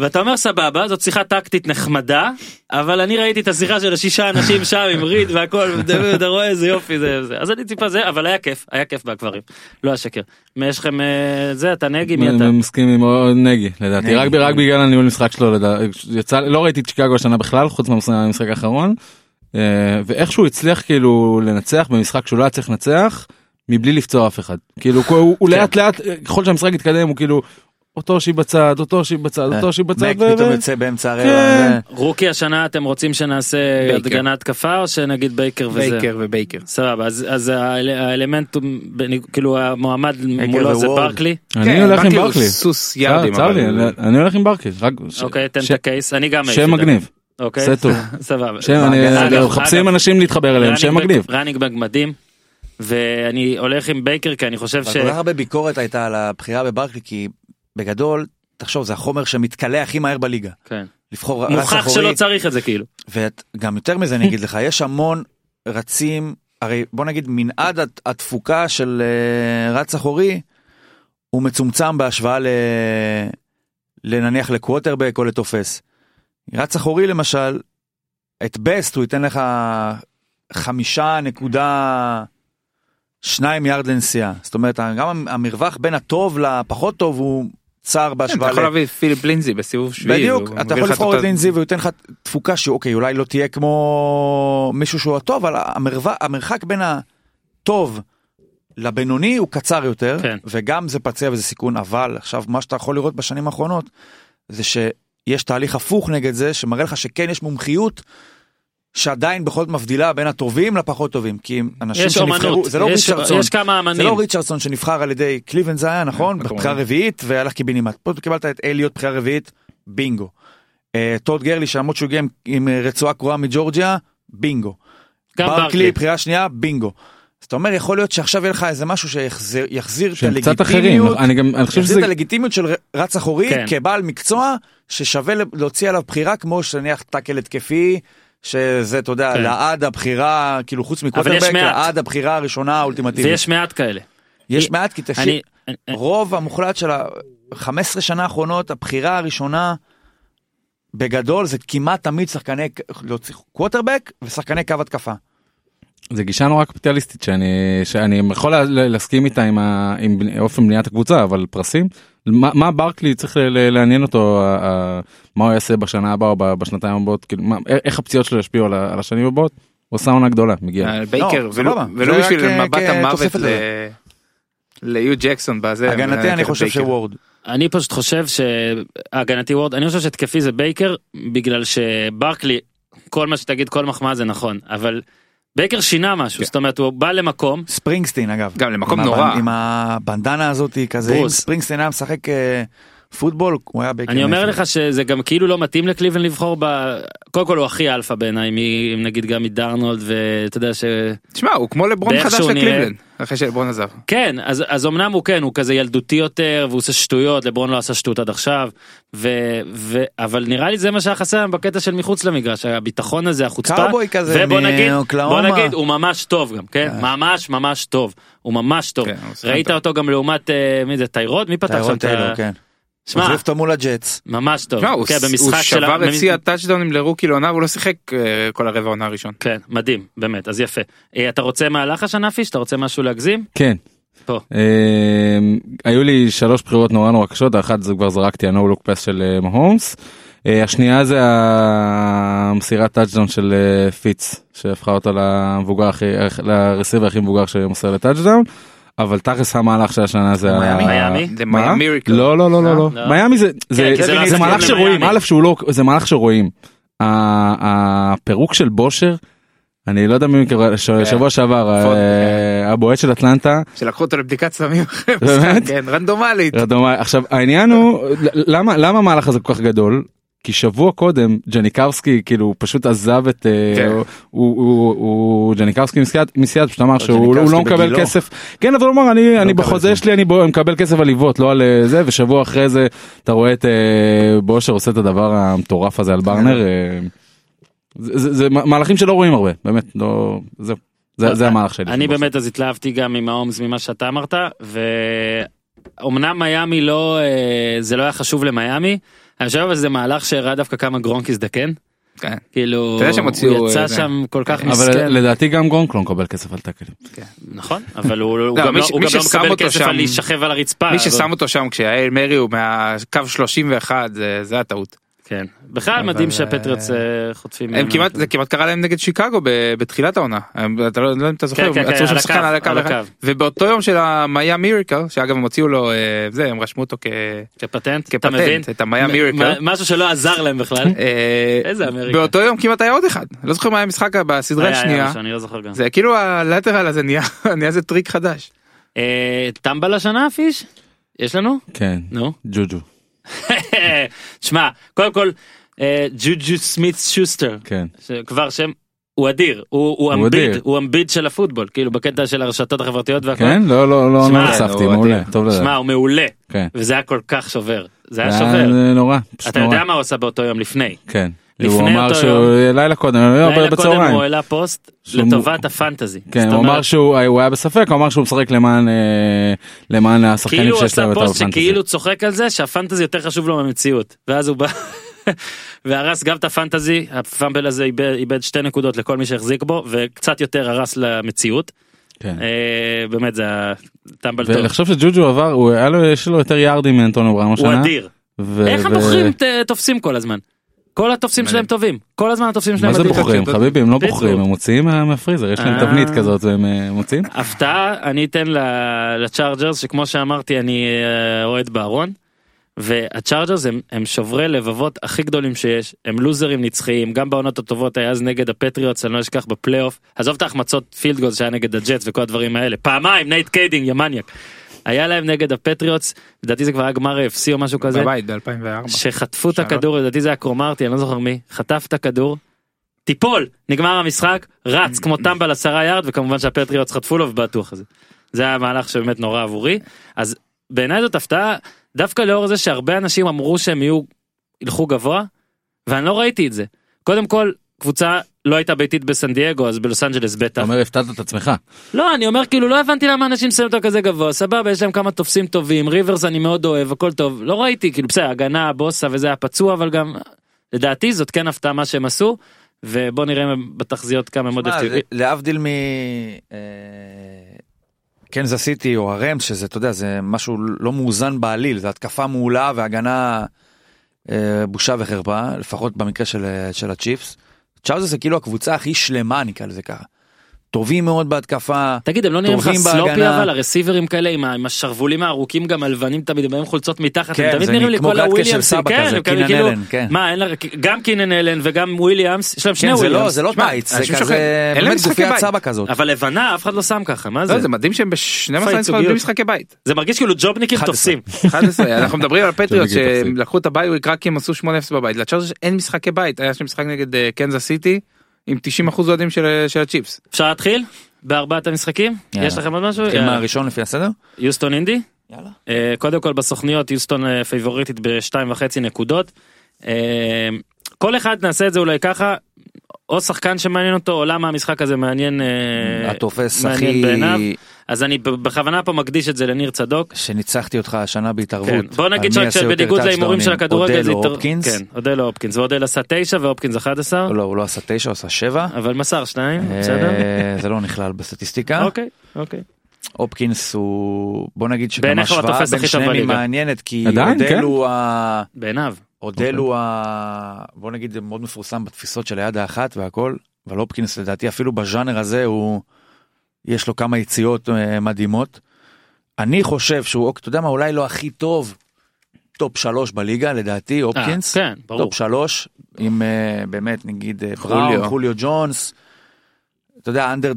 Speaker 1: ואתה אומר סבבה זאת שיחה טקטית נחמדה אבל אני ראיתי את השיחה של השישה אנשים שם עם ריד והכל *laughs* ואתה- אתה רואה איזה יופי זה זה אז אני טיפה זה אבל היה כיף היה כיף באקברים לא השקר. מה, יש לכם אה, זה אתה נגי מי אתה
Speaker 2: אני מסכים עם עוד נגי לדעתי
Speaker 4: נגי,
Speaker 2: רק ב- רק
Speaker 4: נגי.
Speaker 2: בגלל הניהול משחק שלו לדעתי יצא לי- לא ראיתי את שיקגו השנה בכלל חוץ מהמשחק האחרון אה, ואיכשהו הצליח כאילו לנצח במשחק שהוא לא היה צריך לנצח מבלי לפצוע אף אחד כאילו הוא- הוא הוא
Speaker 1: כן.
Speaker 2: לאט לאט אה, ככל שהמשחק התקדם הוא כאילו אותו שיב בצד אותו שיב בצד אותו שיב בצד.
Speaker 4: מק
Speaker 2: ו-
Speaker 4: פתאום
Speaker 2: ו-
Speaker 4: יוצא באמצע
Speaker 2: כן.
Speaker 4: הרבע.
Speaker 1: רוקי השנה אתם רוצים שנעשה
Speaker 5: בייקר.
Speaker 1: הגנה התקפה או שנגיד בייקר וזה.
Speaker 5: לא- בייקר ובייקר.
Speaker 1: סבבה אז אז האל- האלמנט הוא בני- כאילו המועמד מולו זה
Speaker 4: וורד.
Speaker 1: ברקלי
Speaker 2: אני
Speaker 5: כן,
Speaker 2: הולך עם
Speaker 5: הוא
Speaker 2: ברקלי.
Speaker 5: סוס
Speaker 2: צר
Speaker 5: ירדים.
Speaker 2: אה, צר לי
Speaker 5: אבל-
Speaker 4: לא-
Speaker 2: אני הולך עם ברקלי. רק ש-
Speaker 1: אוקיי תן את
Speaker 2: ש-
Speaker 1: הקייס אני גם הייתי
Speaker 2: שם
Speaker 1: יודע.
Speaker 2: מגניב.
Speaker 1: אוקיי?
Speaker 2: סטו.
Speaker 1: *laughs* סבבה.
Speaker 2: שם, אני-
Speaker 1: אגב,
Speaker 2: אגב,
Speaker 1: אגב,
Speaker 2: מחפשים אנשים להתחבר אליהם, שם
Speaker 1: ראנינג בק-
Speaker 2: מגניב.
Speaker 1: ראנינג בק מדהים. ואני הולך עם בייקר כי אני חושב
Speaker 4: אבל
Speaker 1: ש...
Speaker 4: כל כך הרבה ביקורת הייתה על הבחירה בברקלי, כי בגדול, תחשוב, זה החומר שמתכלה הכי מהר בליגה.
Speaker 1: כן.
Speaker 4: לבחור רץ אחורי.
Speaker 1: מוכח שלא צריך את זה כאילו.
Speaker 4: וגם יותר מזה אני אגיד לך, יש המון רצים, הרי בוא נגיד מנעד הת- התפוקה של אה, רץ אחורי, הוא מצומצם בהשוואה ל... לנניח לקווטרבק או לתופס. רץ אחורי למשל, את בסט הוא ייתן לך חמישה נקודה שניים יארד לנסיעה. זאת אומרת, גם המרווח בין הטוב לפחות טוב הוא צר
Speaker 5: כן, אתה
Speaker 4: בהשוואה
Speaker 5: יכול
Speaker 4: ל-
Speaker 5: להביא את פיליפ לינזי בסיבוב שביעי.
Speaker 4: בדיוק,
Speaker 5: הוא
Speaker 4: אתה
Speaker 5: מביא
Speaker 4: יכול
Speaker 5: לך
Speaker 4: לבחור
Speaker 5: אותו-
Speaker 4: את לינזי והוא ייתן לך תפוקה שאוקיי, אולי לא תהיה כמו מישהו שהוא הטוב, אבל המרווה- המרחק בין הטוב לבינוני הוא קצר יותר,
Speaker 1: כן.
Speaker 4: וגם זה פציע וזה סיכון, אבל עכשיו מה שאתה יכול לראות בשנים האחרונות, זה שיש תהליך הפוך נגד זה, שמראה לך שכן יש מומחיות. שעדיין בכל זאת מבדילה בין הטובים לפחות טובים, כי אם אנשים
Speaker 1: יש
Speaker 4: שנבחרו,
Speaker 1: אומנות.
Speaker 4: זה לא
Speaker 1: יש-
Speaker 4: ריצ'רדסון,
Speaker 1: יש כמה
Speaker 4: זה
Speaker 1: אמנים.
Speaker 4: לא ריצ'רדסון שנבחר על ידי קליבן זה היה נכון
Speaker 5: נכון.
Speaker 4: בבחירה רביעית והלך קיבינימט פה קיבלת את אליוט בחירה רביעית בינגו. אה, טוד גרלי שלמרות שהוא הגיע עם- עם אה, רצועה קרועה מג'ורג'יה בינגו.
Speaker 1: גם
Speaker 4: ברקלי
Speaker 1: ברקלי.
Speaker 4: בחירה שנייה בינגו. אז אתה אומר יכול להיות שעכשיו יהיה לך איזה משהו שיחזיר יחזיר את
Speaker 2: שהם קצת אחרים.
Speaker 4: הלגיטימיות
Speaker 2: אני גם, אני חושב
Speaker 4: יחזיר
Speaker 2: שזה...
Speaker 4: את הלגיטימיות של ר- רץ אחורי
Speaker 1: כן.
Speaker 4: כבעל מקצוע ששווה ל- להוציא עליו בחירה כמו שנניח טאקל התקפי. שזה אתה יודע
Speaker 1: כן.
Speaker 4: לעד הבחירה כאילו חוץ מקווטרבק
Speaker 1: מעט.
Speaker 4: לעד הבחירה הראשונה האולטימטיבית.
Speaker 1: ויש מעט כאלה.
Speaker 4: יש מעט כי תקשיב,
Speaker 1: אני... אני-
Speaker 4: רוב המוחלט של ה-15 שנה האחרונות, הבחירה הראשונה, בגדול זה כמעט תמיד שחקני, להוציא קווטרבק ושחקני קו התקפה.
Speaker 5: כן,
Speaker 2: זה גישה נורא קפיטליסטית שאני שאני יכול לה- להסכים איתה עם, ה, עם בני- אופן בניית הקבוצה אבל פרסים מה, מה ברקלי צריך ל- ל- לעניין אותו ה- ה- מה הוא יעשה בשנה הבאה או ב- בשנתיים הבאות כאילו מה, א- איך הפציעות שלו ישפיעו על, ה- על השנים הבאות. הוא עושה עונה גדולה מגיע.
Speaker 5: על אה, בייקר
Speaker 4: לא,
Speaker 5: ולא
Speaker 4: סבבה.
Speaker 5: ולא
Speaker 4: זה
Speaker 5: בשביל
Speaker 4: רק, אה,
Speaker 5: מבט המוות
Speaker 4: כתוספת
Speaker 5: ל- ליו ג'קסון בזה.
Speaker 4: הגנתי
Speaker 5: מנהל
Speaker 4: אני
Speaker 5: את
Speaker 4: חושב
Speaker 5: בייקר.
Speaker 4: שוורד.
Speaker 1: אני פשוט חושב שהגנתי וורד, אני חושב שהתקפי זה בייקר, בגלל שברקלי, כל מה שתגיד, כל מחמאה זה נכון, אבל בייקר שינה
Speaker 4: כן.
Speaker 1: משהו, זאת אומרת, הוא בא למקום,
Speaker 4: ספרינגסטין אגב.
Speaker 5: גם למקום
Speaker 4: עם
Speaker 5: נורא.
Speaker 4: הבנ- עם הבנדנה הזאת כזה, אם
Speaker 1: ברוס.
Speaker 4: ספרינגסטין היה משחק אה, פוטבול, הוא היה בעיקר...
Speaker 1: אני אומר
Speaker 4: נפל.
Speaker 1: לך שזה גם כאילו לא מתאים לקליבן לבחור ב... קודם כל הוא הכי אלפא בעיניי, מ- נגיד גם מדרנולד, ואתה יודע ש...
Speaker 5: תשמע הוא כמו לברון
Speaker 1: באיך
Speaker 5: חדש
Speaker 1: שהוא נראה.
Speaker 5: לקליבלנד. אחרי שלברון עזב.
Speaker 1: כן, אז, אז אמנם הוא כן, הוא כזה ילדותי יותר, והוא עושה שטויות, לברון לא עשה שטות עד עכשיו, ו, ו, אבל נראה לי זה מה שהיה חסר להם בקטע של מחוץ למגרש, הביטחון הזה, החוצפה.
Speaker 4: קאובוי כזה
Speaker 1: ובוא נגיד, בוא
Speaker 4: מאוקלהומה.
Speaker 1: נגיד, הוא ממש טוב גם, כן? ממש ממש טוב. הוא ממש טוב.
Speaker 5: כן, הוא שחקן
Speaker 1: ראית
Speaker 5: טוב.
Speaker 1: אותו גם לעומת, אה, מי זה, טיירוד? מי פתח שם
Speaker 4: טיירון
Speaker 1: את ה...
Speaker 4: טיילור, כן. הוא
Speaker 1: שמע,
Speaker 4: החליף אותו מול הג'אטס.
Speaker 1: ממש טוב.
Speaker 5: תשמע, לא, הוא
Speaker 1: כן,
Speaker 5: ס- הוא
Speaker 1: במשחק של ה-
Speaker 5: שבר את
Speaker 1: במ-
Speaker 5: שיא הטאצ'דאונים לרוקי לעונה והוא לא שיחק אה, כל הרבע העונה הראשון.
Speaker 1: כן, מדהים, באמת, אז יפה. אה, אתה רוצה מהלך השנה פיש? אתה רוצה משהו להגזים?
Speaker 2: כן.
Speaker 1: פה.
Speaker 2: אה, היו לי שלוש בחירות נורא נורא קשות האחת זה כבר זרקתי ה-No look pass של אה, מהומס. אה, השנייה זה המסירת טאצ'דאון של אה, פיץ שהפכה אותו למבוגר הכי אה, לרסיבר הכי מבוגר שמוסר לטאצ'דאון. אבל תכלס המהלך של השנה זה ה-
Speaker 4: מיאמי.
Speaker 1: מיאמי?
Speaker 5: זה
Speaker 2: מה?
Speaker 5: מיאמי מריקל.
Speaker 2: לא לא לא לא לא
Speaker 1: לא.
Speaker 2: מיאמי זה זה
Speaker 1: כי זה לא
Speaker 2: זה
Speaker 1: הסיפור
Speaker 2: מהלך שרואים
Speaker 1: למיאמי.
Speaker 2: א' שהוא לא זה מהלך שרואים ה- הפירוק של בושר. אני לא יודע מי מכיר ש-
Speaker 1: כן.
Speaker 2: שבוע שעבר
Speaker 1: נכון,
Speaker 5: פוט,
Speaker 2: אה, הבועט של אטלנטה
Speaker 5: שלקחו אותו
Speaker 1: *laughs*
Speaker 5: לבדיקת סמים אחרי
Speaker 2: באמת?
Speaker 5: המשחק. כן, רנדומלית.
Speaker 2: רדומה. עכשיו העניין הוא למה למה המהלך הזה כל כך גדול. כי שבוע קודם ג'ניקרסקי כאילו פשוט עזב את אה,
Speaker 5: כן.
Speaker 2: הוא- הוא- הוא הוא- ג'ניקרסקי מסיעת מסיעת פשוט אמר שהוא לא- הוא לא
Speaker 4: ג'ניקרסקי
Speaker 2: מקבל
Speaker 4: בגילו.
Speaker 2: כסף כן אבל הוא אמר אני אני
Speaker 4: מקבל
Speaker 2: בחוזה
Speaker 4: כסף.
Speaker 2: שלי אני בוא- מקבל כסף על עיוות לא על אה, זה ושבוע אחרי זה אתה רואה את אה, בושר עושה את הדבר המטורף הזה על ברנר אה, זה- זה זה מה- מהלכים שלא רואים הרבה באמת לא זהו זה זה המהלך שלי.
Speaker 1: אני
Speaker 2: של בושר.
Speaker 1: באמת אז התלהבתי גם עם ההומס ממה שאתה אמרת, ואומנם מיאמי לא, אה, זה לא היה חשוב למיאמי, אני חושב אבל זה מהלך שהראה דווקא כמה גרונק הזדקן,
Speaker 5: כן.
Speaker 1: כאילו,
Speaker 5: אתה יודע שהם הוציאו,
Speaker 1: הוא יצא
Speaker 5: אה,
Speaker 1: שם כל כך
Speaker 2: אבל
Speaker 1: מסכן,
Speaker 2: לדעתי גם גרונק לא מקבל כסף על טאקלים.
Speaker 1: נכון, אבל
Speaker 5: *laughs*
Speaker 1: הוא הוא
Speaker 5: לא,
Speaker 1: גם
Speaker 5: מי
Speaker 1: לא
Speaker 5: ש-
Speaker 1: הוא
Speaker 5: מי
Speaker 1: גם לא
Speaker 5: ששם
Speaker 1: מקבל
Speaker 5: אותו
Speaker 1: כסף
Speaker 5: שם-
Speaker 1: על להישכב על הרצפה.
Speaker 5: מי
Speaker 1: אבל-
Speaker 5: ששם אותו שם כשהאל מרי הוא מהקו 31 זה- זה הטעות.
Speaker 1: כן, בכלל
Speaker 5: אבל,
Speaker 1: מדהים
Speaker 5: אה,
Speaker 1: שהפטריוטס אה, חוטפים.
Speaker 5: הם
Speaker 1: ממנו.
Speaker 5: כמעט זה כמעט קרה להם נגד שיקגו ב- בתחילת העונה הם- אתה לא לא יודע אם אתה זוכר
Speaker 1: כן, כן,
Speaker 5: הם
Speaker 1: כן,
Speaker 5: עצרו
Speaker 1: על
Speaker 5: שם שחקן
Speaker 1: הקו,
Speaker 5: על הקו
Speaker 1: על
Speaker 5: אחד.
Speaker 1: הקו.
Speaker 5: ובאותו יום של המאיה מיריקל שאגב הם הוציאו לו אה, זה הם רשמו אותו כ-
Speaker 1: כפטנט, אתה מבין?
Speaker 5: כפטנט את המאיה
Speaker 1: מ-
Speaker 5: מיריקל.
Speaker 1: מ- משהו שלא עזר להם בכלל.
Speaker 5: אה,
Speaker 1: איזה אמריקה.
Speaker 5: באותו יום כמעט היה עוד אחד לא זוכר מה היה המשחק בסדרה
Speaker 1: היה, היה
Speaker 5: השנייה
Speaker 1: משהו, אני לא זוכר גם.
Speaker 5: זה כאילו הלטרל הזה נהיה *laughs* נהיה איזה טריק חדש.
Speaker 1: אה, טמבל השנה פיש? יש לנו?
Speaker 2: כן
Speaker 1: נו.
Speaker 2: ג'וג'ו.
Speaker 1: שמע, קודם כל, אה, ג'וג'ו סמית שוסטר
Speaker 2: כן.
Speaker 1: שכבר שם הוא אדיר הוא הוא
Speaker 2: הוא
Speaker 1: אמביד
Speaker 2: אדיר.
Speaker 1: הוא אמביד של הפוטבול כאילו בקטע של הרשתות החברתיות והכל.
Speaker 2: כן? לא, לא, לא,
Speaker 1: שמע,
Speaker 2: לא נחשפתי,
Speaker 5: הוא
Speaker 2: מעולה,
Speaker 5: אדיר.
Speaker 1: שמע
Speaker 2: טוב לדעת.
Speaker 1: הוא מעולה
Speaker 2: כן.
Speaker 1: וזה היה כל כך שובר זה היה
Speaker 2: זה היה,
Speaker 1: שובר
Speaker 2: אה, נורא, פשוט
Speaker 1: אתה
Speaker 2: נורא.
Speaker 1: יודע מה הוא עשה באותו יום לפני.
Speaker 2: כן.
Speaker 1: לפני
Speaker 2: הוא אמר
Speaker 1: אותו
Speaker 2: שהוא אה, לילה קודם,
Speaker 1: לילה
Speaker 2: לילה
Speaker 1: קודם
Speaker 2: לא, בצהריים.
Speaker 1: הוא העלה פוסט
Speaker 2: שהוא-
Speaker 1: לטובת הפנטזי.
Speaker 2: כן,
Speaker 1: זאת
Speaker 2: הוא אמר
Speaker 1: אומרת,
Speaker 2: שהוא הוא היה בספק, הוא אמר שהוא משחק למען אה, למען השחקנים
Speaker 1: כאילו הוא
Speaker 2: שיש
Speaker 1: עשה
Speaker 2: להם את
Speaker 1: פוסט
Speaker 2: הפנטזי.
Speaker 1: שכאילו צוחק על זה שהפנטזי יותר חשוב לו מהמציאות ואז הוא בא *laughs* והרס גם את הפנטזי הפאמבל הזה איבד, איבד שתי נקודות לכל מי שהחזיק בו וקצת יותר הרס למציאות
Speaker 2: כן.
Speaker 1: אה, באמת זה היה טמבל טוב
Speaker 2: ולחשוב שג'וג'ו עבר, הוא היה לו, יש לו יותר יארדים מאנטונו בראון
Speaker 1: הוא
Speaker 2: השנה.
Speaker 1: אדיר
Speaker 2: ו-
Speaker 1: איך
Speaker 2: ו-
Speaker 1: הבוחרים ת- תופסים כל הזמן כל התופסים
Speaker 5: מדהים.
Speaker 1: שלהם טובים כל הזמן התופסים שלהם
Speaker 2: מה זה
Speaker 1: מדהים.
Speaker 2: בוחרים?
Speaker 5: בדיוק.
Speaker 2: חביבי, הם לא
Speaker 1: בדיוק.
Speaker 2: בוחרים, הם מוציאים מה- מהפריזר, יש להם
Speaker 1: אה.
Speaker 2: תבנית כזאת והם אה, מוציאים.
Speaker 1: הפתעה אני אתן ל- לצ'ארג'רס שכמו שאמרתי אני אה, אוהד בארון. והצ'ארג'רס הם, הם שוברי לבבות הכי גדולים שיש הם לוזרים נצחיים גם בעונות הטובות היה אז נגד הפטריוטס אני לא אשכח בפלייאוף עזוב את ההחמצות פילד גולד שהיה נגד הג'אטס וכל הדברים האלה פעמיים נייט קיידינג יא מניאק. היה להם נגד הפטריוטס לדעתי זה כבר היה גמר AFC או משהו כזה
Speaker 5: בבית ב-2004.
Speaker 1: שחטפו את
Speaker 5: שלוש.
Speaker 1: הכדור לדעתי זה היה קרומרטי אני לא זוכר מי חטף את הכדור. תיפול נגמר המשחק רץ כמו טמבל עשרה יארד וכמובן שהפטריוטס חטפו לו ובעטו אחרי זה. זה היה מהלך שבאמת נורא עבורי אז בעיניי זאת הפתעה דווקא לאור זה שהרבה אנשים אמרו שהם יהיו ילכו גבוה ואני לא ראיתי את זה קודם כל קבוצה לא הייתה ביתית בסן דייגו אז בלוס אנג'לס
Speaker 2: אתה
Speaker 1: בטח
Speaker 2: אומר, הפתעת את עצמך.
Speaker 1: לא אני אומר כאילו לא הבנתי למה אנשים שמים אותו כזה גבוה סבבה יש להם כמה תופסים טובים ריברס אני מאוד אוהב הכל טוב לא ראיתי כאילו בסדר הגנה בוסה וזה היה פצוע אבל גם לדעתי זאת כן הפתעה מה שהם עשו ובוא נראה בתחזיות כמה הם עוד
Speaker 4: מה,
Speaker 1: יפתיעו.
Speaker 4: זה- להבדיל מ... אה, קנזס סיטי או הרמס, שזה, אתה יודע, זה משהו לא מאוזן בעליל, זה התקפה מעולה והגנה אה, בושה וחרפה, לפחות במקרה של, אה, של הצ'יפס. צ'ארזס זה כאילו הקבוצה הכי שלמה, נקרא לזה ככה. טובים מאוד בהתקפה.
Speaker 1: תגיד הם לא נראים לך
Speaker 4: טובים
Speaker 1: סלופי
Speaker 4: בהגנה.
Speaker 1: אבל הרסיברים כאלה עם ה- עם השרוולים הארוכים גם הלבנים תמיד הם באים חולצות מתחת הם
Speaker 4: כן,
Speaker 1: תמיד
Speaker 4: זה
Speaker 1: נראים לי
Speaker 4: כמו
Speaker 1: כל
Speaker 4: גטקה של
Speaker 1: הוויליאמסים
Speaker 4: סבא
Speaker 1: כן
Speaker 4: כזה,
Speaker 1: הם כאלה
Speaker 4: קינן
Speaker 1: כאילו
Speaker 4: אלן, כן.
Speaker 1: מה אין לה גם קינן אלן וגם וויליאמס יש להם שני
Speaker 4: כן, זה לא,
Speaker 1: וויליאמס
Speaker 4: זה לא
Speaker 5: תשמע,
Speaker 4: טייץ, זה
Speaker 5: אנשים
Speaker 4: כזה,
Speaker 5: שוכחים, אין להם
Speaker 4: באמת
Speaker 5: משחקי
Speaker 4: גופיית
Speaker 5: בית.
Speaker 4: סבא כזאת.
Speaker 1: אבל לבנה אף אחד לא שם ככה מה זה
Speaker 5: לא, זה מדהים שהם ב-12
Speaker 1: ייצוגיות.
Speaker 5: ניצחונות בלי משחקי בית.
Speaker 1: זה מרגיש כאילו ג'ובניקים
Speaker 4: 11.
Speaker 1: תופסים
Speaker 5: *laughs* 11 אנחנו מדברים על פטריוט
Speaker 2: בדיוק,
Speaker 5: שהם
Speaker 2: תפסיק.
Speaker 5: לקחו את הביי וויק רק כי הם עשו 8-0 בבית לצ'ארג'רס אין משחקי בית היה שם משחק נגד אה, קנזס סיטי עם 90 אחוז אוהדים של אה, של הצ'יפס.
Speaker 1: אפשר להתחיל בארבעת המשחקים?
Speaker 4: יאללה.
Speaker 1: יש לכם עוד משהו?
Speaker 4: נתחיל
Speaker 1: יאללה.
Speaker 4: מהראשון לפי הסדר?
Speaker 1: יוסטון אינדי?
Speaker 4: יאללה.
Speaker 1: אה, קודם כל בסוכניות יוסטון אה, פייבוריטית בשתיים וחצי נקודות. אה, כל אחד נעשה את זה אולי ככה, או שחקן שמעניין אותו, או למה המשחק הזה מעניין אה,
Speaker 4: התופס
Speaker 1: מעניין
Speaker 4: הכי...
Speaker 1: בעיניו. אז אני ב- בכוונה פה מקדיש את זה לניר צדוק.
Speaker 4: שניצחתי אותך השנה בהתערבות.
Speaker 1: כן. בוא
Speaker 4: על מי
Speaker 1: נגיד שרק
Speaker 4: יעשה יותר
Speaker 1: שבניגוד להימורים של
Speaker 4: טאצ'דאונים,
Speaker 1: הכדורגל
Speaker 4: אודל או
Speaker 1: התער-
Speaker 4: הופקינס?
Speaker 1: כן, אודל או הופקינס, ואודל עשה תשע והופקינס 11,
Speaker 4: לא, הוא לא עשה תשע, הוא עשה שבע.
Speaker 1: אבל מסר שניים, בסדר?
Speaker 4: אה, זה לא נכלל בסטטיסטיקה.
Speaker 1: אוקיי, אוקיי.
Speaker 4: הופקינס הוא, בוא נגיד שגם
Speaker 1: בעיניך הוא
Speaker 4: השוואה
Speaker 1: התופס
Speaker 4: בין
Speaker 1: הכי טוב
Speaker 4: שניהם היא
Speaker 1: בליגה.
Speaker 4: מעניינת, כי
Speaker 2: עדיין, כן. אוקיי.
Speaker 4: אודל הוא ה...
Speaker 1: בעיניו.
Speaker 4: אודל הוא ה... בוא נגיד זה מאוד מפורסם בתפיסות של היד האחת והכל, אבל הופקינס לדעתי אפילו בז'אנר הזה הוא... יש לו כמה יציאות אה, מדהימות. אני חושב שהוא, אוק- אתה יודע מה, אולי לא הכי טוב, טופ שלוש בליגה לדעתי,
Speaker 1: אה,
Speaker 4: הופקינס.
Speaker 1: כן, ברור.
Speaker 4: טופ שלוש, עם אה, באמת נגיד אה, בראון, חוליו ג'ונס, אתה יודע, אנדר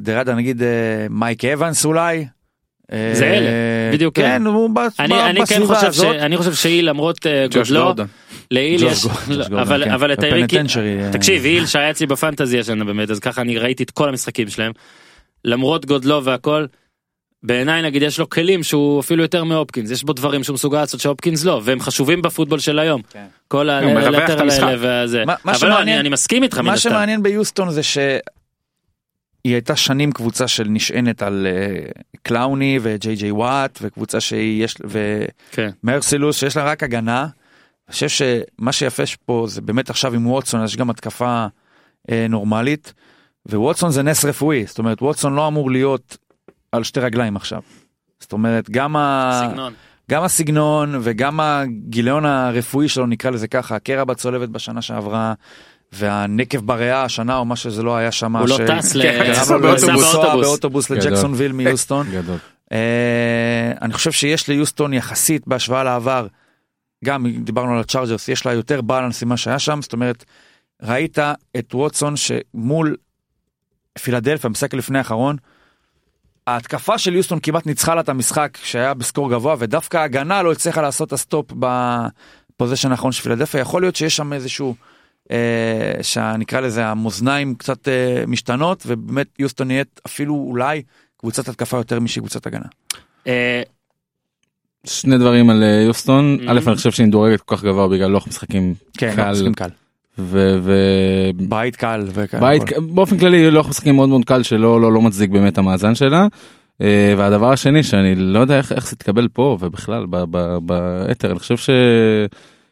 Speaker 4: דה רדה, נגיד אה, מייק אבנס אולי. אה,
Speaker 1: זה אלה, בדיוק
Speaker 4: כן,
Speaker 1: אלה.
Speaker 4: הוא ב-
Speaker 1: אני,
Speaker 4: ב-
Speaker 1: אני כן
Speaker 4: בסביבה
Speaker 1: חושב ש...
Speaker 4: הזאת.
Speaker 1: אני חושב שהיא למרות אה,
Speaker 5: ג'וש
Speaker 1: גודלו,
Speaker 5: גורדון.
Speaker 1: להיל
Speaker 4: ג'וש
Speaker 1: יש,
Speaker 4: גורדון,
Speaker 1: לא,
Speaker 4: ג'וש גורדון,
Speaker 1: אבל
Speaker 4: כן.
Speaker 1: אבל את היריקי,
Speaker 4: הפנטנצ'רי, אה,
Speaker 1: תקשיב היל שהיה אצלי בפנטזי השנה באמת אז ככה אני ראיתי את כל המשחקים שלהם, למרות גודלו והכל, בעיניי נגיד יש לו כלים שהוא אפילו יותר מהופקינס יש בו דברים שהוא מסוגל לעשות שהופקינס לא והם חשובים בפוטבול של היום,
Speaker 4: כן.
Speaker 1: כל ה-
Speaker 5: הוא מרווח את
Speaker 1: הלטרל
Speaker 5: המשחק.
Speaker 1: האלה והזה,
Speaker 4: מה- מה
Speaker 1: אבל לא אני
Speaker 4: שמעניין-
Speaker 1: אני מסכים איתך מן
Speaker 4: מה
Speaker 1: הסתם,
Speaker 4: שמעניין ביוסטון זה שהיא הייתה שנים קבוצה שנשענת על אה, קלאוני וג'יי ג'יי וואט וקבוצה שיש
Speaker 1: כן.
Speaker 4: ומרסילוס שיש לה רק הגנה. אני חושב שמה שיפה פה זה באמת עכשיו עם ווטסון יש גם התקפה אה, נורמלית וווטסון זה נס רפואי זאת אומרת ווטסון לא אמור להיות על שתי רגליים עכשיו. זאת אומרת גם ה...
Speaker 1: סגנון.
Speaker 4: גם הסגנון וגם הגיליון הרפואי שלו נקרא לזה ככה הקרע בצולבת בשנה שעברה והנקב בריאה השנה או מה שזה לא היה שם.
Speaker 1: הוא לא
Speaker 4: ש-
Speaker 1: טס ל-
Speaker 4: כן,
Speaker 1: *laughs*
Speaker 4: גרם לו
Speaker 5: נסע
Speaker 4: לנסוע
Speaker 5: באוטובוס.
Speaker 4: באוטובוס
Speaker 2: גדול.
Speaker 4: לג'קסון ויל מיוסטון.
Speaker 2: גדול.
Speaker 4: אה, אני חושב שיש ליוסטון יחסית בהשוואה לעבר גם דיברנו על הצ'ארג'רס יש לה יותר בלנס ממה שהיה שם זאת אומרת ראית את ווטסון שמול פילדלפיה המשחק לפני האחרון. ההתקפה של יוסטון כמעט ניצחה לה את המשחק שהיה בסקור גבוה ודווקא ההגנה לא הצליחה לעשות את הסטופ ב- הפוזיישן האחרון של פילדלפיה, יכול להיות שיש שם איזשהו, אה, שנקרא לזה המאזניים קצת אה, משתנות, ובאמת יוסטון נהיית אפילו אולי קבוצת התקפה יותר משהיא קבוצת הגנה.
Speaker 1: אה,
Speaker 2: שני דברים על אה, יוסטון,
Speaker 1: Mhm.
Speaker 2: א' אני חושב שהיא מדורגת כל כך גבוה בגלל לוח משחקים
Speaker 4: כן,
Speaker 2: קל.
Speaker 4: לא, משחקים כן, קל.
Speaker 2: ובית
Speaker 4: בית קל וכאלה.
Speaker 2: באופן כללי לוח משחקים מאוד מאוד קל שלא לא לא מצדיק באמת את המאזן שלה. אה, והדבר השני שאני לא יודע איך איך זה יתקבל פה ובכלל ב- ב- באתר אני חושב ש.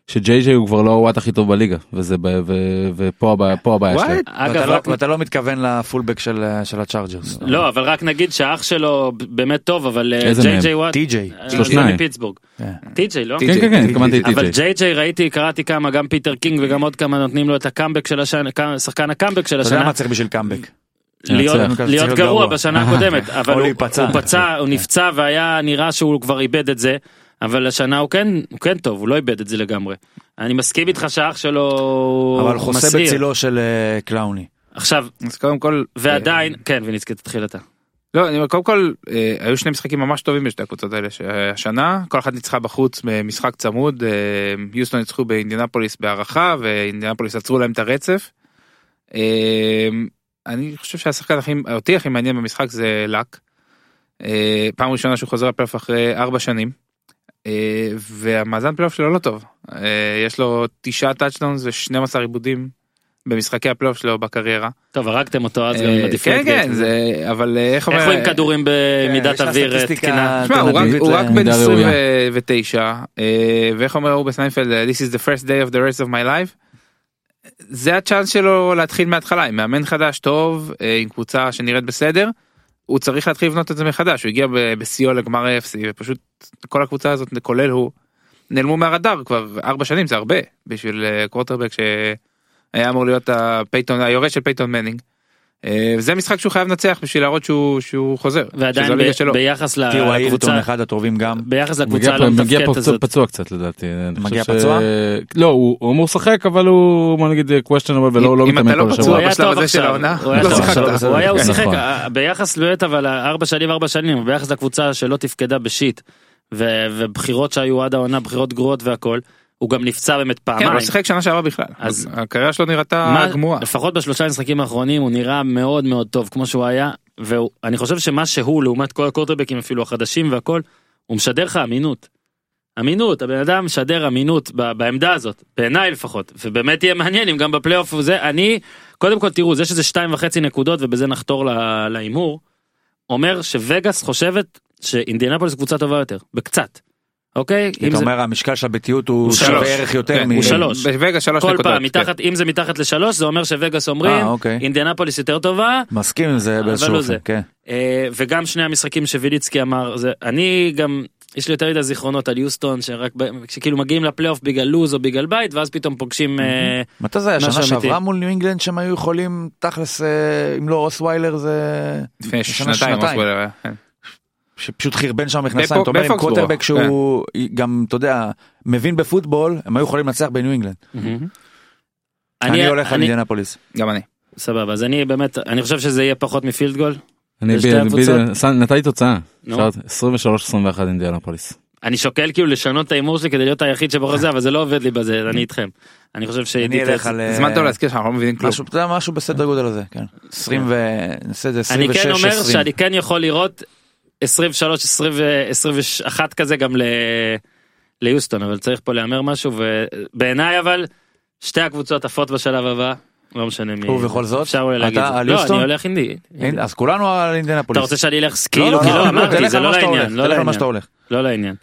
Speaker 2: שג'יי ג'יי הוא כבר לא הוואט הכי טוב בליגה וזה ב- ו- ופה הבעיה פה הבעיה
Speaker 4: וואט?
Speaker 2: שלהם.
Speaker 1: אגב,
Speaker 4: ואתה לא-
Speaker 1: רק-
Speaker 4: ואתה לא מתכוון לפולבק של אה, של הצ'ארג'רס.
Speaker 1: לא אבל רק נגיד שהאח שלו באמת טוב אבל אה,
Speaker 2: איזה
Speaker 1: ג'יי
Speaker 2: מהם?
Speaker 1: ג'יי וואט.
Speaker 4: טי.ג'יי.
Speaker 1: אה,
Speaker 2: שלושניים.
Speaker 1: לא מפיטסבורג.
Speaker 4: כן.
Speaker 1: טי ג'יי לא?
Speaker 2: כן כן כן התכוונתי
Speaker 4: טי.ג'יי.
Speaker 1: אבל
Speaker 2: ל-TJ.
Speaker 1: ג'יי ג'יי ראיתי קראתי כמה גם פיטר קינג וגם עוד כמה נותנים לו את הקאמבק של השנה כמה- שחקן הקאמבק של
Speaker 4: אתה יודע
Speaker 1: השנה
Speaker 4: מה צריך בשביל קאמבק.
Speaker 1: להיות
Speaker 2: לנצח.
Speaker 1: להיות
Speaker 4: צריך להיות
Speaker 1: גרוע
Speaker 4: גרוע.
Speaker 1: בשנה
Speaker 4: *laughs*
Speaker 1: הקודמת אבל
Speaker 4: או
Speaker 1: הוא-
Speaker 4: להיפצע.
Speaker 1: הוא פצע הוא נפצע והיה נראה שהוא כבר איבד את זה אבל השנה הוא כן הוא כן טוב הוא לא איבד את זה לגמרי. אני מסכים איתך שהאח שלו הוא
Speaker 4: אבל חוסה
Speaker 1: מסעיר.
Speaker 4: בצילו של אה, קלאוני.
Speaker 1: עכשיו
Speaker 5: אז קודם כל
Speaker 4: אה.
Speaker 1: ועדיין כן וניצקי תתחיל אתה.
Speaker 5: לא, אני אומר, קודם כל, אה, היו שני משחקים ממש טובים בשתי הקבוצות האלה ש- השנה, כל אחת ניצחה בחוץ במשחק צמוד, אה, יוסטון ניצחו באינדיאנפוליס בהערכה, ואינדיאנפוליס עצרו להם את הרצף. אה, אני חושב שהשחקן הכי, אותי הכי מעניין במשחק זה לק. אה, פעם ראשונה שהוא חוזר לפלייאוף אחרי ארבע שנים, אה, והמאזן פלייאוף שלו לא טוב. אה, יש לו תשעה טאצ'דאונס ו-12 עיבודים במשחקי הפלייאוף שלו בקריירה.
Speaker 1: טוב הרגתם אותו אז
Speaker 5: אה,
Speaker 1: עם
Speaker 5: כן
Speaker 1: הדפלקט.
Speaker 5: כן זה אבל אה, איך
Speaker 1: איך הוא עם
Speaker 5: אומר
Speaker 1: כדורים
Speaker 4: כן, יש
Speaker 1: במידת
Speaker 4: לה
Speaker 1: אוויר אה,
Speaker 4: סטטיסטיקה אה,
Speaker 1: תקינה.
Speaker 5: תשמע, הוא רק-
Speaker 4: אלטרנטיבית
Speaker 5: הוא רק
Speaker 4: ל-
Speaker 5: בן
Speaker 2: מידה ראויה.
Speaker 5: 29 אה, ואיך אומר אורבס איינפלד אה, This is the first day of the rest of my life. זה הצ'אנס שלו להתחיל מההתחלה עם מאמן חדש טוב אה, עם קבוצה שנראית בסדר. הוא צריך להתחיל לבנות את זה מחדש הוא הגיע ב- בשיאו לגמר ה-FC ופשוט כל הקבוצה הזאת כולל הוא נעלמו מהרדאר כבר ארבע שנים זה הרבה בשביל אה, קווטרבק שהיה אמור להיות הפייתון היורש של פייתון מנינג. אה, וזה משחק שהוא חייב לנצח בשביל להראות שהוא שהוא חוזר. שזו
Speaker 1: ועדיין
Speaker 5: הליגה
Speaker 1: ב-
Speaker 5: שלו.
Speaker 1: ביחס
Speaker 4: תראו, הילטון
Speaker 1: לקבוצה
Speaker 4: אחד הטובים גם.
Speaker 1: ביחס
Speaker 2: מגיע
Speaker 1: לקבוצה
Speaker 2: פה-
Speaker 1: הלא
Speaker 2: מגיע פה
Speaker 1: מתפקדת
Speaker 2: פצוע-
Speaker 1: הזאת.
Speaker 2: פצוע קצת לדעתי. אני
Speaker 4: מגיע
Speaker 2: חושב ש-
Speaker 4: פצוע?
Speaker 2: לא הוא הוא אמור לשחק אבל הוא בוא נגיד questionable ולא לא
Speaker 5: אם אתה
Speaker 2: מתאמן
Speaker 5: לא
Speaker 2: כל
Speaker 1: הוא
Speaker 2: השבוע.
Speaker 5: פצוע,
Speaker 1: היה
Speaker 5: בשלב
Speaker 1: טוב
Speaker 5: הזה של
Speaker 1: עכשיו,
Speaker 5: העונה,
Speaker 1: הוא היה
Speaker 5: לא
Speaker 1: טוב
Speaker 5: שיחקת.
Speaker 1: עכשיו, הוא היה, הוא
Speaker 2: נכון.
Speaker 1: שיחק, אה, ביחס באמת אבל ארבע שנים ארבע שנים, ביחס לקבוצה שלא תפקדה בשיט, ו- ובחירות שהיו עד העונה, בחירות גרועות והכל, הוא גם נפצע באמת
Speaker 5: כן, אבל
Speaker 1: פעמיים.
Speaker 5: הוא שיחק שנה שעברה בכלל.
Speaker 1: אז-
Speaker 5: אז הקריירה שלו נראתה
Speaker 1: מה-
Speaker 5: גמורה.
Speaker 1: לפחות בשלושה המשחקים האחרונים הוא נראה מאוד מאוד טוב כמו שהוא היה, ואני חושב שמה שהוא לעומת כל הקורטרבקים אפילו החדשים והכל, הוא משדר לך אמינות. אמינות, הבן אדם משדר אמינות ב- בעמדה הזאת, בעיניי לפחות, ובאמת יהיה מעניין אם גם בפלייאוף הוא זה, אני, קודם כל תראו, זה שזה שתיים וחצי נקודות ובזה נחתור ל- להימור, אומר שווגאס חושבת שאינדיאנפוליס קבוצה טובה יותר, בקצת, אוקיי? אם
Speaker 4: אתה
Speaker 1: זה-
Speaker 4: אומר המשקל של הביתיות הוא
Speaker 1: הוא
Speaker 4: שווה
Speaker 1: שלוש.
Speaker 4: ערך יותר
Speaker 5: כן,
Speaker 4: מ...
Speaker 1: הוא שלוש.
Speaker 5: בווגה שלוש
Speaker 1: כל
Speaker 5: נקודות.
Speaker 1: פעם,
Speaker 5: כן.
Speaker 1: מתחת, אם זה מתחת לשלוש, זה אומר שווגאס אומרים,
Speaker 4: אה, אוקיי.
Speaker 1: אינדיאנפוליס יותר טובה,
Speaker 4: מסכים עם זה
Speaker 1: אבל
Speaker 4: באיזשהו
Speaker 1: לא
Speaker 4: אופן,
Speaker 1: זה.
Speaker 4: כן.
Speaker 1: אה, וגם שני המשחקים שוויליצקי אמר זה אני גם יש לי יותר מדי זיכרונות על יוסטון שרק ב- שכאילו מגיעים לפלייאוף בגלל לוז או בגלל בית ואז פתאום פוגשים אה,
Speaker 4: מתי זה היה?
Speaker 1: משהו
Speaker 4: שנה
Speaker 1: אמיתי.
Speaker 4: שעברה מול ניו אינגלנד שהם היו יכולים, תכלס, אה, אם לא אוסוויילר זה...
Speaker 5: לפני
Speaker 4: שנה,
Speaker 5: שנתיים.
Speaker 4: שנתיים.
Speaker 5: אוסוולר היה, כן.
Speaker 4: שפשוט חרבן שם מכנסיים,
Speaker 5: בפוק-
Speaker 4: אתה אומר עם
Speaker 5: בפוקסבורו,
Speaker 4: קוטרבק שהוא
Speaker 1: כן.
Speaker 4: גם, אתה יודע, מבין בפוטבול, הם היו יכולים לנצח בניו אינגלנד. אני הולך על אינדיאנפוליס.
Speaker 5: גם אני.
Speaker 4: אה,
Speaker 1: סבבה אז אני באמת אני חושב שזה יהיה פחות מפילד גול
Speaker 2: אני
Speaker 1: לשתי
Speaker 2: ב- ב-
Speaker 1: הקבוצות?
Speaker 2: ס- נתתי תוצאה.
Speaker 1: נו.
Speaker 2: שאלת, 23-21 אינדיאנפוליס.
Speaker 1: אני שוקל כאילו לשנות את ההימור שלי כדי להיות היחיד שבוחר
Speaker 4: *laughs*
Speaker 1: זה אבל זה לא עובד לי בזה אני איתכם אני חושב
Speaker 4: אני
Speaker 1: שעידית
Speaker 4: אלך על... אה,
Speaker 5: זמן טוב להזכיר שאנחנו לא מבינים כלום.
Speaker 4: משהו, אתה יודע, משהו בסדר גודל הזה, כן. 20 ו... נעשה את זה 26-20.
Speaker 1: אני כן אומר שאני כן יכול לראות 23 20, 21 כזה גם ל... ליוסטון אבל צריך פה להמר משהו ובעיניי אבל שתי הקבוצות עפות בשלב הבא לא משנה מי
Speaker 4: ובכל זאת,
Speaker 1: אפשר אולי להגיד
Speaker 4: אתה
Speaker 1: את זה.
Speaker 4: על
Speaker 1: לא
Speaker 4: יוסטון?
Speaker 1: אני הולך אינדי
Speaker 4: הנה, אז כולנו על אינדיאנפוליס.
Speaker 1: אתה רוצה שאני אלך כאילו כי לא אמרתי
Speaker 4: תלך
Speaker 1: זה
Speaker 4: על
Speaker 1: לא
Speaker 4: מה שאתה
Speaker 1: לעניין
Speaker 4: הולך,
Speaker 1: לא
Speaker 4: תלך על מה
Speaker 1: לעניין
Speaker 4: שאתה הולך.
Speaker 1: לא לעניין.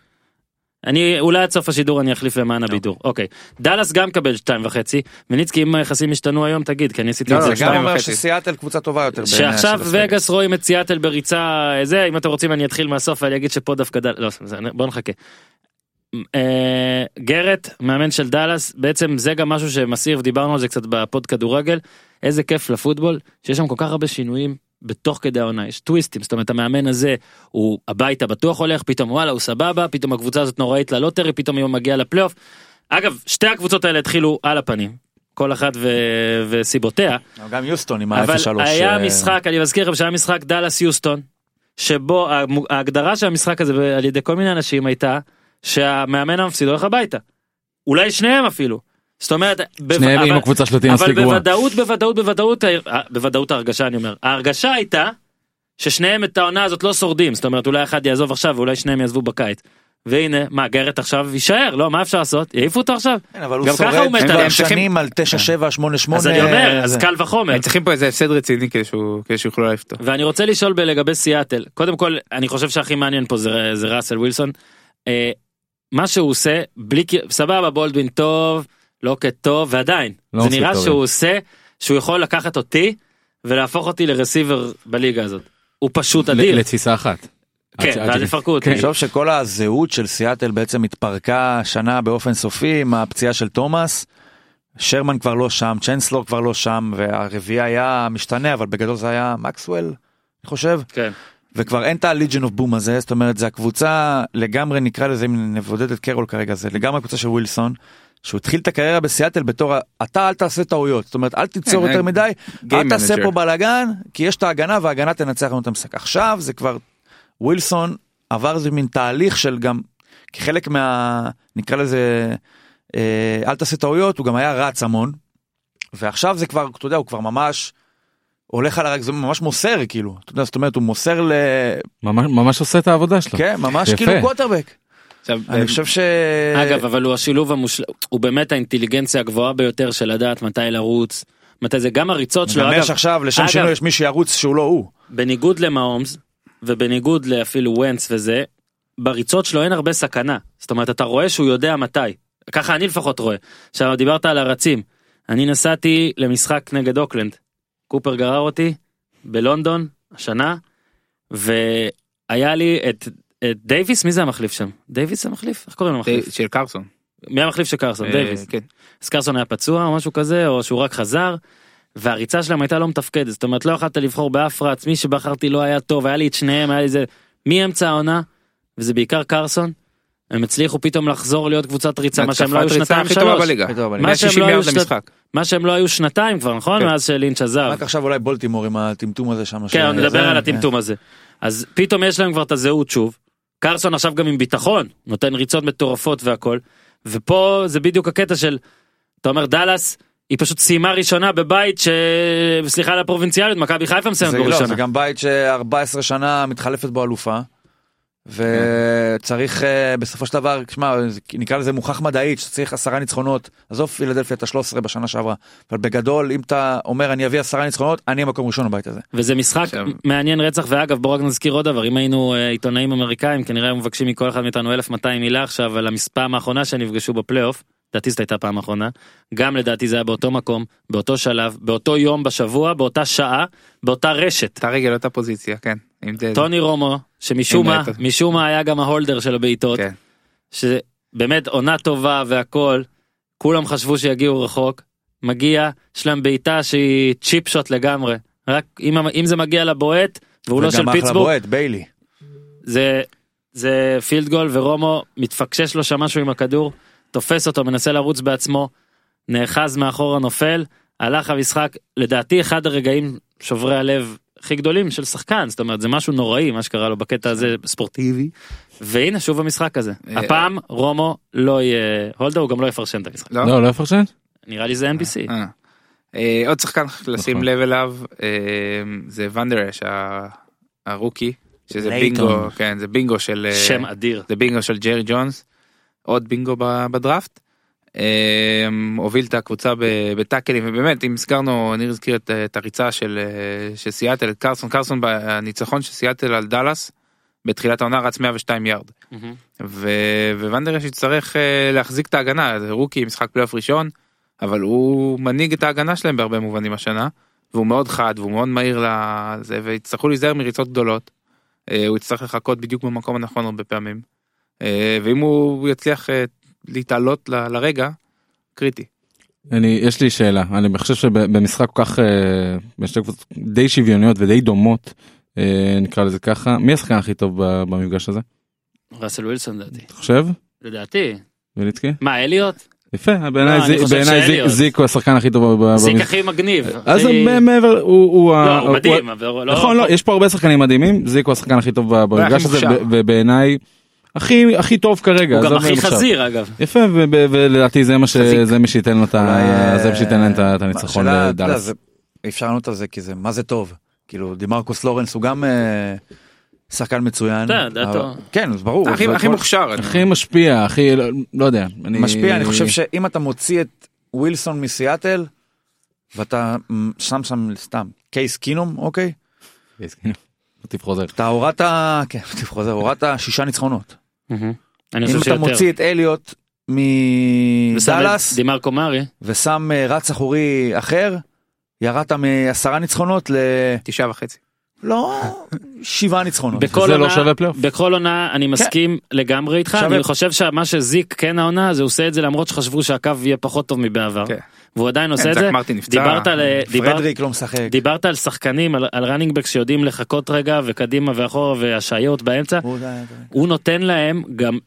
Speaker 1: אני אולי עד סוף השידור אני אחליף למען הבידור אוקיי דאלאס גם קבל שתיים וחצי וניצקי אם היחסים השתנו היום תגיד כי אני עשיתי
Speaker 5: לא,
Speaker 1: את
Speaker 5: לא,
Speaker 1: זה
Speaker 4: זה גם
Speaker 5: שתיים
Speaker 4: אומר
Speaker 5: וחצי.
Speaker 4: שסיאטל קבוצה טובה יותר. בעיניי
Speaker 1: שעכשיו
Speaker 4: של הסגל.
Speaker 1: וגאס רואים את סיאטל בריצה אה, זה אם אתם רוצים אני אתחיל מהסוף ואני אגיד שפה דווקא דל... לא, זה- בוא נחכה. אה, גרט מאמן של דאלאס בעצם זה גם משהו שמסעיר ודיברנו על זה קצת בפוד כדורגל איזה כיף לפוטבול שיש שם כל כך הרבה שינויים בתוך כדי העונה יש טוויסטים זאת אומרת המאמן הזה הוא הביתה בטוח הולך פתאום וואלה הוא סבבה פתאום הקבוצה הזאת נוראית ללוטרי פתאום היא מגיעה לפלייאוף. אגב שתי הקבוצות האלה התחילו על הפנים כל אחת ו... וסיבותיה
Speaker 4: לא, גם יוסטון עם
Speaker 1: אבל
Speaker 4: ה-0-3.
Speaker 2: אה,
Speaker 1: היה משחק, אני מזכיר לכם שהיה משחק דאלאס יוסטון, שבו המו- ההגדרה של המשחק הזה ב- על ידי כל מיני אנשים הייתה שהמאמן המפסיד הולך הביתה. אולי שניהם אפילו. זאת אומרת, בו-
Speaker 2: שניהם
Speaker 1: אבל-
Speaker 2: עם הקבוצה שלתי
Speaker 1: אבל
Speaker 2: מספיק גרועה.
Speaker 1: בוודאות בוודאות בוודאות אה, בוודאות ההרגשה אני אומר ההרגשה הייתה ששניהם את העונה הזאת לא שורדים זאת אומרת אולי אחד יעזוב עכשיו ואולי שניהם יעזבו בקיץ. והנה מה גרט עכשיו יישאר לא מה אפשר לעשות יעיפו אותו עכשיו
Speaker 4: כן, אבל הוא
Speaker 1: גם ככה הוא
Speaker 4: שורד
Speaker 1: מת
Speaker 4: כבר
Speaker 1: עליהם.
Speaker 4: שנים על 9788.
Speaker 1: אז אני אומר אז
Speaker 4: אה, זה.
Speaker 1: קל וחומר
Speaker 5: הם צריכים פה איזה הפסד רציני כדי שהוא- כדי שיוכלו להעיף אותו.
Speaker 1: ואני רוצה לשאול ב- לגבי סיאטל קודם כל אני חושב שהכי מעניין פה זה, זה ראסל ווילסון. אה, מה שהוא עושה בלי כ- סבבה בולדווין טוב לוקט טוב ועדיין
Speaker 2: לא
Speaker 1: זה
Speaker 2: מספיק
Speaker 1: נראה
Speaker 2: טובים.
Speaker 1: שהוא עושה שהוא יכול לקחת אותי ולהפוך אותי לרסיבר בליגה הזאת. הוא פשוט אדיר.
Speaker 2: לתפיסה אחת.
Speaker 1: כן,
Speaker 2: עד ש- עד
Speaker 1: ואז
Speaker 2: ש-
Speaker 1: יפרקו אותי.
Speaker 4: תחשוב שכל הזהות של סיאטל בעצם התפרקה השנה באופן סופי עם הפציעה של תומאס. שרמן כבר לא שם, צ'נסלור כבר לא שם, והרביעי היה משתנה, אבל בגדול זה היה מקסוול, אני חושב.
Speaker 1: כן.
Speaker 4: וכבר אין את ה-Legion of Boom הזה, זאת אומרת, זה הקבוצה לגמרי, נקרא לזה, אם נבודד את קרול כרגע, זה לגמרי הקבוצה של ווילסון, שהוא התחיל את הקריירה בסיאטל בתור, ה- אתה אל תעשה טעויות, זאת אומרת, אל תיצור
Speaker 5: כן,
Speaker 4: יותר
Speaker 5: אה,
Speaker 4: מדי, אל
Speaker 5: Game
Speaker 4: תעשה
Speaker 5: manager.
Speaker 4: פה בלאגן, כי יש את ההגנה וההגנה תנצח לנו את המשחק. עכשיו זה כבר, ווילסון עבר איזה מין תהליך של גם, כחלק מה... נקרא לזה, אה, אל תעשה טעויות, הוא גם היה רץ המון, ועכשיו זה כבר, אתה יודע, הוא כבר ממש... הולך על הרגל, זה ממש מוסר כאילו, אתה יודע, זאת אומרת הוא מוסר ל...
Speaker 2: ממש- ממש עושה את העבודה שלו.
Speaker 4: כן, ממש
Speaker 2: יפה.
Speaker 4: כאילו קווטרבק.
Speaker 5: עכשיו,
Speaker 4: אני
Speaker 5: אה,
Speaker 4: חושב ש...
Speaker 1: אגב אבל הוא השילוב המושלם הוא באמת האינטליגנציה הגבוהה ביותר של לדעת מתי לרוץ מתי זה גם הריצות שלו
Speaker 4: גם
Speaker 1: אגב
Speaker 4: יש עכשיו, לשם
Speaker 1: אגב-
Speaker 4: שינוי יש מי שירוץ שהוא לא הוא.
Speaker 1: בניגוד למהומס ובניגוד לאפילו ונץ וזה בריצות שלו אין הרבה סכנה זאת אומרת אתה רואה שהוא יודע מתי ככה אני לפחות רואה עכשיו דיברת על הרצים אני נסעתי למשחק נגד אוקלנד קופר גרר אותי בלונדון השנה והיה לי את, את דייוויס מי זה המחליף שם דייוויס המחליף איך קוראים למחליף
Speaker 5: של קרסון.
Speaker 1: מי המחליף של קרסון
Speaker 5: אה,
Speaker 1: דייוויס
Speaker 5: כן.
Speaker 1: אז קרסון היה פצוע או משהו כזה או שהוא רק חזר. והריצה שלהם הייתה לא מתפקדת זאת אומרת לא יכולת לבחור באף רץ מי שבחרתי לא היה טוב היה לי את שניהם היה לי זה מאמצע העונה וזה בעיקר קרסון. הם הצליחו פתאום לחזור להיות קבוצת ריצה מה שהם לא היו
Speaker 5: התקפת ריצה
Speaker 1: שנתיים
Speaker 5: הכי טובה
Speaker 1: שלוש
Speaker 5: בליגה.
Speaker 4: הכי טובה בליגה.
Speaker 1: מה שהם
Speaker 5: 160
Speaker 1: לא היו
Speaker 5: יארד
Speaker 1: שנת-
Speaker 5: למשחק.
Speaker 1: מה שהם לא היו שנתיים כבר נכון
Speaker 5: כן.
Speaker 1: מאז שלינץ' עזב.
Speaker 4: רק עכשיו אולי בולטימור עם הטמטום הזה שם.
Speaker 1: כן,
Speaker 4: של-
Speaker 1: אני מדבר
Speaker 4: זה-
Speaker 1: על הטמטום הזה. אז פתאום יש להם כבר את הזהות שוב. קרסון עכשיו גם עם ביטחון, נותן ריצות מטורפות והכל. ופה זה בדיוק הקטע של, אתה אומר דאלאס, היא פשוט סיימה ראשונה בבית ש... סליחה על הפרובינציאליות, מכבי חיפה
Speaker 4: זה-
Speaker 1: מסיימת
Speaker 4: זה-
Speaker 1: בו
Speaker 4: לא, זה
Speaker 1: ראשונה.
Speaker 4: גם בית ש-14 שנה מתחלפת בו אלופה. וצריך אה, בסופו של דבר, שמע, זה- נקרא לזה מוכח מדעית, שצריך עשרה ניצחונות. עזוב פילדלפי את ה-13 בשנה שעברה. אבל בגדול, אם אתה אומר אני אביא עשרה ניצחונות, אני המקום ראשון בבית הזה.
Speaker 1: וזה משחק
Speaker 5: עכשיו-
Speaker 1: מעניין רצח, ואגב בואו רק נזכיר עוד דבר, אם היינו אה, עיתונאים אמריקאים, כנראה היו מבקשים מכל אחד מאיתנו 1200 מילה עכשיו על המספעם האחרונה שנפגשו בפלייאוף, לדעתי זאת הייתה פעם אחרונה, גם לדעתי זה היה באותו מקום, באותו שלב, באותו יום בשבוע, באותה שעה, באותה רשת.
Speaker 5: אותה רגל אותה פוזיציה כן. אם זה-
Speaker 1: טוני רומו שמשום
Speaker 5: אין
Speaker 1: מה
Speaker 5: בעיה.
Speaker 1: משום מה היה גם ההולדר של הבעיטות
Speaker 5: כן.
Speaker 1: שבאמת עונה טובה והכל כולם חשבו שיגיעו רחוק מגיע יש להם בעיטה שהיא צ'יפ שוט לגמרי רק אם, אם זה מגיע לבועט והוא לא של
Speaker 4: וגם אחלה
Speaker 1: פיטסבורג
Speaker 4: בועט, ביילי.
Speaker 1: זה זה פילד גול ורומו מתפקשש לו שם משהו עם הכדור תופס אותו מנסה לרוץ בעצמו נאחז מאחורה נופל הלך המשחק לדעתי אחד הרגעים שוברי הלב הכי גדולים של שחקן זאת אומרת זה משהו נוראי מה שקרה לו בקטע הזה ספורטיבי והנה שוב המשחק הזה
Speaker 5: אה,
Speaker 1: הפעם רומו לא יהיה הולדה הוא גם לא יפרשן את המשחק
Speaker 5: לא?
Speaker 2: לא, לא יפרשן?
Speaker 1: נראה לי זה NBC
Speaker 5: אה. אה, עוד שחקן לשים
Speaker 2: נכון.
Speaker 5: לב אליו אה, זה ונדרש ה- הרוקי שזה
Speaker 4: לייטון.
Speaker 5: בינגו כן זה בינגו של אה,
Speaker 1: שם אדיר
Speaker 5: זה בינגו של ג'רי ג'ונס עוד בינגו ב- בדראפט. אה, הוביל את הקבוצה ב- בטאקלים ובאמת אם הזכרנו ניר הזכיר את, אה, את הריצה של אה, של סיאטל קרסון קרסון בניצחון של סיאטל על דאלאס בתחילת העונה רץ 102 יארד.
Speaker 1: מהמם.
Speaker 5: ו- וונדרש יצטרך אה, להחזיק את ההגנה, זה רוקי משחק פלייאוף ראשון, אבל הוא מנהיג את ההגנה שלהם בהרבה מובנים השנה, והוא מאוד חד והוא מאוד מהיר לזה, ויצטרכו להיזהר מריצות גדולות. אה, הוא יצטרך לחכות בדיוק במקום הנכון הרבה פעמים, אה, ואם הוא יצליח אה, להתעלות ל- לרגע, קריטי.
Speaker 2: אני, יש לי שאלה, אני חושב שבמשחק כל כך, אה, בשתי קבוצות די שוויוניות ודי דומות, אה, נקרא לזה ככה, מי השחקן הכי טוב ב- במפגש הזה?
Speaker 1: ראסל ווילסון לדעתי
Speaker 2: אתה חושב?
Speaker 1: לדעתי
Speaker 2: וליצקי?
Speaker 1: מה אליוט
Speaker 2: יפה, בעיניי
Speaker 1: לא, אני
Speaker 2: זי-
Speaker 1: חושב
Speaker 2: בעיניי זי-
Speaker 1: שאליוט.
Speaker 2: זיק הוא השחקן הכי טוב ב-
Speaker 1: זיק
Speaker 2: במשחק.
Speaker 1: הכי מגניב
Speaker 2: אה, אז
Speaker 1: הכי-
Speaker 2: מ- מעבר, הוא- הוא
Speaker 1: לא,
Speaker 2: ה- נכון,
Speaker 1: הוא
Speaker 2: הוא-
Speaker 1: מדהים אבל לא-
Speaker 2: נכון, לא, יש פה הרבה שחקנים מדהימים, זיק הוא השחקן הכי טוב ב- במפגש הזה,
Speaker 5: מוכשר.
Speaker 2: ב- ובעיניי הכי הכי טוב כרגע.
Speaker 1: הוא
Speaker 2: אז
Speaker 1: גם
Speaker 2: זה אומר
Speaker 1: הכי
Speaker 2: עכשיו.
Speaker 1: חזיר אגב.
Speaker 2: יפה ו- ו- ולדעתי זה מה ש-
Speaker 4: חזיק.
Speaker 2: זה מי שייתן לו את ה-
Speaker 4: אולי,
Speaker 2: אה, זה מה שייתן להם את ה- את הניצחון
Speaker 4: השאלה, אתה יודע,
Speaker 2: לדאלאס.
Speaker 4: זה- אי אפשר לענות על זה כי זה מה זה טוב כאילו דימרקוס לורנס הוא גם אה, שחקן מצוין.
Speaker 1: אתה יודע,
Speaker 4: אבל-
Speaker 1: אתה-
Speaker 4: כן אז ברור.
Speaker 5: הכי
Speaker 4: זה
Speaker 5: הכי
Speaker 4: כמו-
Speaker 5: מוכשר. אני-
Speaker 2: הכי משפיע הכי לא- לא יודע. אני-
Speaker 4: משפיע אני
Speaker 1: אה,
Speaker 4: חושב
Speaker 2: *laughs*
Speaker 4: שאם אתה מוציא את ווילסון מסיאטל ואתה מ, שם שם סתם קייס קינום אוקיי
Speaker 2: טיפ כן, חוזר.
Speaker 4: אתה הורדת כן *laughs* טיפ חוזר הורדת שישה ניצחונות.
Speaker 1: אני
Speaker 4: אם
Speaker 1: חושב
Speaker 4: אתה
Speaker 1: שיותר.
Speaker 4: מוציא את אליוט
Speaker 1: ושם את
Speaker 4: מדאלאס
Speaker 1: דימרקו מארי.
Speaker 4: ושם אה, רץ אחורי אחר ירדת מעשרה ניצחונות ל...
Speaker 5: תשעה וחצי.
Speaker 4: לא שבעה ניצחונות.
Speaker 1: בכל
Speaker 2: זה לא
Speaker 1: עונה-
Speaker 2: שווה פלייאוף.
Speaker 1: בכל עונה אני מסכים לגמרי איתך,
Speaker 4: שווה.
Speaker 1: אני חושב שמה שזיק כן העונה זה הוא עושה את זה למרות שחשבו שהקו יהיה פחות טוב מבעבר.
Speaker 5: כן.
Speaker 1: והוא עדיין עושה
Speaker 5: כן,
Speaker 1: את
Speaker 5: זאק
Speaker 1: זה.
Speaker 5: מרטין נפצע.
Speaker 1: דיברת על... דיברת-
Speaker 4: פרדריק לא משחק.
Speaker 1: דיברת על שחקנים, על, על ראנינג בק שיודעים לחכות רגע וקדימה ואחורה והשעיות באמצע,
Speaker 4: הוא יודע, אתה-
Speaker 1: הוא נותן להם גם,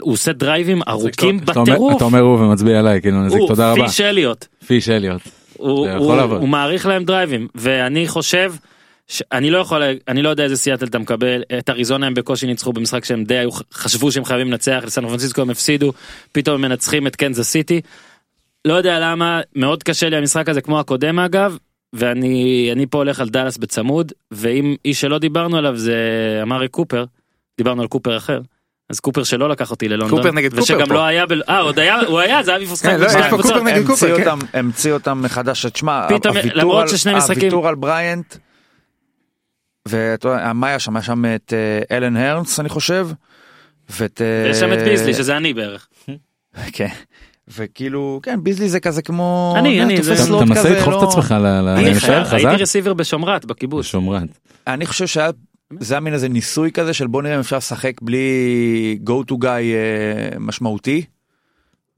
Speaker 1: הוא עושה דרייבים ארוכים
Speaker 2: אתה אומר-
Speaker 1: בטירוף.
Speaker 2: אתה אומר הוא ומצביע עליי כאילו נזיק
Speaker 1: הוא
Speaker 2: תודה רבה.
Speaker 1: פיש אליוט,
Speaker 2: פיש אליוט.
Speaker 1: הוא,
Speaker 2: זה יכול
Speaker 1: הוא,
Speaker 2: לעבוד.
Speaker 1: הוא מעריך להם דרייבים ואני חושב שאני לא יכול אני לא יודע איזה סיאטל אתה מקבל את אריזונה הם בקושי ניצחו במשחק שהם די היו חשבו שהם חייבים לנצח לסן פרנסיסקו הם הפסידו פתאום הם מנצחים את קנזס סיטי. לא יודע למה מאוד קשה לי המשחק הזה כמו הקודם אגב ואני אני פה הולך על דאלאס בצמוד ואם איש שלא דיברנו עליו זה אמרי קופר דיברנו על קופר אחר. אז קופר שלא לקח אותי ללונדון,
Speaker 5: קופר נגד קופר
Speaker 1: ושגם
Speaker 5: פה.
Speaker 1: לא היה, ב- אה עוד היה, הוא היה, זה היה משחק,
Speaker 5: כן,
Speaker 1: בין
Speaker 5: לא, יש
Speaker 1: שתי
Speaker 5: פה
Speaker 1: הקבוצות.
Speaker 5: קופר נגד
Speaker 4: המציא
Speaker 5: קופר, כן.
Speaker 4: אותם- המציא אותם מחדש, תשמע,
Speaker 1: פתאום,
Speaker 4: הוויתור
Speaker 1: למרות
Speaker 4: על-
Speaker 1: ששני משחקים-
Speaker 4: הוויתור על בריאנט, ואתה יודע, מה היה שם? היה שם את אה, אלן הרנס, אני חושב, ואת... אה,
Speaker 1: יש שם את ביזלי שזה אני בערך.
Speaker 4: כן. וכאילו, כן, ביזלי זה כזה כמו...
Speaker 1: אני,
Speaker 4: אתה
Speaker 1: אני,
Speaker 4: יודע,
Speaker 1: זה-
Speaker 2: אתה
Speaker 4: תופס לוט
Speaker 2: אתה מנסה
Speaker 4: כזה,
Speaker 2: לדחוף
Speaker 4: לא-
Speaker 2: את עצמך ל- ל-
Speaker 1: אני
Speaker 2: להישאר
Speaker 1: חייב, הייתי
Speaker 2: חזק.
Speaker 1: רסיבר בשומרת בקיבוץ.
Speaker 2: שומרת.
Speaker 4: אני חושב שהיה... זה היה מין איזה ניסוי כזה של בוא נראה אם אפשר לשחק בלי go to guy אה, משמעותי,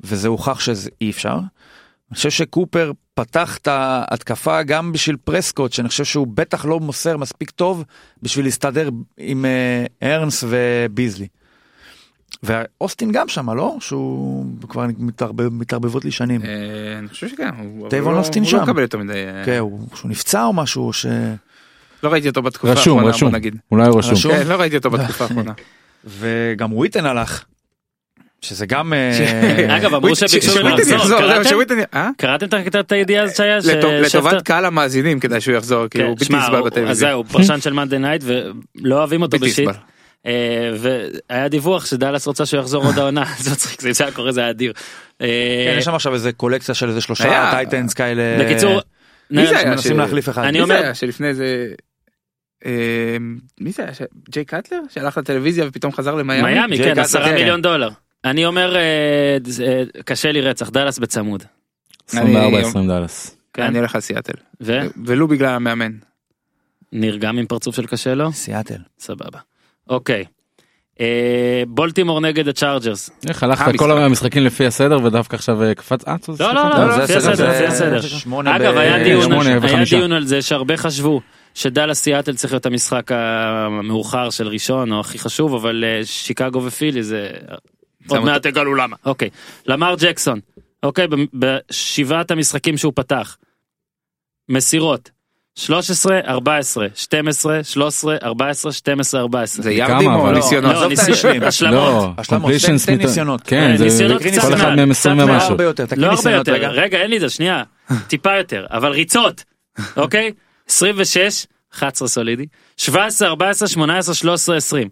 Speaker 4: וזה הוכח שאי אפשר. אני חושב שקופר פתח את ההתקפה גם בשביל פרסקוט, שאני חושב שהוא בטח לא מוסר מספיק טוב בשביל להסתדר עם אה, הרנס וביזלי. ואוסטין גם שם, לא? שהוא כבר מתערבב, מתערבבות לי שנים.
Speaker 5: אה, אני חושב שכן. הוא-
Speaker 4: טייבון
Speaker 5: הוא לא-
Speaker 4: אוסטין
Speaker 5: הוא
Speaker 4: שם.
Speaker 5: לא מקבל יותר מדי. אה,
Speaker 4: כן, הוא, שהוא נפצע או משהו, ש...
Speaker 5: לא ראיתי אותו בתקופה האחרונה.
Speaker 2: רשום
Speaker 5: בוא
Speaker 2: רשום
Speaker 5: נגיד.
Speaker 2: אולי הוא רשום.
Speaker 4: רשום?
Speaker 5: כן, לא ראיתי
Speaker 2: *laughs*
Speaker 5: אותו בתקופה האחרונה.
Speaker 4: וגם וויטן הלך. שזה גם... אה,
Speaker 1: אגב, אמרו
Speaker 5: וויט-
Speaker 1: שביקשו ממנו
Speaker 5: שוויטן
Speaker 1: לחזור,
Speaker 5: יחזור, זהו,
Speaker 1: קראתם?
Speaker 5: שוויטן י- אה?
Speaker 1: קראתם את הקטע- את הידיעה הזאת שהיה? ש-
Speaker 5: לטוב-
Speaker 1: שפטר-
Speaker 5: לטובת קהל המאזינים כדאי שהוא יחזור, כי
Speaker 1: כן,
Speaker 5: הוא בלתי
Speaker 1: שמע,
Speaker 5: נסבל
Speaker 1: הוא- אז
Speaker 5: בטלוויזיה.
Speaker 1: זהו, הוא פרשן של מאנדי נייט ולא אוהבים אותו
Speaker 5: בלתי
Speaker 1: בשיט.
Speaker 5: נסבל.
Speaker 1: אה, והיה דיווח שדאלאס רוצה שהוא יחזור עוד העונה, *laughs* זה מצחיק, זה אם זה היה קורה זה היה אדיר. אה,
Speaker 4: כן, יש שם עכשיו איזה קולקציה של איזה שלושה
Speaker 5: היה.
Speaker 4: טייטנס כאלה. אה,
Speaker 1: בקיצור, אה,
Speaker 5: מי זה היה?
Speaker 4: מנסים
Speaker 5: ש-
Speaker 4: להחליף אחד.
Speaker 1: אני
Speaker 5: מי
Speaker 1: אומר-
Speaker 5: זה היה שלפני איזה... אה, מי זה היה? ש- ג'יי קאטלר? שהלך לטלוויזיה ופתאום חזר למיאמי?
Speaker 1: מיאמי,
Speaker 5: ג'יי
Speaker 1: כן,
Speaker 5: קאטלר,
Speaker 1: עשרה
Speaker 5: כן.
Speaker 1: מיליון דולר. אני אומר, אה, זה- אה, קשה לי רצח, דאלאס בצמוד.
Speaker 2: 24
Speaker 5: אני-
Speaker 2: 20 דאלאס.
Speaker 1: כן,
Speaker 5: אני הולך על סיאטל.
Speaker 1: וניר
Speaker 5: ולו בגלל המאמן.
Speaker 1: גם עם פרצוף של קשה לו?
Speaker 4: סיאטל.
Speaker 1: סבבה. אוקיי. אה, בולטימור נגד הצ'ארג'רס.
Speaker 2: איך הלכת
Speaker 5: המשחק.
Speaker 2: כל המשחקים לפי הסדר ודווקא עכשיו אה, קפץ אה, טוב,
Speaker 1: לא, לא,
Speaker 2: סליחה.
Speaker 1: לא, לא, לפי
Speaker 4: הסדר,
Speaker 1: הסדר,
Speaker 4: זה-
Speaker 1: לפי הסדר.
Speaker 4: שמונה
Speaker 1: אגב,
Speaker 4: ב-
Speaker 1: היה דיון
Speaker 2: שמונה
Speaker 1: על- היה
Speaker 2: וחמישה.
Speaker 1: דיון על זה שהרבה חשבו שדאלאס סיאטל צריך להיות המשחק המאוחר של ראשון או הכי חשוב, אבל אה, שיקגו ופילי זה... עוד
Speaker 5: אותו.
Speaker 1: מעט תגלו למה. אוקיי. למר ג'קסון, אוקיי, ב- בשבעת המשחקים שהוא פתח. מסירות. 13, 14, 12, 13, 14, 12, 14.
Speaker 5: זה
Speaker 2: כמה,
Speaker 5: ירדים או
Speaker 2: אבל-
Speaker 5: ניסיונות?
Speaker 1: לא,
Speaker 5: עזוב את
Speaker 1: ניסיון-
Speaker 5: היושבים.
Speaker 1: השלמות.
Speaker 2: לא,
Speaker 4: השלמות,
Speaker 2: completion
Speaker 4: תן- תן
Speaker 2: סמיטה-
Speaker 4: ניסיונות.
Speaker 2: כן, זה
Speaker 1: ניסיונות קצת
Speaker 2: כל אחד
Speaker 1: מעט,
Speaker 2: מהם 20
Speaker 1: קצת מעט.
Speaker 2: ומשהו.
Speaker 4: הרבה יותר, תקריא
Speaker 1: לא הרבה
Speaker 4: ניסיונות
Speaker 1: יותר,
Speaker 4: רגע.
Speaker 1: רגע אין לי את זה, שנייה, טיפה יותר, אבל ריצות, אוקיי? 26, 11 סולידי, 17, 14, 18, 13, 20.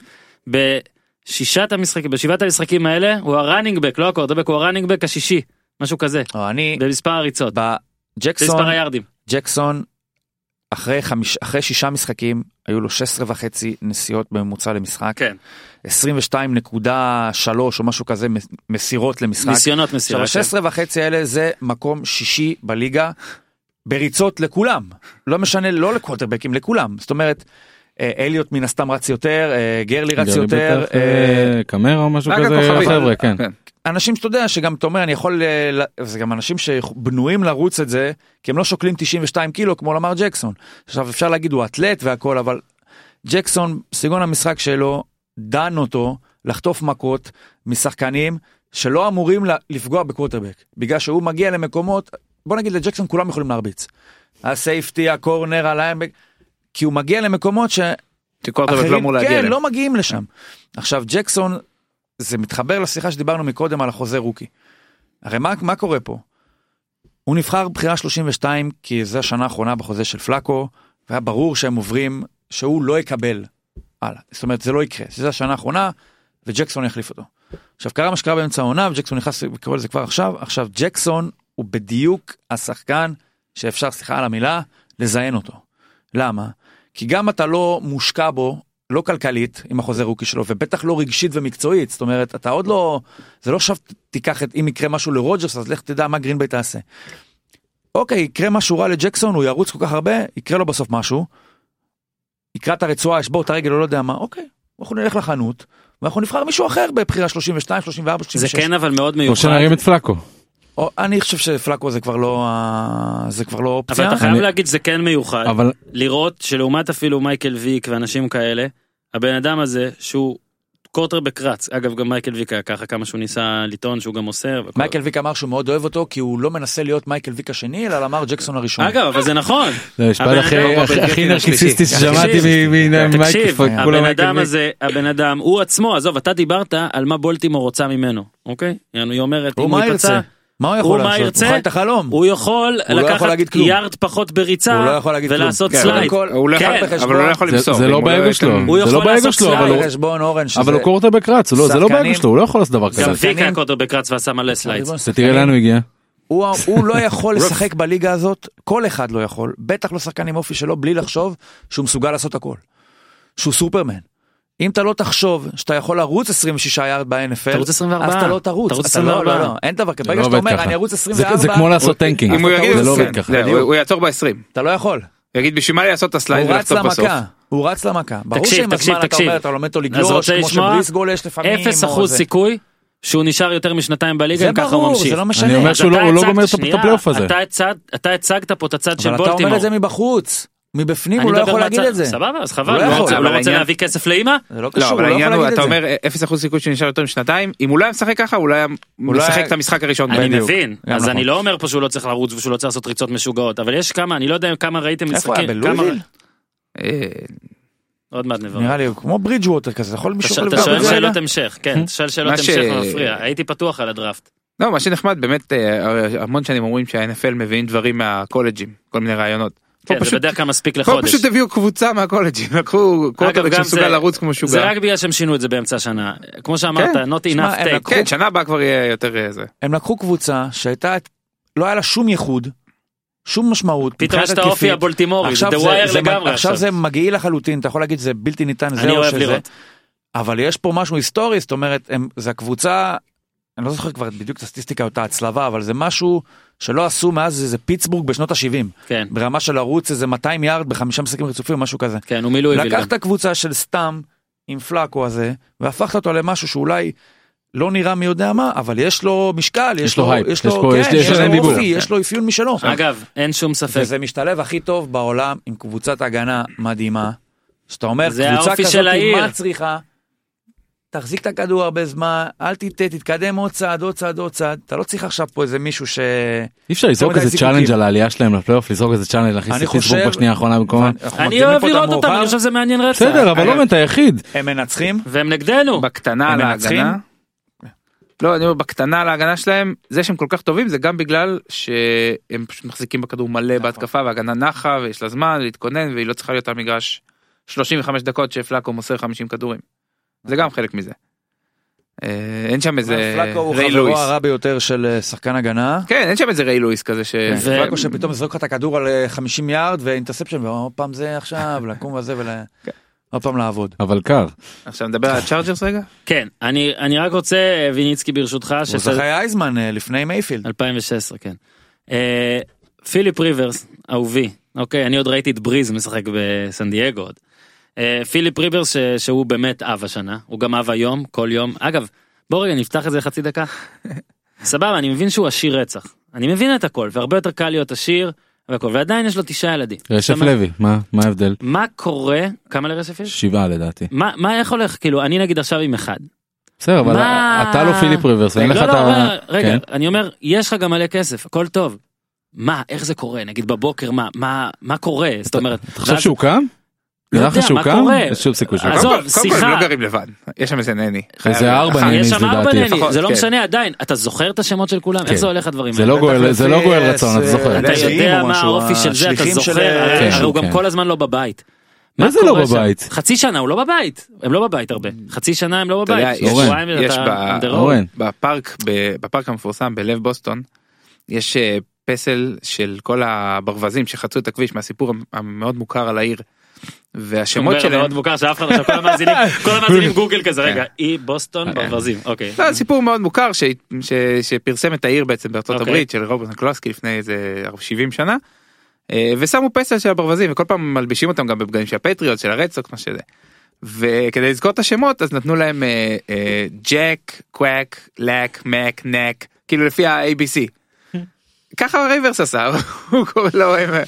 Speaker 1: בשישת המשחקים, בשבעת המשחקים האלה, הוא הראנינג בק, לא הקורדבק, הוא הראנינג בק השישי, משהו כזה,
Speaker 4: או, לא, אני,
Speaker 1: במספר הריצות,
Speaker 4: בג'קסון,
Speaker 1: במספר היארדים.
Speaker 4: ג'קסון, אחרי חמיש- אחרי שישה משחקים, היו לו 16 וחצי נסיעות בממוצע למשחק.
Speaker 1: כן.
Speaker 4: 22.3 או משהו כזה מס- מסירות למשחק.
Speaker 1: ניסיונות
Speaker 4: עכשיו,
Speaker 1: מסירה. כן.
Speaker 4: ה-16 וחצי האלה זה מקום שישי בליגה, בריצות לכולם. לא משנה, לא לקווטרבקים, לכולם. זאת אומרת, אה, אליוט מן הסתם רץ יותר, אה, גרלי רץ
Speaker 2: גרלי
Speaker 4: יותר,
Speaker 2: בטח,
Speaker 4: אה,
Speaker 2: אה, קמרה או משהו
Speaker 5: רק
Speaker 2: כזה,
Speaker 5: הכוכבים.
Speaker 2: החבר'ה, כן.
Speaker 4: אנשים שאתה יודע שגם אתה אומר, אני יכול, אה, ל- זה גם אנשים שבנויים לרוץ את זה, כי הם לא שוקלים 92 קילו כמו למר ג'קסון. עכשיו אפשר להגיד הוא אתלט והכל, אבל ג'קסון, סגנון המשחק שלו, דן אותו לחטוף מכות משחקנים שלא אמורים ל- לפגוע בקווטרבק, בגלל שהוא מגיע למקומות, בוא נגיד לג'קסון כולם יכולים להרביץ. הסייפטי, הקורנר, הליימבק, כי הוא מגיע למקומות ש...
Speaker 5: שקורטובק לא אמור להגיע
Speaker 4: כן,
Speaker 5: אליהם.
Speaker 4: לא מגיעים לשם. עכשיו ג'קסון זה מתחבר לשיחה שדיברנו מקודם על החוזה רוקי. הרי מה, מה קורה פה? הוא נבחר בחירה 32 כי זו השנה האחרונה בחוזה של פלאקו, והיה ברור שהם עוברים שהוא לא יקבל הלאה. זאת אומרת זה לא יקרה, זו השנה האחרונה וג'קסון יחליף אותו. עכשיו קרה מה שקרה באמצע העונה וג'קסון נכנס וקורא לזה כבר עכשיו, עכשיו ג'קסון הוא בדיוק השחקן שאפשר, סליחה על המילה, לזיין אותו. למה? כי גם אתה לא מושקע בו, לא כלכלית עם החוזה רוקי שלו, ובטח לא רגשית ומקצועית, זאת אומרת, אתה עוד לא, זה לא שבת תיקח את, אם יקרה משהו לרוג'רס, אז לך תדע מה גרינביי תעשה. אוקיי, יקרה משהו רע לג'קסון, הוא ירוץ כל כך הרבה, יקרה לו בסוף משהו, יקרע את הרצועה, ישבור את הרגל, הוא לא יודע מה, אוקיי, אנחנו נלך לחנות, ואנחנו נבחר מישהו אחר בבחירה 32, 34,
Speaker 1: זה
Speaker 4: 36.
Speaker 1: כן אבל מאוד
Speaker 2: או
Speaker 1: מיוחד.
Speaker 2: שנרים את פלאקו.
Speaker 4: או, אני חושב שפלאקו זה כבר לא, ה- זה כבר לא
Speaker 1: אבל
Speaker 4: אופציה.
Speaker 1: אתה חייב
Speaker 2: אני-
Speaker 1: להגיד שזה כן מיוחד.
Speaker 2: אבל
Speaker 1: לראות שלעומת אפילו מייקל ויק ואנשים כאלה, הבן אדם הזה שהוא קורטרבק רץ, אגב גם מייקל ויק היה ככה כמה שהוא ניסה לטעון שהוא גם מוסר. והכל.
Speaker 4: מייקל ויק אמר שהוא מאוד אוהב אותו כי הוא לא מנסה להיות מייקל ויק השני אלא אמר ג'קסון הראשון.
Speaker 1: אגב אבל זה
Speaker 2: *laughs*
Speaker 1: נכון.
Speaker 2: זה המשפט
Speaker 1: הבן
Speaker 2: הכי-
Speaker 1: אדם-
Speaker 2: הכי- הכי
Speaker 5: הבן-
Speaker 2: נרקיסיסטי
Speaker 5: השלישי.
Speaker 2: ששמעתי מ- מ- ממייקל
Speaker 1: תקשיב,
Speaker 2: פאק, כולם
Speaker 1: הבן
Speaker 2: מייקל
Speaker 1: אדם
Speaker 2: ויק.
Speaker 1: הזה, הבן אדם, הוא עצמו, עזוב, אתה דיברת על מה בולטימור רוצה ממנו, אוקיי? יענו, היא אומרת, אם
Speaker 4: הוא
Speaker 1: הוא
Speaker 4: מה ירצה?
Speaker 1: ייפצע,
Speaker 4: מה הוא
Speaker 1: הוא
Speaker 4: יכול
Speaker 1: מה
Speaker 4: לעשות?
Speaker 1: ירצה?
Speaker 4: הוא חי את החלום.
Speaker 1: הוא יכול
Speaker 4: לא יכול
Speaker 1: לקחת
Speaker 4: להגיד כלום.
Speaker 1: יארד פחות בריצה,
Speaker 4: הוא לא יכול להגיד כלום.
Speaker 1: ולעשות
Speaker 4: כן,
Speaker 1: סלייד.
Speaker 4: קודם כל,
Speaker 5: הוא לא יכול,
Speaker 1: כן.
Speaker 5: אבל הוא לא יכול
Speaker 2: זה-
Speaker 5: למסור.
Speaker 2: זה
Speaker 5: אם
Speaker 2: לא
Speaker 5: הוא
Speaker 2: באגו
Speaker 5: ייתן-
Speaker 2: שלו,
Speaker 1: הוא
Speaker 2: זה
Speaker 1: יכול
Speaker 2: לא באגו
Speaker 1: לעשות
Speaker 2: שלו,
Speaker 1: סלייד.
Speaker 2: אבל הוא-
Speaker 4: אבל חשבון אורן שזה...
Speaker 2: אבל הוא קורטרבק רץ, הוא לא- זה לא
Speaker 4: שחקנים-
Speaker 2: באגו שלו, הוא לא יכול לעשות דבר כזה.
Speaker 1: גם ויק היה
Speaker 4: שחקנים- כן,
Speaker 1: קורטרבק רץ ועשה מלא סלייד.
Speaker 4: חשבון
Speaker 2: זה תראה
Speaker 4: שחקנים.
Speaker 2: לאן הוא הגיע.
Speaker 4: הוא הוא לא
Speaker 2: *laughs*
Speaker 4: יכול לשחק בליגה הזאת, כל אחד לא יכול, בטח לא שחקן עם אופי שלו, בלי לחשוב שהוא מסוגל לעשות הכל. שהוא סופרמן. אם אתה לא תחשוב שאתה יכול לרוץ 26 יארד ב-NFL,
Speaker 1: תרוץ 24.
Speaker 4: אז אתה לא תרוץ.
Speaker 1: תרוץ
Speaker 4: אתה לא-
Speaker 1: 24.
Speaker 4: לא, לא, אין דבר כזה.
Speaker 2: זה
Speaker 4: ברגע
Speaker 2: לא
Speaker 4: שאתה
Speaker 2: עובד
Speaker 4: אומר,
Speaker 2: ככה.
Speaker 4: אני ארוץ
Speaker 2: זה-
Speaker 4: 24,
Speaker 2: זה כמו לעשות טנקינג.
Speaker 5: אם הוא יגיד,
Speaker 2: זה לא
Speaker 5: כן,
Speaker 2: עובד ככה.
Speaker 5: זהו, הוא- הוא יעצור ב-20.
Speaker 4: אתה לא יכול.
Speaker 5: הוא יגיד, בשביל מה לי לעשות את הסלייד
Speaker 4: הוא רץ
Speaker 5: ולחצוב בסוף?
Speaker 4: למכה. הוא רץ למכה. ברור
Speaker 1: תקשיב,
Speaker 4: שעם
Speaker 1: תקשיב,
Speaker 4: הזמן אתה
Speaker 1: תקשיב.
Speaker 4: אומר, אתה לומד אותו
Speaker 1: אז
Speaker 4: לגלוש,
Speaker 1: רוצה
Speaker 4: כמו
Speaker 1: לשמוע?
Speaker 4: שבריס גולש לפעמים.
Speaker 1: אפס
Speaker 4: או
Speaker 1: אחוז
Speaker 4: זה.
Speaker 1: סיכוי שהוא נשאר יותר משנתיים בליגה,
Speaker 4: זה
Speaker 1: אם ככה הוא
Speaker 4: ברור,
Speaker 1: ממשיך.
Speaker 4: זה לא משנה.
Speaker 2: אני אומר
Speaker 1: אז
Speaker 2: שהוא
Speaker 1: אתה
Speaker 2: לא- הוא לא
Speaker 1: הצגת-
Speaker 2: גומר את הפ- את
Speaker 1: שנייה,
Speaker 2: הפלייאוף הזה.
Speaker 1: אתה הצגת- אתה הצגת פה את הצד של
Speaker 4: אבל
Speaker 1: בולטימור.
Speaker 4: אתה אומר את זה מבחוץ, מבפנים
Speaker 1: אני
Speaker 4: הוא לא
Speaker 1: מדבר
Speaker 4: יכול
Speaker 1: מהצד-
Speaker 4: להגיד את זה.
Speaker 1: סבבה, אז
Speaker 4: הוא
Speaker 1: חבל,
Speaker 4: לא
Speaker 1: הוא לא
Speaker 4: יכול,
Speaker 1: רוצה- הוא
Speaker 5: אבל
Speaker 1: לא רוצה
Speaker 5: העניין-
Speaker 1: להביא כסף לאמא?
Speaker 4: זה לא
Speaker 5: לא,
Speaker 4: קשור,
Speaker 5: אבל
Speaker 4: הוא לא
Speaker 5: העניין
Speaker 4: יכול
Speaker 5: הוא,
Speaker 4: להגיד את
Speaker 5: אתה
Speaker 4: זה.
Speaker 5: אומר 0% סיכוי שנשאר יותר משנתיים, אם הוא לא היה משחק ככה, הוא לא היה משחק את המשחק הראשון.
Speaker 1: אני
Speaker 5: בדיוק.
Speaker 1: מבין,
Speaker 4: גם
Speaker 1: אז
Speaker 4: נכון.
Speaker 1: אני לא אומר פה שהוא לא צריך לרוץ ושהוא לא צריך לעשות ריצות משוגעות, אבל יש כמה, אני לא יודע כמה ראיתם
Speaker 4: איפה היה?
Speaker 1: משחקים, כמה-
Speaker 4: בלואיביל?
Speaker 5: אה,
Speaker 1: עוד מעט נברר.
Speaker 4: נראה לא לי הוא כמו ברידג' ווטר כזה, יכול
Speaker 1: אתה
Speaker 4: מישהו
Speaker 1: שואל-
Speaker 4: יכול
Speaker 1: אתה שואל
Speaker 4: לבדוק את זה
Speaker 1: שאלות
Speaker 4: רגע?
Speaker 1: המשך, כן, אתה שואל שאלות
Speaker 5: מה ש-
Speaker 1: המשך מפריע, הייתי פתוח על הדראפט.
Speaker 5: לא, מה שנחמד, באמת, אה, המון שנים אומרים שה-NFL מביאים דברים מהקולג'ים, כל מיני רעיונות. פה
Speaker 1: כן, זה
Speaker 5: פשוט-
Speaker 1: בדרך כלל מספיק
Speaker 5: פה
Speaker 1: לחודש.
Speaker 5: פשוט הביאו קבוצה מהקולג'ים, לקחו
Speaker 1: אגב,
Speaker 5: קורטרבק
Speaker 1: גם
Speaker 5: שמסוגל
Speaker 1: זה-
Speaker 5: לרוץ כמו
Speaker 1: זה
Speaker 5: שוגע.
Speaker 1: רק בגלל שהם שינו את זה באמצע השנה. כמו שאמרת,
Speaker 5: כן.
Speaker 1: not
Speaker 4: שמע,
Speaker 1: enough
Speaker 4: הם
Speaker 1: take.
Speaker 4: לקחו-
Speaker 5: כן, שנה הבאה כבר יהיה יותר אה, זה.
Speaker 4: הם לקחו קבוצה שהייתה, לא היה לה שום ייחוד, שום משמעות.
Speaker 1: פתאום
Speaker 4: מבחינת
Speaker 1: יש את האופי
Speaker 4: התקפית.
Speaker 1: הבולטימורי, זה
Speaker 4: עכשיו
Speaker 1: דה ווייר
Speaker 4: זה-
Speaker 1: לגמרי
Speaker 4: עכשיו
Speaker 1: עכשיו.
Speaker 4: זה מגעיל לחלוטין, אתה יכול להגיד זה בלתי ניתן, זה
Speaker 1: אני
Speaker 4: או
Speaker 1: אוהב
Speaker 4: שזה.
Speaker 1: לראות.
Speaker 4: אבל יש פה משהו היסטורי, זאת אומרת, הם, זה הקבוצה, אני לא זוכר כבר בדיוק את הסטטיסטיקה או את ההצלבה, אבל זה משהו שלא עשו מאז איזה פיטסבורג בשנות ה-70,
Speaker 1: כן,
Speaker 4: ברמה של ערוץ איזה 200 יארד בחמישה משחקים רצופים או משהו כזה.
Speaker 1: כן, הוא מילואיביל גם.
Speaker 4: לקחת קבוצה של סתם עם פלאקו הזה, והפכת אותו למשהו שאולי לא נראה מי יודע מה, אבל יש לו משקל, יש,
Speaker 2: לו הייפ,
Speaker 4: יש
Speaker 2: יש
Speaker 4: לו,
Speaker 2: פה-
Speaker 4: כן,
Speaker 2: יש-
Speaker 4: יש
Speaker 2: יש
Speaker 4: לו
Speaker 2: להם דיבור.
Speaker 4: אופי, יש לו אפיון משלו.
Speaker 1: אגב, אין שום ספק.
Speaker 4: וזה משתלב הכי טוב בעולם עם קבוצת הגנה מדהימה. שאתה אומר,
Speaker 1: זה
Speaker 4: קבוצה
Speaker 1: האופי
Speaker 4: כזאת,
Speaker 1: של העיר.
Speaker 4: מה צריכה? תחזיק את הכדור הרבה זמן, אל תטעה, תתקדם עוד צעד, עוד צעד, עוד צעד. אתה לא צריך עכשיו פה איזה מישהו ש...
Speaker 2: אי אפשר לזרוק
Speaker 4: מדי
Speaker 2: איזה
Speaker 4: זיקוקים.
Speaker 2: צ'אלנג' על העלייה שלהם לפלייאוף, לזרוק איזה צ'אלנג' להכניס
Speaker 4: אני
Speaker 2: את פיטסבורג
Speaker 4: חושב-
Speaker 2: בשנייה האחרונה במקום.
Speaker 4: אנחנו
Speaker 1: אני
Speaker 4: מקדימים
Speaker 1: אוהב
Speaker 4: פה את
Speaker 1: לראות אותם,
Speaker 4: המאוחר.
Speaker 1: אני חושב שזה מעניין רצח.
Speaker 2: בסדר, אבל
Speaker 5: אגב-
Speaker 2: לא באמת היחיד.
Speaker 4: הם מנצחים,
Speaker 1: והם נגדנו.
Speaker 5: בקטנה
Speaker 4: הם
Speaker 5: על
Speaker 4: מנצחים?
Speaker 5: ההגנה. לא, אני אומר, בקטנה על ההגנה שלהם, זה שהם כל כך טובים זה גם בגלל שהם פשוט מחזיקים בכדור מלא בהתקפה וההגנה נחה ויש לה זמן להתכונן והיא לא צריכה להיות על המגרש 35 דקות שפלאקו מוסר 50 כדורים. זה גם חלק מזה. אה, אין שם איזה
Speaker 4: פלאקו הוא
Speaker 5: ריי
Speaker 4: חברו
Speaker 5: לואיס.
Speaker 4: הרע ביותר של אה, שחקן הגנה.
Speaker 5: כן, אין שם איזה ריי לואיס כזה ש...
Speaker 1: כן, ו-
Speaker 4: פלאקו שפתאום זרוק לך את הכדור על אה, 50 יארד ואינטרספשן, ועוד פעם זה עכשיו, לקום וזה ול...
Speaker 5: כן.
Speaker 4: עוד פעם לעבוד.
Speaker 2: אבל קר.
Speaker 5: עכשיו נדבר על הצ'ארג'רס רגע?
Speaker 1: כן, אני אני רק רוצה, אה, ויניצקי ברשותך,
Speaker 4: הוא
Speaker 1: שזה-
Speaker 4: זכאי אייזמן אה, לפני מייפילד.
Speaker 1: 2016, כן. אה, פיליפ ריברס, אהובי, אוקיי, אני עוד ראיתי את בריז משחק בסן דייגו עוד. אה, פיליפ ריברס, ש- שהוא באמת אב השנה, הוא גם אב היום, כל יום. אגב, בוא רגע נפתח את זה לחצי
Speaker 4: *laughs*
Speaker 1: דקה. סבבה, אני מבין שהוא עשיר רצח. אני מבין את הכל, והרבה יותר קל להיות עשיר והכל, ועדיין יש לו תשעה ילדים.
Speaker 2: רשף
Speaker 1: זאת אומרת,
Speaker 2: לוי, מה מה ההבדל?
Speaker 1: מה קורה, כמה לרשף יש?
Speaker 2: שבעה לדעתי.
Speaker 1: מה, מה, איך הולך, כאילו, אני נגיד עכשיו עם אחד.
Speaker 2: בסדר, אבל
Speaker 1: מה?
Speaker 2: אתה לא פיליפ ריברס, אין
Speaker 1: לא,
Speaker 2: לך
Speaker 1: לא,
Speaker 2: את ה...
Speaker 1: רגע, רגע,
Speaker 2: כן.
Speaker 1: אני אומר, יש לך גם מלא כסף, הכל טוב. מה, איך זה קורה? נגיד בבוקר, מה, מה, מה קורה? זאת אומרת,
Speaker 2: אתה חושב שהוא קם?
Speaker 1: לא
Speaker 2: נראה
Speaker 1: יודע,
Speaker 2: לך שהוא
Speaker 1: מה
Speaker 2: קם?
Speaker 1: קורה?
Speaker 2: יש שום סיכוי שהוא
Speaker 1: אז-
Speaker 2: קם.
Speaker 1: עזוב,
Speaker 5: קודם כל- קודם כל,
Speaker 1: שיחה.
Speaker 5: הם לא גרים לבד. יש שם איזה נני.
Speaker 2: איזה ארבע
Speaker 5: אחד.
Speaker 2: נני.
Speaker 1: יש שם
Speaker 2: לדעתי,
Speaker 1: ארבע נהנים
Speaker 5: לפחות,
Speaker 1: זה לא
Speaker 5: כן.
Speaker 1: משנה עדיין אתה זוכר את השמות של כולם
Speaker 2: כן.
Speaker 1: איך זה הולך הדברים
Speaker 2: זה
Speaker 1: האלה?
Speaker 2: לא גואל זה לא גואל רצון, אתה זוכר.
Speaker 1: אה, אתה
Speaker 4: השליחים
Speaker 1: יודע
Speaker 4: או
Speaker 1: מה
Speaker 4: משהו,
Speaker 1: האופי של זה אתה
Speaker 4: השליחים של-
Speaker 1: זוכר הרי-
Speaker 5: אה,
Speaker 2: כן,
Speaker 1: הרי הוא
Speaker 2: כן.
Speaker 1: גם כל הזמן לא בבית.
Speaker 2: מה זה לא
Speaker 1: קורה שם?
Speaker 2: בבית?
Speaker 1: חצי שנה הוא לא בבית הם לא בבית הרבה חצי שנה הם לא
Speaker 5: אתה יודע,
Speaker 1: בבית.
Speaker 5: יש-
Speaker 1: שבועיים
Speaker 5: יש
Speaker 1: אתה
Speaker 5: ב-
Speaker 1: on the road.
Speaker 2: אורן.
Speaker 5: בפארק, ב- בפארק המפורסם בלב בוסטון, יש אה, פסל של כל הברווזים שחצו את הכביש מהסיפור המ- המאוד מוכר על העיר. והשמות
Speaker 1: אומר, זה
Speaker 5: שלהם,
Speaker 1: מאוד מוכר שאף אחד עכשיו כל
Speaker 5: *laughs*
Speaker 1: המאזינים כל המאזינים גוגל כזה רגע אי בוסטון
Speaker 5: כן.
Speaker 1: ברווזים אוקיי.
Speaker 5: לא, סיפור מאוד מוכר ש- ש- שפרסם את העיר בעצם בארצות
Speaker 1: אוקיי.
Speaker 5: הברית של רוברט נקלוסקי לפני איזה 70 שנה. אה, ושמו פסל של הברווזים וכל פעם מלבישים אותם גם בבגדים של הפטריוט של הרדסוק מה שזה. וכדי לזכור את השמות אז נתנו להם אה, אה, ג'ק קוואק לק מק נק כאילו
Speaker 4: *laughs*
Speaker 5: לפי ה-ABC. ככה רייברס עשה *laughs* הוא קורא לו אה,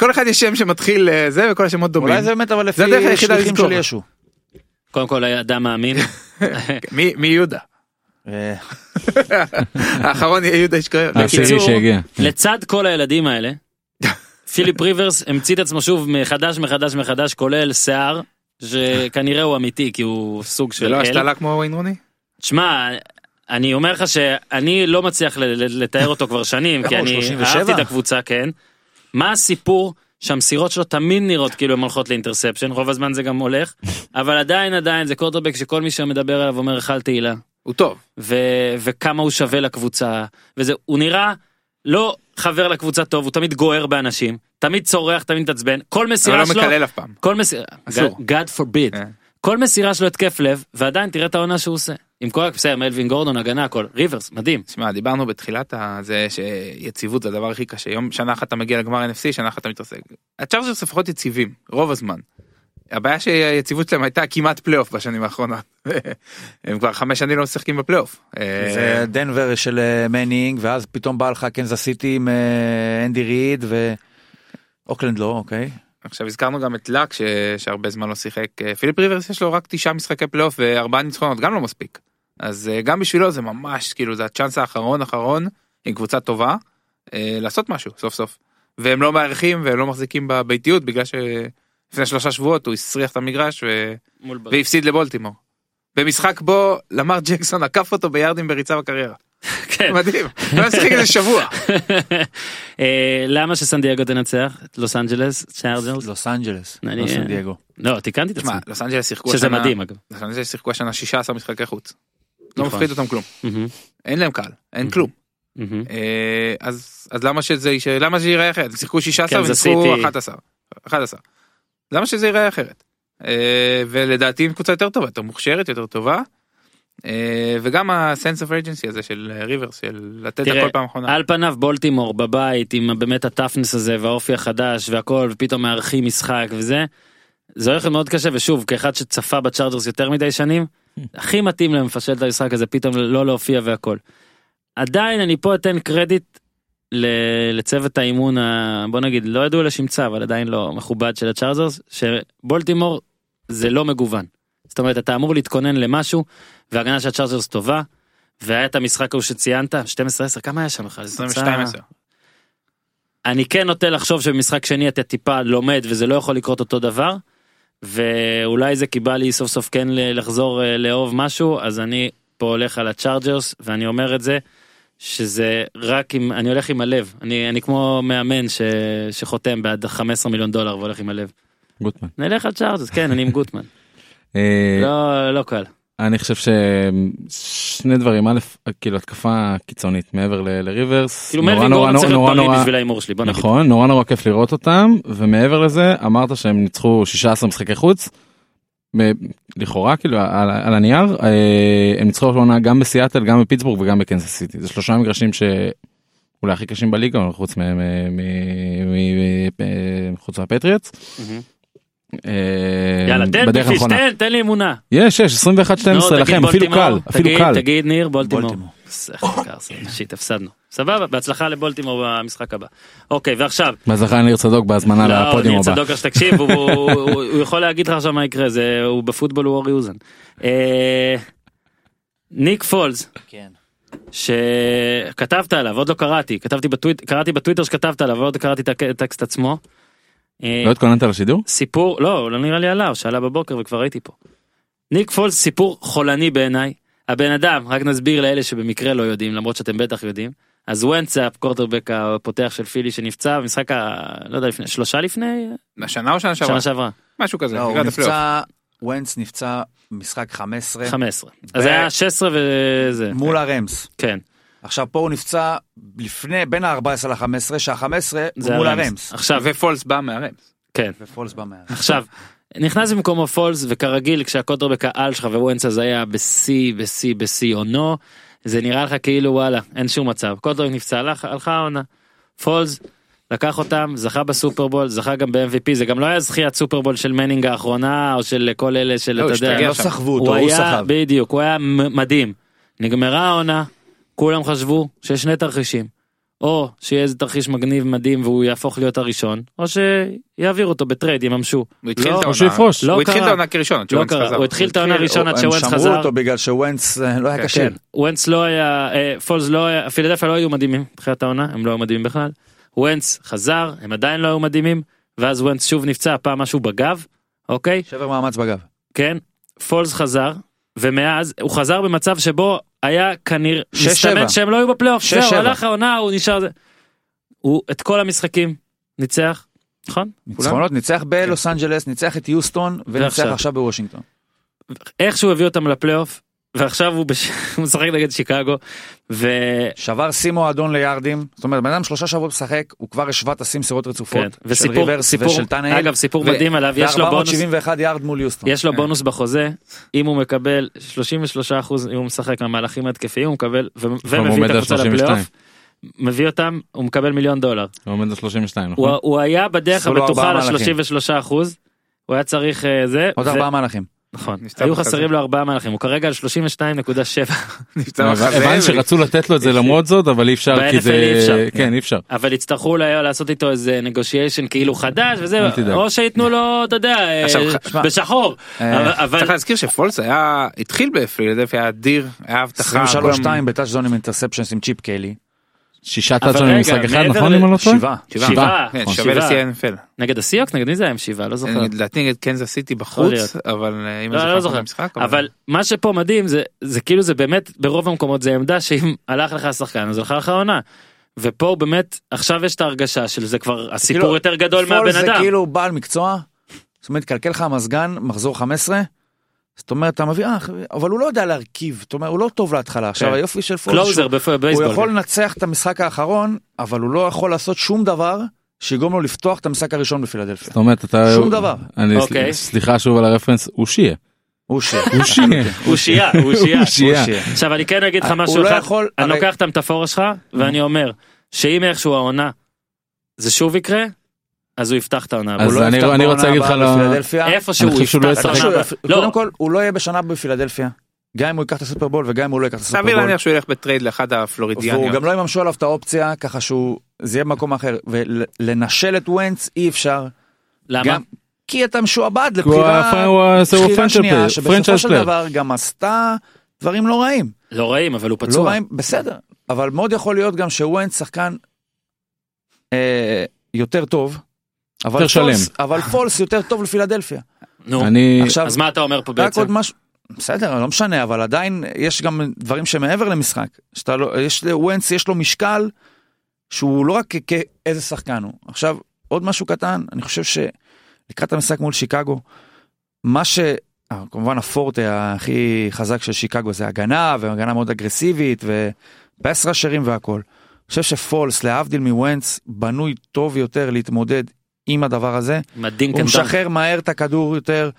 Speaker 5: כל אחד יש שם שמתחיל אה, זה וכל השמות דומים.
Speaker 4: אולי זה באמת אבל לפי
Speaker 5: זה הדרך היחידה
Speaker 4: שליחים
Speaker 5: לזכור.
Speaker 4: של ישו.
Speaker 1: קודם כל היה אדם
Speaker 5: *laughs*
Speaker 1: מאמין.
Speaker 5: מי מי יהודה
Speaker 4: אה,
Speaker 5: האחרון יהיה יהודה אישקריון.
Speaker 2: העשירי
Speaker 1: בקיצור,
Speaker 2: שהגיע.
Speaker 1: לצד כל הילדים האלה, פיליפ ריברס המציא את עצמו שוב מחדש מחדש מחדש כולל שיער, שכנראה הוא אמיתי כי הוא סוג
Speaker 5: זה
Speaker 1: של
Speaker 5: לא
Speaker 1: אל.
Speaker 5: השתלה כמו ווין רוני?
Speaker 1: שמע, אני אומר לך שאני לא מצליח ל- ל- לתאר אותו כבר שנים, כי
Speaker 5: *laughs*
Speaker 4: הוא,
Speaker 1: אני
Speaker 4: 37?
Speaker 1: אהבתי את הקבוצה, כן. מה הסיפור? שהמסירות שלו תמיד נראות כאילו הן הולכות לאינטרספשן, רוב הזמן זה גם הולך, אבל עדיין עדיין זה קורטרבק שכל מי שמדבר עליו אומר אכל תהילה.
Speaker 5: הוא טוב.
Speaker 1: ו- וכמה הוא שווה לקבוצה וזה הוא נראה לא חבר לקבוצה טוב הוא תמיד גוער באנשים תמיד צורח תמיד מתעצבן כל
Speaker 5: אבל
Speaker 1: מסירה
Speaker 5: לא
Speaker 1: שלו
Speaker 5: מקלל אף פעם.
Speaker 1: כל מסירה
Speaker 5: אסור.
Speaker 1: God- God forbid
Speaker 5: כן.
Speaker 1: כל מסירה שלו התקף לב ועדיין תראה את העונה שהוא עושה עם כל בסדר מלווין גורדון הגנה הכל ריברס מדהים
Speaker 5: תשמע, דיברנו בתחילת זה שיציבות זה הדבר הכי קשה. יום, שנה אחת אתה מגיע לגמר NFC, שנה אחת אתה מתרסק. הצ'ארג'רס לפחות יציבים, רוב הזמן. הבעיה שהיציבות שלהם הייתה כמעט פלייאוף בשנים האחרונות. *laughs* הם כבר חמש שנים לא משחקים בפלייאוף.
Speaker 1: כן.
Speaker 5: אה,
Speaker 4: זה דנבר של אה, מנינג ואז פתאום בא לך קנזס סיטי עם אה, אנדי ריד ואוקלנד לא אוקיי.
Speaker 5: עכשיו הזכרנו גם את לק ש... שהרבה זמן לא שיחק. אה, פיליפ ריברס יש לו רק תשעה משחקי פלייאוף וארבעה ניצחונות, גם לא מספיק. אז אה, גם בשבילו זה ממש כאילו זה הצ'אנס האחרון אחרון עם קבוצה טובה אה, לעשות משהו סוף סוף. והם לא מארחים והם לא מחזיקים בביתיות בגלל שלפני שלושה שבועות הוא הסריח את המגרש ו...
Speaker 1: מול בריא.
Speaker 5: והפסיד לבולטימור. במשחק בו למר ג'קסון עקף אותו ביארדים בריצה בקריירה.
Speaker 1: כן.
Speaker 5: מדהים. הוא היה משחק איזה שבוע.
Speaker 1: *laughs* אה, למה שסן דייגו תנצח את לוס אנג'לס צ'ארג'רס
Speaker 4: לוס אנג'לס.
Speaker 1: אני-
Speaker 4: לא סן דייגו.
Speaker 1: לא תיקנתי את עצמי
Speaker 5: תשמע, לוס אנג'לס שיחקו
Speaker 1: שזה מדהים אגב.
Speaker 5: לוס אנג'לס שיחקו השנה 16 משחקי חוץ. לא
Speaker 1: נכון.
Speaker 5: מפחיד אותם כלום.
Speaker 1: מהמם,
Speaker 5: אין להם קהל, אין
Speaker 1: Mhm.
Speaker 5: כלום.
Speaker 1: מהמם.
Speaker 5: אה, אז אז למה שזה ייש- למה שזה ייראה אחרת? שיחקו 16
Speaker 1: קנזס
Speaker 5: וניצחו
Speaker 1: כן, סיטי.
Speaker 5: 11. 11. למה שזה ייראה אחרת? אה, ולדעתי עם קבוצה יותר טובה, יותר מוכשרת, יותר טובה. אה, וגם הסנס אוף רג'נסי הזה של אה, ריברס, של לתת
Speaker 1: תראה, אה,
Speaker 5: הכל פעם אחרונה.
Speaker 1: על פניו בולטימור בבית עם באמת הטאפנס הזה והאופי החדש והכל ופתאום מארחים משחק וזה. זה הולך להיות מאוד קשה ושוב כאחד שצפה בצ'ארג'רס יותר מדי שנים הכי מתאים להם לפשל את המשחק הזה פתאום לא להופיע והכל. עדיין אני פה אתן קרדיט ל- לצוות האימון ה... בוא נגיד לא ידעו לשמצה אבל עדיין לא מכובד של הצ'ארג'רס שבולטימור זה לא מגוון. זאת אומרת אתה אמור להתכונן למשהו והגנה של הצ'ארג'רס טובה. והיה את המשחק ההוא שציינת 12-10 כמה היה שם בכלל? זה
Speaker 5: 22
Speaker 1: תוצאה- אני כן נוטה לחשוב שבמשחק שני אתה טיפה לומד וזה לא יכול לקרות אותו דבר. ואולי זה כי בא לי סוף סוף כן ל- לחזור אה, לאהוב משהו אז אני פה הולך על הצ'ארג'רס ואני אומר את זה. שזה רק אם אני הולך עם הלב אני אני כמו מאמן ש, שחותם בעד 15 מיליון דולר והולך עם הלב.
Speaker 2: גוטמן.
Speaker 1: נלך על צ'ארג'רס כן אני עם גוטמן
Speaker 2: אה,
Speaker 1: לא לא קל.
Speaker 2: אני חושב ששני דברים א' כאילו התקפה קיצונית מעבר ל- לריברס
Speaker 1: כאילו
Speaker 2: נורא,
Speaker 1: מלווין
Speaker 2: נורא,
Speaker 1: גורדון צריך להיות
Speaker 2: נורא,
Speaker 1: בריא
Speaker 2: נורא-
Speaker 1: בשביל ההימור שלי בוא נגיד.
Speaker 2: נכון נורא נורא כיף לראות אותם ומעבר לזה אמרת שהם ניצחו 16 משחקי חוץ. מ- לכאורה כאילו על, על הנייר אה, הם ניצחו עונה גם בסיאטל גם בפיטסבורג וגם בקנסס סיטי זה שלושה מגרשים שאולי הכי קשים בליגה חוץ מ- מ- מ- מ- מ- חוץ מהפטריאטס.
Speaker 1: מהמם.
Speaker 2: אה,
Speaker 1: יאללה תן
Speaker 2: בדרך
Speaker 1: פיש,
Speaker 2: הנכונה.
Speaker 1: תן תן לי אמונה.
Speaker 2: יש יש 21 12
Speaker 1: נו, לא, תגיד
Speaker 2: לכם אפילו
Speaker 1: בולטימור,
Speaker 2: קל אפילו
Speaker 1: תגיד,
Speaker 2: קל.
Speaker 1: תגיד ניר בולטימור.
Speaker 4: בולטימור.
Speaker 1: סך, קר, סך, שיט הפסדנו. סבבה בהצלחה לבולטימור במשחק הבא. אוקיי ועכשיו.
Speaker 2: בהצלחה ניר צדוק בהזמנה
Speaker 1: לא,
Speaker 2: לפודיום
Speaker 1: ניר
Speaker 2: הבא.
Speaker 1: צדוק, אז תקשיב, הוא- הוא הוא- הוא יכול להגיד לך עכשיו מה יקרה, זה- הוא בפוטבול הוא אורי אוזן. אה, ניק פולס,
Speaker 4: כן.
Speaker 1: שכתבת עליו, עוד לא קראתי, כתבתי בטוויט- קראתי בטוויטר שכתבת עליו, אבל עוד לא קראתי את הטקסט עצמו. אה,
Speaker 2: לא התכוננת לשידור?
Speaker 1: סיפור לא לא נראה לי עליו שעלה בבוקר וכבר הייתי פה. ניק פולס סיפור חולני בעיניי הבן אדם רק נסביר לאלה שבמקרה לא יודעים למרות שאתם בטח יודעים אז ונצאפ קורטרבק הפותח של פילי שנפצע במשחק ה... לא יודע לפני שלושה לפני
Speaker 5: השנה או שנה שעברה?
Speaker 1: שנה שעברה
Speaker 5: משהו כזה.
Speaker 4: לא, הוא
Speaker 5: לקראת הפלייאוף.
Speaker 4: נפצע, ונץ נפצע משחק 15
Speaker 1: 15
Speaker 4: ב-
Speaker 1: אז היה 16 וזה
Speaker 4: מול הרמס.
Speaker 1: כן
Speaker 4: עכשיו פה הוא נפצע לפני, בין ה-14 ל-15, שה-15 הוא
Speaker 1: זה
Speaker 4: מול
Speaker 1: הרמס.
Speaker 4: הרמס.
Speaker 1: עכשיו
Speaker 5: ופולס בא מהרמס.
Speaker 1: כן
Speaker 4: ופולס בא מהרמס.
Speaker 1: *laughs* עכשיו נכנס במקומו פולס וכרגיל כשהקוטרבק העל שלך ווונס אז היה בשיא בשיא בשיא עונו זה נראה לך כאילו וואלה אין שום מצב קוטרבק נפצע לך הלכה העונה. פולס לקח אותם זכה בסופרבול זכה גם ב-MVP זה גם לא היה זכיית סופרבול של מנינג האחרונה או של כל אלה של
Speaker 5: לא,
Speaker 1: אתה
Speaker 5: השתגע
Speaker 1: יודע
Speaker 5: שם.
Speaker 4: לא סחבו אותו,
Speaker 1: הוא
Speaker 4: הוא
Speaker 1: היה
Speaker 4: סחב.
Speaker 1: בדיוק הוא היה מ- מדהים נגמרה העונה כולם חשבו שיש שני תרחישים או שיהיה איזה תרחיש מגניב מדהים והוא יהפוך להיות הראשון או שיעבירו אותו בטרייד יממשו.
Speaker 5: הוא התחיל את
Speaker 1: לא,
Speaker 5: העונה.
Speaker 2: או שיפרוש.
Speaker 1: לא
Speaker 5: הוא התחיל את
Speaker 1: קרה.
Speaker 5: העונה כראשון. עד
Speaker 1: לא
Speaker 5: שוונס
Speaker 1: קרה
Speaker 5: חזר.
Speaker 1: הוא התחיל את העונה הראשונה עד שוונס
Speaker 4: הם שמרו
Speaker 1: חזר.
Speaker 4: אותו בגלל שוונץ אה, לא היה
Speaker 1: כן,
Speaker 4: כשיר.
Speaker 1: וונץ לא היה, אה, פולס לא היה, פילדלפיה לא היו מדהימים בתחילת העונה, הם לא היו מדהימים בכלל. וונץ חזר, הם עדיין לא היו מדהימים, ואז וונץ שוב נפצע, הפעם משהו בגב, אוקיי?
Speaker 4: שבר מאמץ בגב.
Speaker 1: כן, פולס חזר, ומאז הוא חזר במצב שבו היה כנראה,
Speaker 4: שש,
Speaker 1: מסתמן
Speaker 4: שבע.
Speaker 1: שהם לא היו בפלייאוף,
Speaker 4: שש,
Speaker 1: זהו,
Speaker 4: שבע.
Speaker 1: הלך העונה, הוא נשאר, זה. הוא את כל המשחקים ניצח, נכון?
Speaker 4: ניצחונות, ניצח בלוס אנג'לס, ניצח את יוסטון, וניצח
Speaker 1: כן. ועכשיו.
Speaker 4: עכשיו בוושינגטון.
Speaker 1: איך שהוא הביא אותם לפלייאוף, ועכשיו הוא בש- *laughs* הוא משחק נגד שיקגו, ו...
Speaker 4: שבר שיא מועדון ליארדים, זאת אומרת, בן אדם שלושה שבועות משחק, הוא כבר השווה את השיא מסירות רצופות,
Speaker 1: כן,
Speaker 4: של
Speaker 1: וסיפור,
Speaker 4: ריברס
Speaker 1: סיפור,
Speaker 4: ושל טנאי,
Speaker 1: אגב סיפור
Speaker 5: ו-
Speaker 1: מדהים עליו, יש לו בונוס,
Speaker 4: ו-471 יארד מול יוסטון. כן.
Speaker 1: יש לו בונוס בחוזה, אם הוא מקבל 33% אם הוא משחק מהמהלכים ההתקפיים, הוא מקבל, ו- ומביא
Speaker 2: עומד
Speaker 1: את
Speaker 2: על
Speaker 1: הקבוצה
Speaker 2: 32.
Speaker 1: לפלייאוף, מביא אותם, הוא מקבל מיליון דולר.
Speaker 2: הוא עומד על 32
Speaker 1: הוא-
Speaker 2: נכון?
Speaker 1: הוא היה בדרך
Speaker 4: עשו לו
Speaker 1: הבטוחה
Speaker 4: ארבעה מהלכים.
Speaker 1: ל-33%, הוא היה צריך אה, זה,
Speaker 4: עוד
Speaker 1: ו-
Speaker 4: ארבעה מהלכים.
Speaker 1: נכון,
Speaker 5: נפצע
Speaker 1: היו
Speaker 5: בחזה.
Speaker 1: חסרים לו ארבעה מהלכים, הוא כרגע על 32.7,
Speaker 5: נפצע בחזה,
Speaker 2: הבנתי שרצו לתת לו את זה למרות זאת אבל אי אפשר כי
Speaker 1: ב-NFL
Speaker 2: זה
Speaker 1: אי אפשר.
Speaker 2: כן אי אפשר.
Speaker 1: *laughs* אבל יצטרכו אולי לעשות איתו איזה נגושיישן כאילו חדש וזה,
Speaker 2: אל תדאג.
Speaker 1: או שייתנו לו, אתה יודע, אה,
Speaker 5: עכשיו, שמע,
Speaker 1: בשחור,
Speaker 4: אה,
Speaker 1: אבל- אבל...
Speaker 5: צריך להזכיר שפולס היה התחיל בפילדלפיה היה אדיר היה הבטחה.
Speaker 4: 23-2
Speaker 5: גם-
Speaker 4: בטאצ' זון עם אינטרספשנס עם צ'יפ קיילי.
Speaker 2: שישה
Speaker 1: אבל
Speaker 2: טאצ'ונים
Speaker 1: רגע,
Speaker 2: במשחק אחד
Speaker 1: מעבר
Speaker 2: נכון
Speaker 1: ל-
Speaker 2: אם אני לא טועה?
Speaker 4: שבעה.
Speaker 1: שבעה,
Speaker 5: כן,
Speaker 1: נכון.
Speaker 5: שווה
Speaker 1: שבעה.
Speaker 5: לשיא ה-NFL.
Speaker 1: נגד הסיוקס נגד מי זה היה עם שבעה לא זוכר.
Speaker 5: לדעתי נגד קנזס סיטי
Speaker 1: יכול להיות.
Speaker 5: בחוץ אבל אה, אם
Speaker 1: לא,
Speaker 5: אני
Speaker 1: לא
Speaker 5: זוכר
Speaker 1: זוכר.
Speaker 5: את המשחק.
Speaker 1: אבל מה שפה מדהים זה זה כאילו זה באמת ברוב המקומות זה עמדה שאם *laughs* הלך לך השחקן אז הלכה לך העונה. ופה הוא באמת עכשיו יש את ההרגשה של זה כבר הסיפור
Speaker 4: כאילו,
Speaker 1: יותר גדול
Speaker 4: פול
Speaker 1: מהבן
Speaker 4: זה
Speaker 1: אדם.
Speaker 4: כאילו בעל מקצוע, זאת אומרת, קלקל לך המזגן, מחזור 15. זאת אומרת, אתה מביא, אה, אבל הוא לא יודע להרכיב, זאת אומרת, הוא לא טוב להתחלה.
Speaker 1: כן.
Speaker 4: עכשיו, היופי של פול, שהוא-
Speaker 1: קלוזר בפ-
Speaker 4: הוא
Speaker 1: בבייסבול.
Speaker 4: יכול לנצח את המשחק האחרון, אבל הוא לא יכול לעשות שום דבר שיגרום לו לפתוח את המשחק הראשון בפילדלפיה.
Speaker 2: זאת אומרת אתה
Speaker 4: שום דבר.
Speaker 2: אני
Speaker 1: אוקיי.
Speaker 2: סליחה שוב על הרפרנס הוא שיהיה.
Speaker 4: הוא ש...
Speaker 2: הוא שיהיה.
Speaker 1: הוא שיעה, הוא שיעה.
Speaker 2: הוא שיעה.
Speaker 1: עכשיו אני כן אגיד לך
Speaker 4: הוא
Speaker 1: משהו
Speaker 4: לא
Speaker 1: אחד,
Speaker 4: יכול-
Speaker 1: אני
Speaker 4: הרי- אה.
Speaker 1: לוקח את המטאפורה שלך ואני אומר שאם איכשהו העונה זה שוב יקרה אז הוא יפתח את העונה. הבאה.
Speaker 2: אז
Speaker 4: הוא לא
Speaker 2: אני-
Speaker 4: יפתח
Speaker 2: אני רוצה
Speaker 4: בעונה
Speaker 2: להגיד לך
Speaker 4: הבאה
Speaker 2: לא-
Speaker 4: בפילדלפיה.
Speaker 1: איפה שהוא
Speaker 2: אני חושב שהוא
Speaker 1: יפתח
Speaker 2: לא
Speaker 1: את
Speaker 4: אתה
Speaker 2: ישחק.
Speaker 1: העונה
Speaker 4: חושב
Speaker 1: הבאה.
Speaker 4: שהוא- קודם
Speaker 1: לא,
Speaker 4: כל, הוא לא יהיה בשנה בפילדלפיה. גם אם הוא ייקח את הסופרבול וגם אם הוא לא ייקח את
Speaker 5: סביר
Speaker 4: הסופרבול.
Speaker 5: להניח שהוא ילך בטרייד לאחד
Speaker 4: והוא
Speaker 5: הפלורידיאניות.
Speaker 4: גם לא יממשו עליו את האופציה, ככה שהוא... זה יהיה במקום אחר. ולנשל את ונץ אי אפשר.
Speaker 1: למה?
Speaker 4: גם כי אתה משועבד
Speaker 2: *laughs* הוא
Speaker 4: לבחירה...
Speaker 2: הפ- הוא ה- הוא
Speaker 4: בחירה
Speaker 2: franchise
Speaker 4: שנייה,
Speaker 2: player,
Speaker 4: שבסופו
Speaker 2: franchise
Speaker 4: של
Speaker 2: player.
Speaker 4: דבר גם עשתה דברים לא רעים.
Speaker 1: לא רעים אבל הוא
Speaker 4: לא
Speaker 1: פצוע.
Speaker 4: רעים, בסדר, אבל מאוד יכול להיות גם שוויינס שחקן אה, יותר טוב, אבל
Speaker 2: יותר
Speaker 4: פולס, אבל פולס יותר טוב לפילדלפיה.
Speaker 1: נו.
Speaker 2: אני
Speaker 4: עכשיו,
Speaker 1: אז מה אתה אומר פה
Speaker 4: רק
Speaker 1: בעצם?
Speaker 4: עוד משהו, בסדר, לא משנה, אבל עדיין יש גם דברים שמעבר למשחק. שאתה לא, יש לוויינס, יש לו משקל שהוא לא רק כ- כאיזה שחקן הוא. עכשיו, עוד משהו קטן, אני חושב שלקראת המשחק מול שיקגו, מה ש... אה, כמובן הפורטה הכי חזק של שיקגו זה הגנה, והגנה מאוד אגרסיבית, ופס ראשרים והכל. אני חושב שפולס, להבדיל מוונץ, בנוי טוב יותר להתמודד עם הדבר הזה.
Speaker 1: מדהים
Speaker 4: הוא
Speaker 1: כן דן.
Speaker 4: משחרר מהר את הכדור יותר,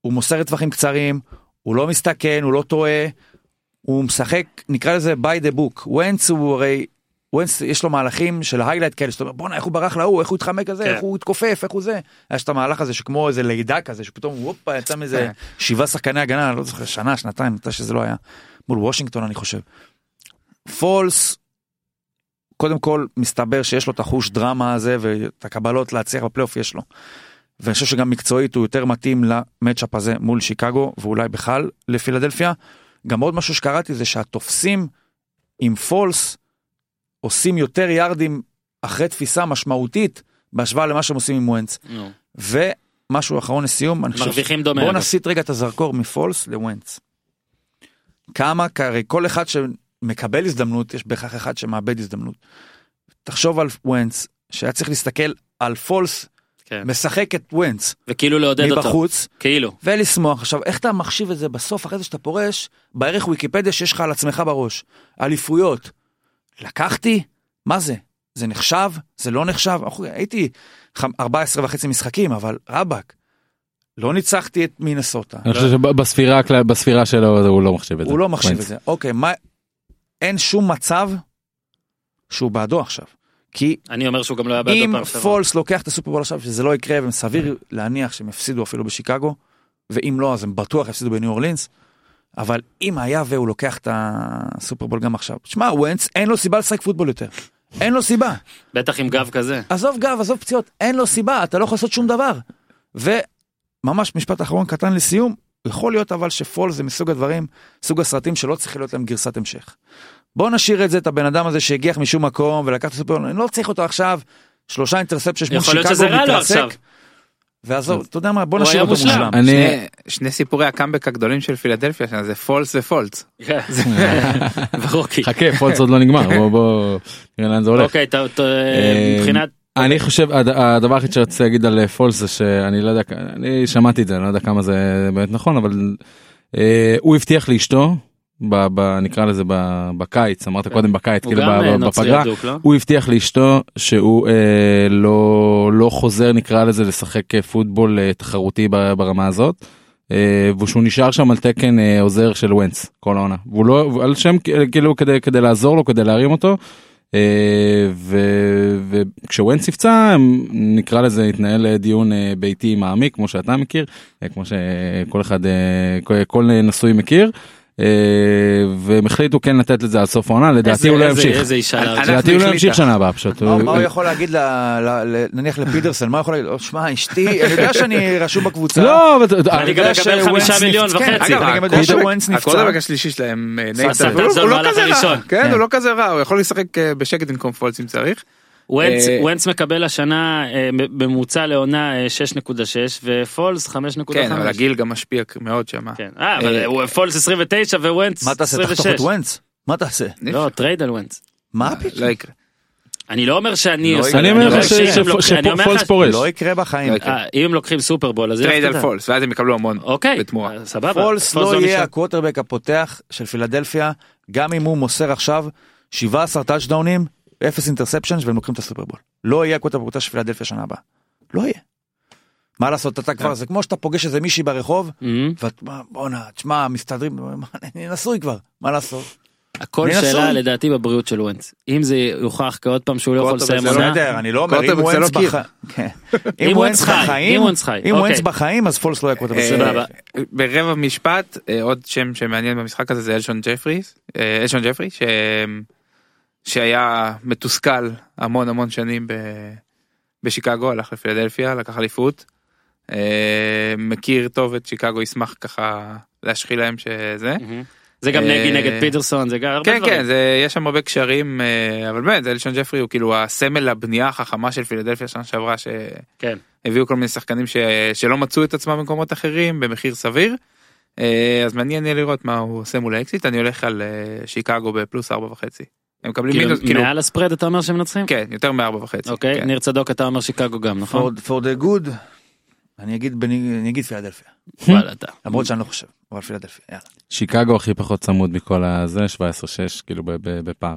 Speaker 4: הוא מוסר לטווחים קצרים, הוא לא מסתכן, הוא לא טועה, הוא משחק, נקרא לזה by the book. ונץ הוא הרי, ונץ יש לו מהלכים של היילייט כאלה, שאתה אומר בואנה איך הוא ברח להוא, איך הוא התחמק כזה,
Speaker 1: כן.
Speaker 4: איך הוא התכופף, איך הוא זה. יש את המהלך הזה שכמו איזה לידה כזה, שפתאום וופא יצא מזה
Speaker 5: כן.
Speaker 4: שבעה שחקני הגנה, אני לא זוכר, שנה, שנתיים, מתי שזה לא היה, מול וושינגטון אני חושב. פולס, קודם כל מסתבר שיש לו את החוש דרמה הזה ואת הקבלות להצליח בפלייאוף יש לו. ואני חושב שגם מקצועית הוא יותר מתאים למצ'אפ הזה מול שיקגו ואולי בכלל לפילדלפיה. גם עוד משהו שקראתי זה שהתופסים עם פולס עושים יותר יארדים אחרי תפיסה משמעותית בהשוואה למה שהם עושים עם וונץ.
Speaker 1: נו.
Speaker 4: ומשהו אחרון לסיום, אני חושב,
Speaker 1: מרוויחים דומה.
Speaker 4: בואו
Speaker 1: אגב.
Speaker 4: נסיט רגע את הזרקור מפולס לוונץ. כמה, כי הרי כל אחד שמקבל הזדמנות, יש בהכרח אחד שמאבד הזדמנות. תחשוב על וונץ, שהיה צריך להסתכל על פולס,
Speaker 1: כן.
Speaker 4: משחק את וונץ
Speaker 1: וכאילו לעודד אותו.
Speaker 4: מבחוץ,
Speaker 1: כאילו.
Speaker 4: ולשמוח. עכשיו, איך אתה מחשיב את זה בסוף, אחרי זה שאתה פורש, בערך ויקיפדיה שיש לך על עצמך בראש. אליפויות. לקחתי? מה זה? זה נחשב? זה לא נחשב? אחו, הייתי ח- 14 וחצי משחקים, אבל רבאק, לא ניצחתי את מינסוטה.
Speaker 2: אני חושב
Speaker 1: לא.
Speaker 2: שבספירה הכלל- בספירה שלו אז הוא לא מחשיב את זה.
Speaker 4: הוא לא מחשיב את
Speaker 2: וואנס.
Speaker 4: זה. אוקיי, מה... אין שום מצב שהוא בעדו עכשיו. כי
Speaker 1: אני אומר שהוא גם לא היה בעד
Speaker 4: אם
Speaker 1: הפעם שעברה.
Speaker 4: פולס לוקח את הסופרבול עכשיו, שזה לא יקרה, וסביר להניח שהם יפסידו אפילו בשיקגו, ואם לא, אז הם בטוח יפסידו בניו אורלינס, אבל אם היה והוא לוקח את הסופרבול גם עכשיו, שמע, וונץ, אין לו סיבה לשחק פוטבול יותר. אין לו סיבה.
Speaker 1: בטח עם גב כזה.
Speaker 4: עזוב גב, עזוב פציעות, אין לו סיבה, אתה לא יכול לעשות שום דבר. וממש משפט אחרון קטן לסיום, יכול להיות אבל שפול זה מסוג הדברים, סוג הסרטים שלא צריך להיות להם גרסת המשך. בוא נשאיר את זה, את הבן אדם הזה שהגיח משום מקום ולקח את הסופרנון, אני לא צריך אותו עכשיו, שלושה אינטרספציה מול
Speaker 1: יכול להיות
Speaker 4: שיקגו,
Speaker 1: שזה רע לו עכשיו.
Speaker 4: מתרסק, ועזוב, אתה יודע מה, בוא
Speaker 1: הוא
Speaker 4: נשאיר
Speaker 1: היה
Speaker 4: אותו
Speaker 1: מושלם.
Speaker 4: מושלם.
Speaker 2: אני...
Speaker 5: שני- שני סיפורי הקאמבק הגדולים של פילדלפיה שנה, זה פולס ופולץ.
Speaker 1: ורוקי.
Speaker 2: חכה, פולס עוד לא נגמר, בוא בוא נראה לאן זה הולך.
Speaker 1: אוקיי, אתה- אתה-
Speaker 2: אה,
Speaker 1: מבחינת...
Speaker 2: אני חושב, הד- הדבר היחיד שרציתי להגיד על אה, פולס זה שאני לא יודע, כ- אני שמעתי את זה, אני לא יודע כמה זה באמת נכון, אבל אה, הוא הבטיח לאשתו, ב- ב- נקרא לזה ב- בקיץ, אמרת קודם בקיץ,
Speaker 1: כן. הוא
Speaker 2: כאילו
Speaker 1: גם
Speaker 2: ב-
Speaker 1: אה,
Speaker 2: ב-
Speaker 1: נוצרי
Speaker 2: בפגרה,
Speaker 1: אדוק, לא?
Speaker 2: הוא הבטיח לאשתו שהוא אה, לא, לא חוזר נקרא לזה לשחק אה, פוטבול אה, תחרותי ב- ברמה הזאת. אה, ושהוא נשאר שם על תקן אה, עוזר של ונץ כל העונה. והוא לא, והוא על שם כ- כאילו כדי, כדי לעזור לו, כדי להרים אותו. אה, ו- וכשוונץ נפצע, הם- נקרא לזה, התנהל אה, דיון אה, ביתי מעמיק, כמו שאתה מכיר, אה, כמו שכל אחד, אה, כל- כל נשוי מכיר, אה, והם החליטו כן לתת לזה עד סוף העונה, לדעתי
Speaker 1: איזה-
Speaker 2: הוא לא
Speaker 1: איזה-
Speaker 2: ימשיך.
Speaker 1: איזה אישה.
Speaker 5: אנחנו
Speaker 1: לארג'.
Speaker 2: לדעתי הוא לא
Speaker 5: החליטה.
Speaker 2: ימשיך שנה הבאה פשוט.
Speaker 4: מה
Speaker 2: הוא-
Speaker 4: מה הוא יכול להגיד, ל- ל- ל- נניח לפידרסן, מה הוא יכול להגיד, "או, שמע, אשתי, אני יודע שאני רשום בקבוצה.
Speaker 2: לא, אבל...
Speaker 1: אני גם
Speaker 4: יודע
Speaker 1: אקבל
Speaker 4: שוונץ
Speaker 1: חמישה מיליון
Speaker 4: נפצע.
Speaker 1: וחצי.
Speaker 4: אגב, אני גם יודע
Speaker 5: הקורטבק-
Speaker 4: שוונץ נפצע.
Speaker 5: הקורטבק השלישי שלהם, אה, נייט
Speaker 1: עשה את
Speaker 5: דאבל,
Speaker 1: זה
Speaker 5: הוא לא
Speaker 1: במהלך
Speaker 5: כזה
Speaker 1: הראשון.
Speaker 5: רע, כן,
Speaker 4: כן.
Speaker 5: הוא לא כזה רע, הוא יכול לשחק אה, בשקט במקום פולס אם צריך.
Speaker 1: ונץ-
Speaker 5: אה,
Speaker 1: ונץ מקבל השנה אה, בממוצע לעונה אה, 6.6 ופולס 5.5.
Speaker 5: כן, אבל הגיל גם משפיע מאוד שם.
Speaker 1: כן. אה, אבל
Speaker 5: אה,
Speaker 1: הוא- פולס 29 וונץ
Speaker 4: מה תעשה, תחתוך את
Speaker 1: 26.
Speaker 4: וונץ? מה תעשה?
Speaker 1: לא, טרייד על ונץ.
Speaker 4: מה
Speaker 5: לא
Speaker 4: פתאום?
Speaker 5: יקרה.
Speaker 1: אני לא אומר שאני
Speaker 4: לא
Speaker 1: עושה...
Speaker 2: אני אומר לך
Speaker 1: ש...
Speaker 2: שפולס פורש.
Speaker 4: לא יקרה בחיים.
Speaker 5: לא יקרה.
Speaker 1: אה, אם הם לוקחים סופרבול אז... איך
Speaker 5: טרייד
Speaker 1: אתה
Speaker 5: על
Speaker 1: יודע?
Speaker 5: פולס, ואז הם יקבלו המון.
Speaker 1: אוקיי.
Speaker 5: בתמורה.
Speaker 1: אה, סבבה.
Speaker 4: פולס לא יהיה
Speaker 1: נשאר.
Speaker 4: הקווטרבק הפותח של פילדלפיה, גם אם הוא מוסר עכשיו 17 טאצ'דאונים, 0 אינטרספשן, והם לוקחים את הסופרבול. לא יהיה הקווטרבק הפותח של פילדלפיה שנה הבאה. לא יהיה. מה לעשות, אתה
Speaker 1: אה.
Speaker 4: כבר, זה כמו שאתה פוגש איזה מישהי ברחוב,
Speaker 1: מהמם.
Speaker 4: ואת, מה, בואנה, תשמע, מסתדרים, *laughs* מה, אני נשוי כבר, מה לעשות?
Speaker 1: הכל
Speaker 4: אני
Speaker 1: שאלה
Speaker 4: נשוי.
Speaker 1: לדעתי בבריאות של ונץ. אם זה יוכח כעוד פעם שהוא לא יכול
Speaker 5: קוטב זה
Speaker 1: לסיים
Speaker 5: לא
Speaker 1: עונה...
Speaker 4: בסדר, אני לא אומר, אם
Speaker 5: קווטרבק זה
Speaker 4: וונץ
Speaker 5: לא קיר.
Speaker 4: בח- *laughs* כן.
Speaker 1: אם
Speaker 4: אם
Speaker 1: וונץ
Speaker 4: וונץ
Speaker 1: חי,
Speaker 4: בחיים,
Speaker 1: אם וונץ חי,
Speaker 4: אם
Speaker 1: אוקיי.
Speaker 4: וונץ בחיים, אז פולס לא יהיה קווטרבק.
Speaker 5: אה,
Speaker 1: סבבה.
Speaker 5: ברבע משפט אה, עוד שם שמעניין במשחק הזה זה אלשון ג'פריס אה, אלשון ג'פרי ש... שהיה מתוסכל המון המון שנים ב... בשיקגו הלך לפילדלפיה לקח אליפות אה, מכיר טוב את שיקגו ישמח ככה להשחיל להם שזה
Speaker 1: מהמם. זה גם
Speaker 5: אה,
Speaker 1: נגי נגד פיטרסון, זה גם הרבה
Speaker 5: כן
Speaker 1: דברים.
Speaker 5: כן זה יש שם הרבה קשרים אה, אבל באמת אלשון ג'פרי הוא כאילו הסמל לבנייה החכמה של פילדלפיה שנה שעברה ש...
Speaker 1: כן.
Speaker 5: הביאו כל מיני שחקנים ש... שלא מצאו את עצמם במקומות אחרים במחיר סביר. אה, אז מעניין יהיה לראות מה הוא עושה מול האקסיט אני הולך על אה, שיקגו בפלוס ארבע וחצי. הם מקבלים
Speaker 1: כאילו,
Speaker 5: מינוס כאילו
Speaker 1: מעל הספרד אתה אומר שהם מנצחים?
Speaker 5: כן יותר מארבע וחצי.
Speaker 1: אוקיי,
Speaker 5: כן.
Speaker 1: ניר צדוק אתה אומר שיקגו גם, נכון?
Speaker 4: for for the good, אני אגיד בני- אני אגיד פילדלפיה.
Speaker 1: וואלה אתה.
Speaker 4: למרות שאני לא חושב, אבל פילדלפיה, יאללה.
Speaker 2: שיקגו הכי פחות צמוד מכל הזה, 17-6, כאילו ב- ב- בפער.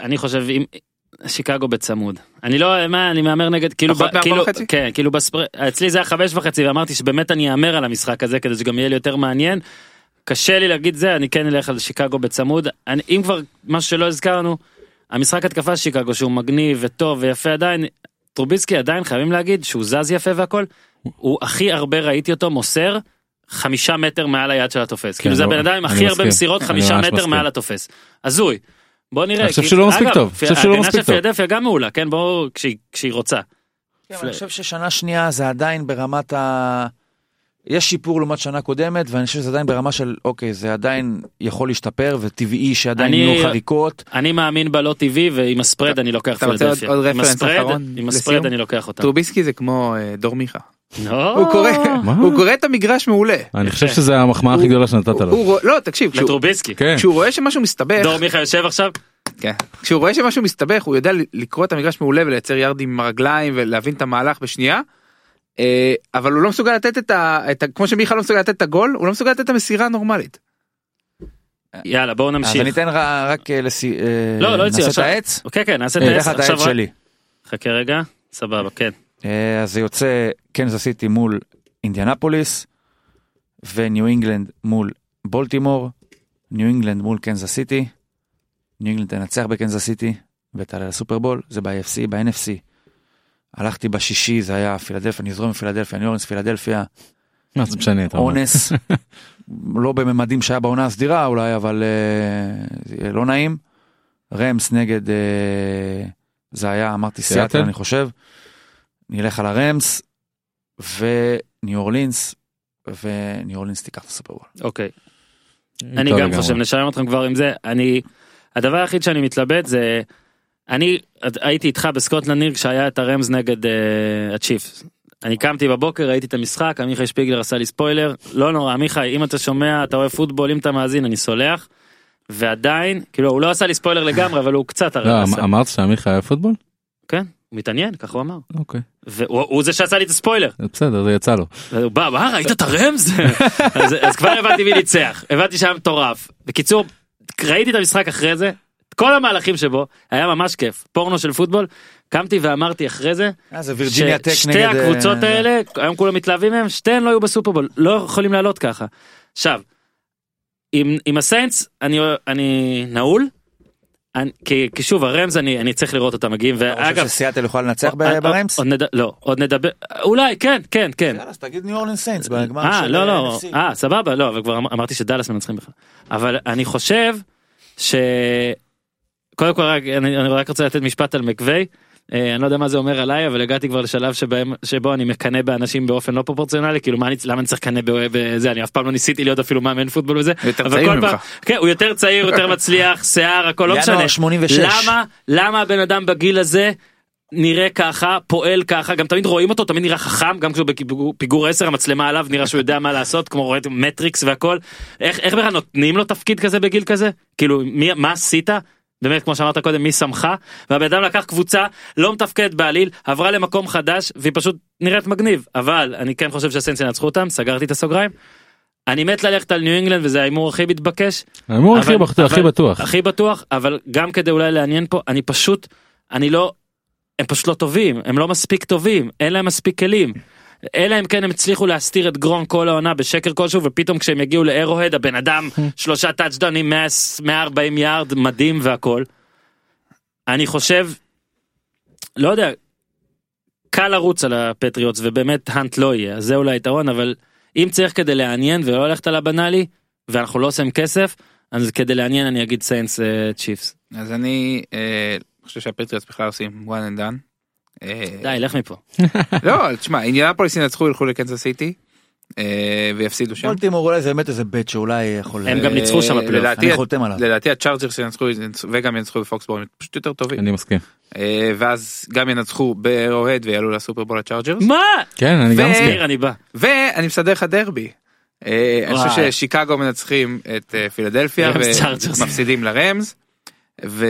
Speaker 1: אני חושב אם... שיקגו בצמוד. אני לא, מה, אני מהמר נגד, כאילו,
Speaker 5: פחות
Speaker 1: ב-
Speaker 5: מארבע
Speaker 1: כאילו,
Speaker 5: וחצי?
Speaker 1: כן, כאילו בספר, אצלי זה היה חמש וחצי ואמרתי שבאמת אני אהמר על המשחק הזה כדי שגם יהיה לי יותר מעניין. קשה לי להגיד זה, אני כן אלך על שיקגו בצמוד. אני, אם כבר, משהו שלא הזכרנו, המשחק התקפה של שיקגו שהוא מגניב וטוב ויפה עדיין, טרוביסקי עדיין חייבים להגיד שהוא זז יפה והכל, הוא הכי הרבה ראיתי אותו מוסר חמישה מטר מעל היד של התופס. כאילו זה
Speaker 2: לא,
Speaker 1: הבן אדם עם
Speaker 2: אני
Speaker 1: הכי הרבה
Speaker 2: מסכים.
Speaker 1: מסירות
Speaker 2: אני
Speaker 1: חמישה
Speaker 2: ממש
Speaker 1: מטר
Speaker 2: מסכים.
Speaker 1: מעל התופס. הזוי. בוא נראה.
Speaker 2: אני חושב
Speaker 1: כי-
Speaker 2: שהוא לא מספיק
Speaker 1: אגב,
Speaker 2: טוב. אני חושב שהוא לא מספיק
Speaker 1: ההגנה של
Speaker 2: טוב.
Speaker 1: פילדלפיה גם מעולה, כן, ברור, כשהיא- כשהיא רוצה.
Speaker 4: כן, אבל אני חושב ששנה שנייה זה עדיין ברמת ה... יש שיפור לעומת שנה קודמת, ואני חושב שזה עדיין ברמה של, אוקיי, זה עדיין יכול להשתפר, וטבעי שעדיין
Speaker 1: אני-
Speaker 4: יהיו חריקות.
Speaker 1: אני מאמין בלא טבעי ועם הספרד אני לוקח את
Speaker 5: אתה רוצה עוד-
Speaker 1: פילדלפיה.
Speaker 5: עוד
Speaker 1: עם
Speaker 5: רפרנס
Speaker 1: הספרד-
Speaker 5: אחרון
Speaker 1: עם הספרד
Speaker 5: לסיום?
Speaker 1: אני לוקח אותם.
Speaker 5: טרוביסקי זה כמו אה, דור מיכה.
Speaker 1: לא.
Speaker 5: הוא קורא,
Speaker 2: מה?
Speaker 5: הוא קורא את המגרש מעולה.
Speaker 2: אני חושב שזו המחמאה הכי גדולה שנתת
Speaker 5: הוא-
Speaker 2: לו.
Speaker 5: הוא רוא- לא, תקשיב, כשהוא-
Speaker 1: לטרוביסקי.
Speaker 2: כן.
Speaker 5: כשהוא רואה שמשהו מסתבך,
Speaker 1: דור מיכה יושב עכשיו?
Speaker 5: כן. כשהוא רואה שמשהו מסתבך הוא יודע ל- לקרוא את המגרש מעולה ולייצר ירדים עם הרגליים ולהבין את המהלך בשנייה. אה, אבל הוא לא מסוגל לתת את ה... את ה... כמו שמיכה לא מסוגל לתת את הגול הוא לא מסוגל לתת את המסירה הנורמלית. אה,
Speaker 1: יאללה בואו
Speaker 4: אז אני
Speaker 1: נמשיך.
Speaker 4: אתן לך רק אה, לסי... אה,
Speaker 1: לא, לא יוצא
Speaker 4: נעשה
Speaker 1: עכשיו.
Speaker 4: את העץ?
Speaker 1: כן כן נעשה את
Speaker 4: אה,
Speaker 1: העץ
Speaker 4: ככה את
Speaker 1: עכשיו.
Speaker 4: העץ
Speaker 1: רק-
Speaker 4: שלי.
Speaker 1: חכה רגע. סבבה כן.
Speaker 4: אה, אז זה יוצא קנזס סיטי מול אינדיאנפוליס, וניו אינגלנד מול בולטימור, ניו אינגלנד מול קנזס סיטי, ניו אינגלנד תנצח בקנזס סיטי, ותעלה לסופרבול, זה ב-AFC, ב-NFC. הלכתי בשישי, זה היה פילדלפיה, נזרום מפילדלפיה, ניו אורנס פילדלפיה,
Speaker 2: מה זה משנה אתה אומר.
Speaker 4: אונס, *laughs* לא בממדים שהיה בעונה הסדירה אולי, אבל אה, זה יהיה לא נעים. רמס נגד, אה, זה היה, אמרתי
Speaker 2: סיאטל?
Speaker 4: סיאטל, אני חושב. נלך על הרמס, וניו אורלינס, וניו אורלינס תיקח את הסופרבול.
Speaker 1: אוקיי.
Speaker 2: טוב
Speaker 1: אני גם
Speaker 2: לגמרי. לא,
Speaker 1: חושב נשלם אתכם כבר עם זה אני הדבר היחיד שאני מתלבט זה אני הייתי איתך בסקוטלנד ניר כשהיה את הרמז נגד אה, הצ'יפס. אני קמתי בבוקר ראיתי את המשחק עמיחי שפיגלר עשה לי ספוילר לא נורא עמיחי אם אתה שומע אתה אוהב פוטבול אם אתה מאזין אני סולח. ועדיין כאילו הוא לא עשה לי ספוילר לגמרי אבל הוא קצת הרי
Speaker 2: לא,
Speaker 1: עשה.
Speaker 2: אמ- אמרת שעמיחה היה פוטבול?
Speaker 1: כן הוא מתעניין ככה הוא אמר
Speaker 2: אוקיי.
Speaker 1: והוא הוא זה שעשה לי את הספוילר.
Speaker 2: זה בסדר זה יצא לו.
Speaker 1: והוא בא, מה ראית את
Speaker 4: *laughs*
Speaker 1: הרמז? אז- אז כבר הבנתי מי ניצח, הבנתי שהיה מטורף. בקיצור, ראיתי את המשחק אחרי זה, את כל המהלכים שבו, היה ממש כיף, פורנו של פוטבול, קמתי ואמרתי אחרי זה,
Speaker 4: אה, זה
Speaker 1: ששתי
Speaker 4: אה,
Speaker 1: הקבוצות האלה, היום כולם מתלהבים מהם, שתיהן לא היו בסופרבול, לא יכולים לעלות ככה. עכשיו, עם, עם הסיינטס אני, אני נעול, אני, כי, כי שוב הרמז אני, אני צריך לראות אותם מגיעים,
Speaker 4: אתה חושב
Speaker 1: ואגב,
Speaker 4: שסיאטל יכולה לנצח
Speaker 1: עוד- עוד-
Speaker 4: ברמס?
Speaker 1: עוד נד- לא, עוד נדבר, אולי כן, כן, כן.
Speaker 4: יאללה, אז תגיד ניו אורלינס סיינטס בגמר
Speaker 1: אה,
Speaker 4: של
Speaker 1: לא, לא,
Speaker 4: NFC.
Speaker 1: אה, סבבה, לא, אבל כבר אמ- אמרתי שדאלאס מנצחים בכלל. אבל אני חושב ש... קודם כל, רק, אני, אני רק רוצה לתת משפט על מקווי. אה, אני לא יודע מה זה אומר עליי, אבל הגעתי כבר לשלב שבהם, שבו אני מקנא באנשים באופן לא פרופורציונלי, כאילו מה אני, למה אני צריך לקנא ב- בזה, אני אף פעם לא ניסיתי להיות אפילו מאמן פוטבול וזה.
Speaker 5: יותר
Speaker 1: אבל
Speaker 5: צעיר
Speaker 1: כל
Speaker 5: ממך.
Speaker 1: פעם- כן, הוא יותר צעיר, יותר מצליח, שיער, הכל לא משנה.
Speaker 4: ינואר 86.
Speaker 1: למה, למה הבן אדם בגיל הזה נראה ככה, פועל ככה, גם תמיד רואים אותו, תמיד נראה חכם, גם כשהוא בפיגור- פיגור 10, המצלמה עליו, נראה שהוא יודע מה לעשות, כמו רואה את מטריקס והכל. איך איך בכלל נותנים לו תפקיד כזה בגיל כזה? כאילו, מי, מה עשית? באמת, כמו שאמרת קודם, מי שמך? והבן אדם לקח קבוצה לא מתפקדת בעליל, עברה למקום חדש, והיא פשוט נראית מגניב. אבל אני כן חושב שהסנס ינצחו אותם, סגרתי את הסוגריים. אני מת ללכת על ניו אינגלנד, וזה ההימור הכי מתבקש.
Speaker 2: ההימור
Speaker 1: אבל-
Speaker 2: הכי בטוח,
Speaker 1: אבל-
Speaker 2: הכי בטוח.
Speaker 1: הכי בטוח אבל גם כדי אולי לעניין פה אני פשוט אני לא הם פשוט לא טובים הם לא מספיק טובים אין להם מספיק כלים. אלא אם כן הם הצליחו להסתיר את גרון כל העונה בשקר כלשהו ופתאום כשהם יגיעו לאירוהד הבן אדם
Speaker 2: כן.
Speaker 1: שלושה טאצ'דאונים 100 140 יארד מדהים והכל. אני חושב לא יודע קל לרוץ על הפטריוטס ובאמת האנט לא יהיה אז זה אולי היתרון אבל אם צריך כדי לעניין ולא ללכת על הבנאלי ואנחנו לא עושים כסף אז כדי לעניין אני אגיד סיינס אה, צ'יפס.
Speaker 5: אז אני אה, חושב שהפטריוטס בכלל עושים one and done. אה,
Speaker 1: די לך מפה.
Speaker 5: לא תשמע אינדיאנפוליס ינצחו ילכו לקנזס סיטי אה, ויפסידו שם.
Speaker 4: בולטימור אולי זה באמת איזה בית שאולי יכול...
Speaker 1: הם גם
Speaker 5: אה,
Speaker 1: ניצחו שם בפלייאוף,
Speaker 5: לדעתי-
Speaker 4: אני חותם עליו.
Speaker 5: לדעתי הצ'ארג'רס ינצחו וגם ינצחו בפוקסבורג הם פשוט יותר טובים.
Speaker 1: כן.
Speaker 2: אני מסכים.
Speaker 5: אה, ואז גם ינצחו באירו-הד ויעלו לסופרבול הצ'ארג'רס.
Speaker 1: מה?
Speaker 2: כן אני גם
Speaker 5: ו-
Speaker 2: מסכים.
Speaker 1: ניר אני בא.
Speaker 5: ואני מסדר לך דרבי. אה, אני
Speaker 1: וואי.
Speaker 5: חושב ששיקגו מנצחים את אה, פילדלפיה
Speaker 1: רמז צ'ארג'רס.
Speaker 5: ומפסידים לרמז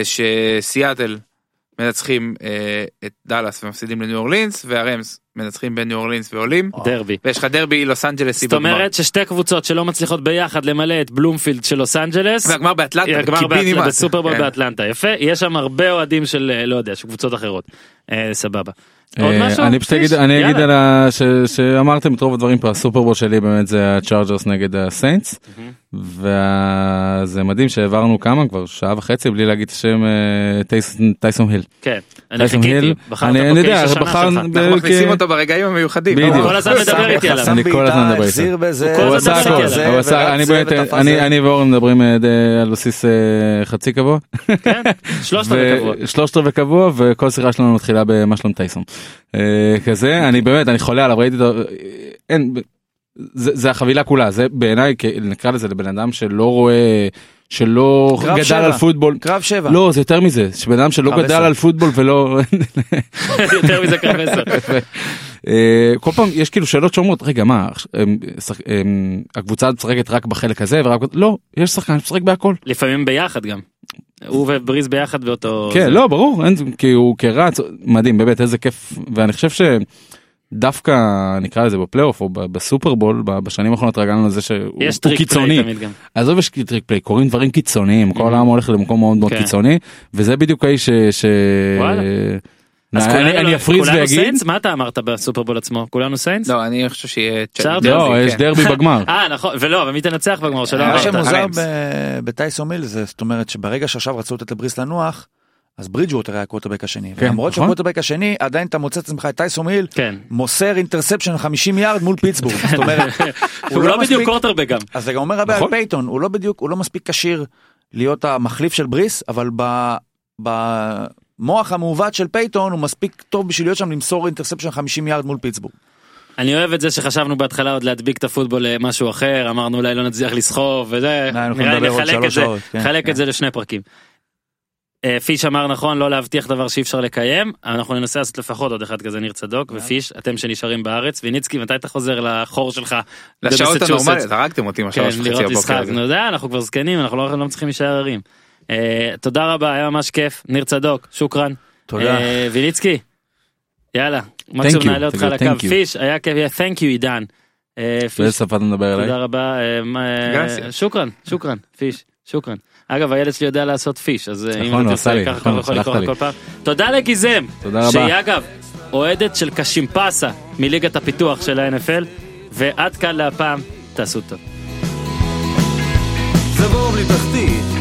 Speaker 5: ושסיאטל מנצחים אה, את דאלאס ומפסידים לניו אורלינס והרמז מנצחים בניו אורלינס ועולים
Speaker 1: דרבי.
Speaker 5: ויש לך דרבי לוס אנג'לסי
Speaker 1: זאת אומרת ששתי קבוצות שלא מצליחות ביחד למלא את בלומפילד של לוס אנג'לס.
Speaker 5: והגמר באטלנטה
Speaker 1: הגמר באטלנטה,
Speaker 5: קיבינימט.
Speaker 1: בסופרבול
Speaker 5: כן.
Speaker 1: באטלנטה יפה יש שם הרבה אוהדים של אה, לא יודע של קבוצות אחרות. אה, סבבה. עוד
Speaker 2: אה,
Speaker 1: משהו?
Speaker 2: אני פשוט אגיד,
Speaker 1: פיש?
Speaker 2: אני אגיד
Speaker 1: יאללה.
Speaker 2: על ה... ש... שאמרתם את רוב הדברים פה, הסופרבול שלי באמת זה הצ'ארג'רס נגד הסיינטס, וזה מדהים שהעברנו כמה כבר, שעה וחצי בלי להגיד את השם אה, טייסון- טייסון היל.
Speaker 1: כן. אני
Speaker 2: טייסון
Speaker 1: חיכיתי.
Speaker 2: היל,
Speaker 1: בחרת
Speaker 2: אני-
Speaker 1: פה
Speaker 2: אני
Speaker 1: כאיש
Speaker 2: יודע,
Speaker 1: השנה
Speaker 2: בחרנו
Speaker 1: שלך.
Speaker 2: *laughs* ב-
Speaker 5: אנחנו מכניסים
Speaker 2: כן.
Speaker 5: אותו ברגעים המיוחדים. לא?
Speaker 2: בדיוק.
Speaker 1: כל הזמן מדבר איתי עליו.
Speaker 2: אני כל הזמן מדבר
Speaker 4: החזיר בזה,
Speaker 1: כל
Speaker 2: הוא
Speaker 1: הזמן
Speaker 2: עשה
Speaker 1: מדבר
Speaker 2: הכל,
Speaker 1: איתי
Speaker 2: הוא עשה, אני באמת, אני- אני ואורן מדברים אה, די- על בסיס אה, חצי קבוע,
Speaker 1: כן. שלושת רבעי קבוע.
Speaker 2: ו- שלושת רבעי קבוע וכל שיחה שלנו מתחילה במה שלום טייסון. אה, כזה אני באמת אני חולה עליו ראיתי אותו אה, אין ב- זה, זה החבילה כולה זה בעיניי כ- נקרא לזה לבן אדם שלא רואה שלא
Speaker 4: קרב
Speaker 2: גדל
Speaker 4: שבע.
Speaker 2: על פוטבול.
Speaker 4: קרב שבע.
Speaker 2: לא זה יותר מזה שבן אדם שלא
Speaker 4: קרב
Speaker 2: גדל
Speaker 4: עשר.
Speaker 2: על פוטבול ולא
Speaker 1: *laughs* יותר מזה קרב עשר.
Speaker 2: אה, כל פעם יש כאילו שאלות שאומרות רגע מה עכש- אמ, שח- אמ, הקבוצה משחקת רק בחלק הזה ורק לא יש שחקן שמשחק בהכל.
Speaker 1: לפעמים ביחד גם. הוא ובריז ביחד באותו...
Speaker 2: כן,
Speaker 1: זה.
Speaker 2: לא, ברור, אין, כי הוא כרץ, מדהים, באמת, איזה כיף, ואני חושב שדווקא, נקרא לזה בפלייאוף או ב- בסופרבול, ב- בשנים האחרונות התרגלנו לזה שהוא
Speaker 1: יש
Speaker 2: הוא
Speaker 1: טריק
Speaker 2: קיצוני.
Speaker 1: פליי תמיד גם.
Speaker 2: עזוב, יש טריק פליי, קורים דברים קיצוניים, כל העם הולך למקום מאוד מאוד
Speaker 1: כן.
Speaker 2: קיצוני, וזה בדיוק האיש ש... ש- אה,
Speaker 1: וואלה.
Speaker 2: אני-
Speaker 1: אז כולנו- לא-
Speaker 2: אני- אני אפריז
Speaker 1: כולנו
Speaker 2: ואגיד,
Speaker 1: סיינס? מה אתה אמרת בסופרבול עצמו? כולנו סיינס?
Speaker 5: לא, אני חושב שיהיה...
Speaker 1: צ'ארג'רס?
Speaker 2: לא,
Speaker 5: כן.
Speaker 2: יש
Speaker 1: *laughs*
Speaker 2: דרבי בגמר.
Speaker 1: אה נכון, ולא, אבל מי תנצח בגמר שלא
Speaker 4: מה
Speaker 5: אה,
Speaker 1: אמרת?
Speaker 4: שמוזר
Speaker 5: הרמס.
Speaker 4: ב- בטייסון מיל זה זאת אומרת שברגע שעכשיו רצו לתת לבריס לנוח אז ברידג'ווטר היה הקווטרבק השני.
Speaker 2: כן,
Speaker 4: למרות
Speaker 2: נכון.
Speaker 4: שהקווטרבק השני עדיין אתה מוצא את עצמך את טייסון מיל
Speaker 1: כן.
Speaker 4: מוסר אינטרספשן 50 יארד מול
Speaker 1: *laughs*
Speaker 4: פיטסבורג. זאת אומרת
Speaker 1: הוא לא
Speaker 4: מספיק-
Speaker 1: בדיוק קורטרבק גם.
Speaker 4: אז זה גם אומר הרבה על
Speaker 2: נכון.
Speaker 4: פייתון הוא לא בדיוק הוא לא מספיק כשיר להיות המחליף של בריס אבל ב- במוח המעוות של פייתון הוא מספיק טוב בשביל להיות שם למסור אינטרספשן 50 יארד מול פיטסבורג.
Speaker 1: אני אוהב את זה שחשבנו בהתחלה עוד להדביק את הפוטבול למשהו אחר, אמרנו אולי לא נצליח לסחוב וזה,
Speaker 4: אה, אנחנו
Speaker 1: נראה לי
Speaker 4: נדבר עוד
Speaker 1: נחלק את
Speaker 4: שלוש
Speaker 1: זה,
Speaker 4: שעות, כן,
Speaker 1: נחלק
Speaker 4: כן.
Speaker 1: את זה לשני פרקים. אה, פיש אמר נכון לא להבטיח דבר שאי אפשר לקיים, אנחנו ננסה לעשות לפחות עוד אחד כזה ניר צדוק
Speaker 4: אה.
Speaker 1: ופיש, אתם שנשארים בארץ, ויניצקי מתי אתה חוזר לחור שלך?
Speaker 5: לשעות
Speaker 1: במסצ'וסטס?
Speaker 5: הנורמליות, הרגתם אותי עם
Speaker 1: כן,
Speaker 5: השלוש וחצי
Speaker 1: לראות משחק,
Speaker 5: הבוקר.
Speaker 1: נו יודע, אנחנו כבר זקנים, אנחנו לא לא מצליחים להישאר ערים. אה, תודה רבה, היה ממש כיף, ניר צדוק, שוקרן.
Speaker 4: תודה.
Speaker 1: אה, ויליצקי, יאללה, מקסימום
Speaker 2: you,
Speaker 1: נעלה אותך
Speaker 2: תגיד,
Speaker 1: לקו.
Speaker 2: thank you.
Speaker 1: פיש, היה כיף, yeah, thank you עידן. אה,
Speaker 2: באיזה
Speaker 1: פיש,
Speaker 2: שפה אתה מדבר
Speaker 1: תודה
Speaker 2: אליי?
Speaker 1: רבה, אה, מה, אה,
Speaker 5: Gracias.
Speaker 1: שוקרן, שוקרן, פיש, שוקרן. אגב, הילד שלי יודע לעשות פיש, אז אה, אם
Speaker 2: נכון,
Speaker 1: אתה
Speaker 2: הוא
Speaker 1: רוצה
Speaker 2: עשה לי,
Speaker 1: לקחת
Speaker 2: נכון,
Speaker 1: אתה יכול
Speaker 2: שלחת
Speaker 1: לקרוא
Speaker 2: לי.
Speaker 1: כל פעם. תודה לגיזם,
Speaker 2: תודה רבה.
Speaker 1: שהיא אגב אוהדת של קשימפסה מליגת הפיתוח של ה-NFL, ועד כאן להפעם, תעשו טוב.
Speaker 3: זה בור בלי תחתית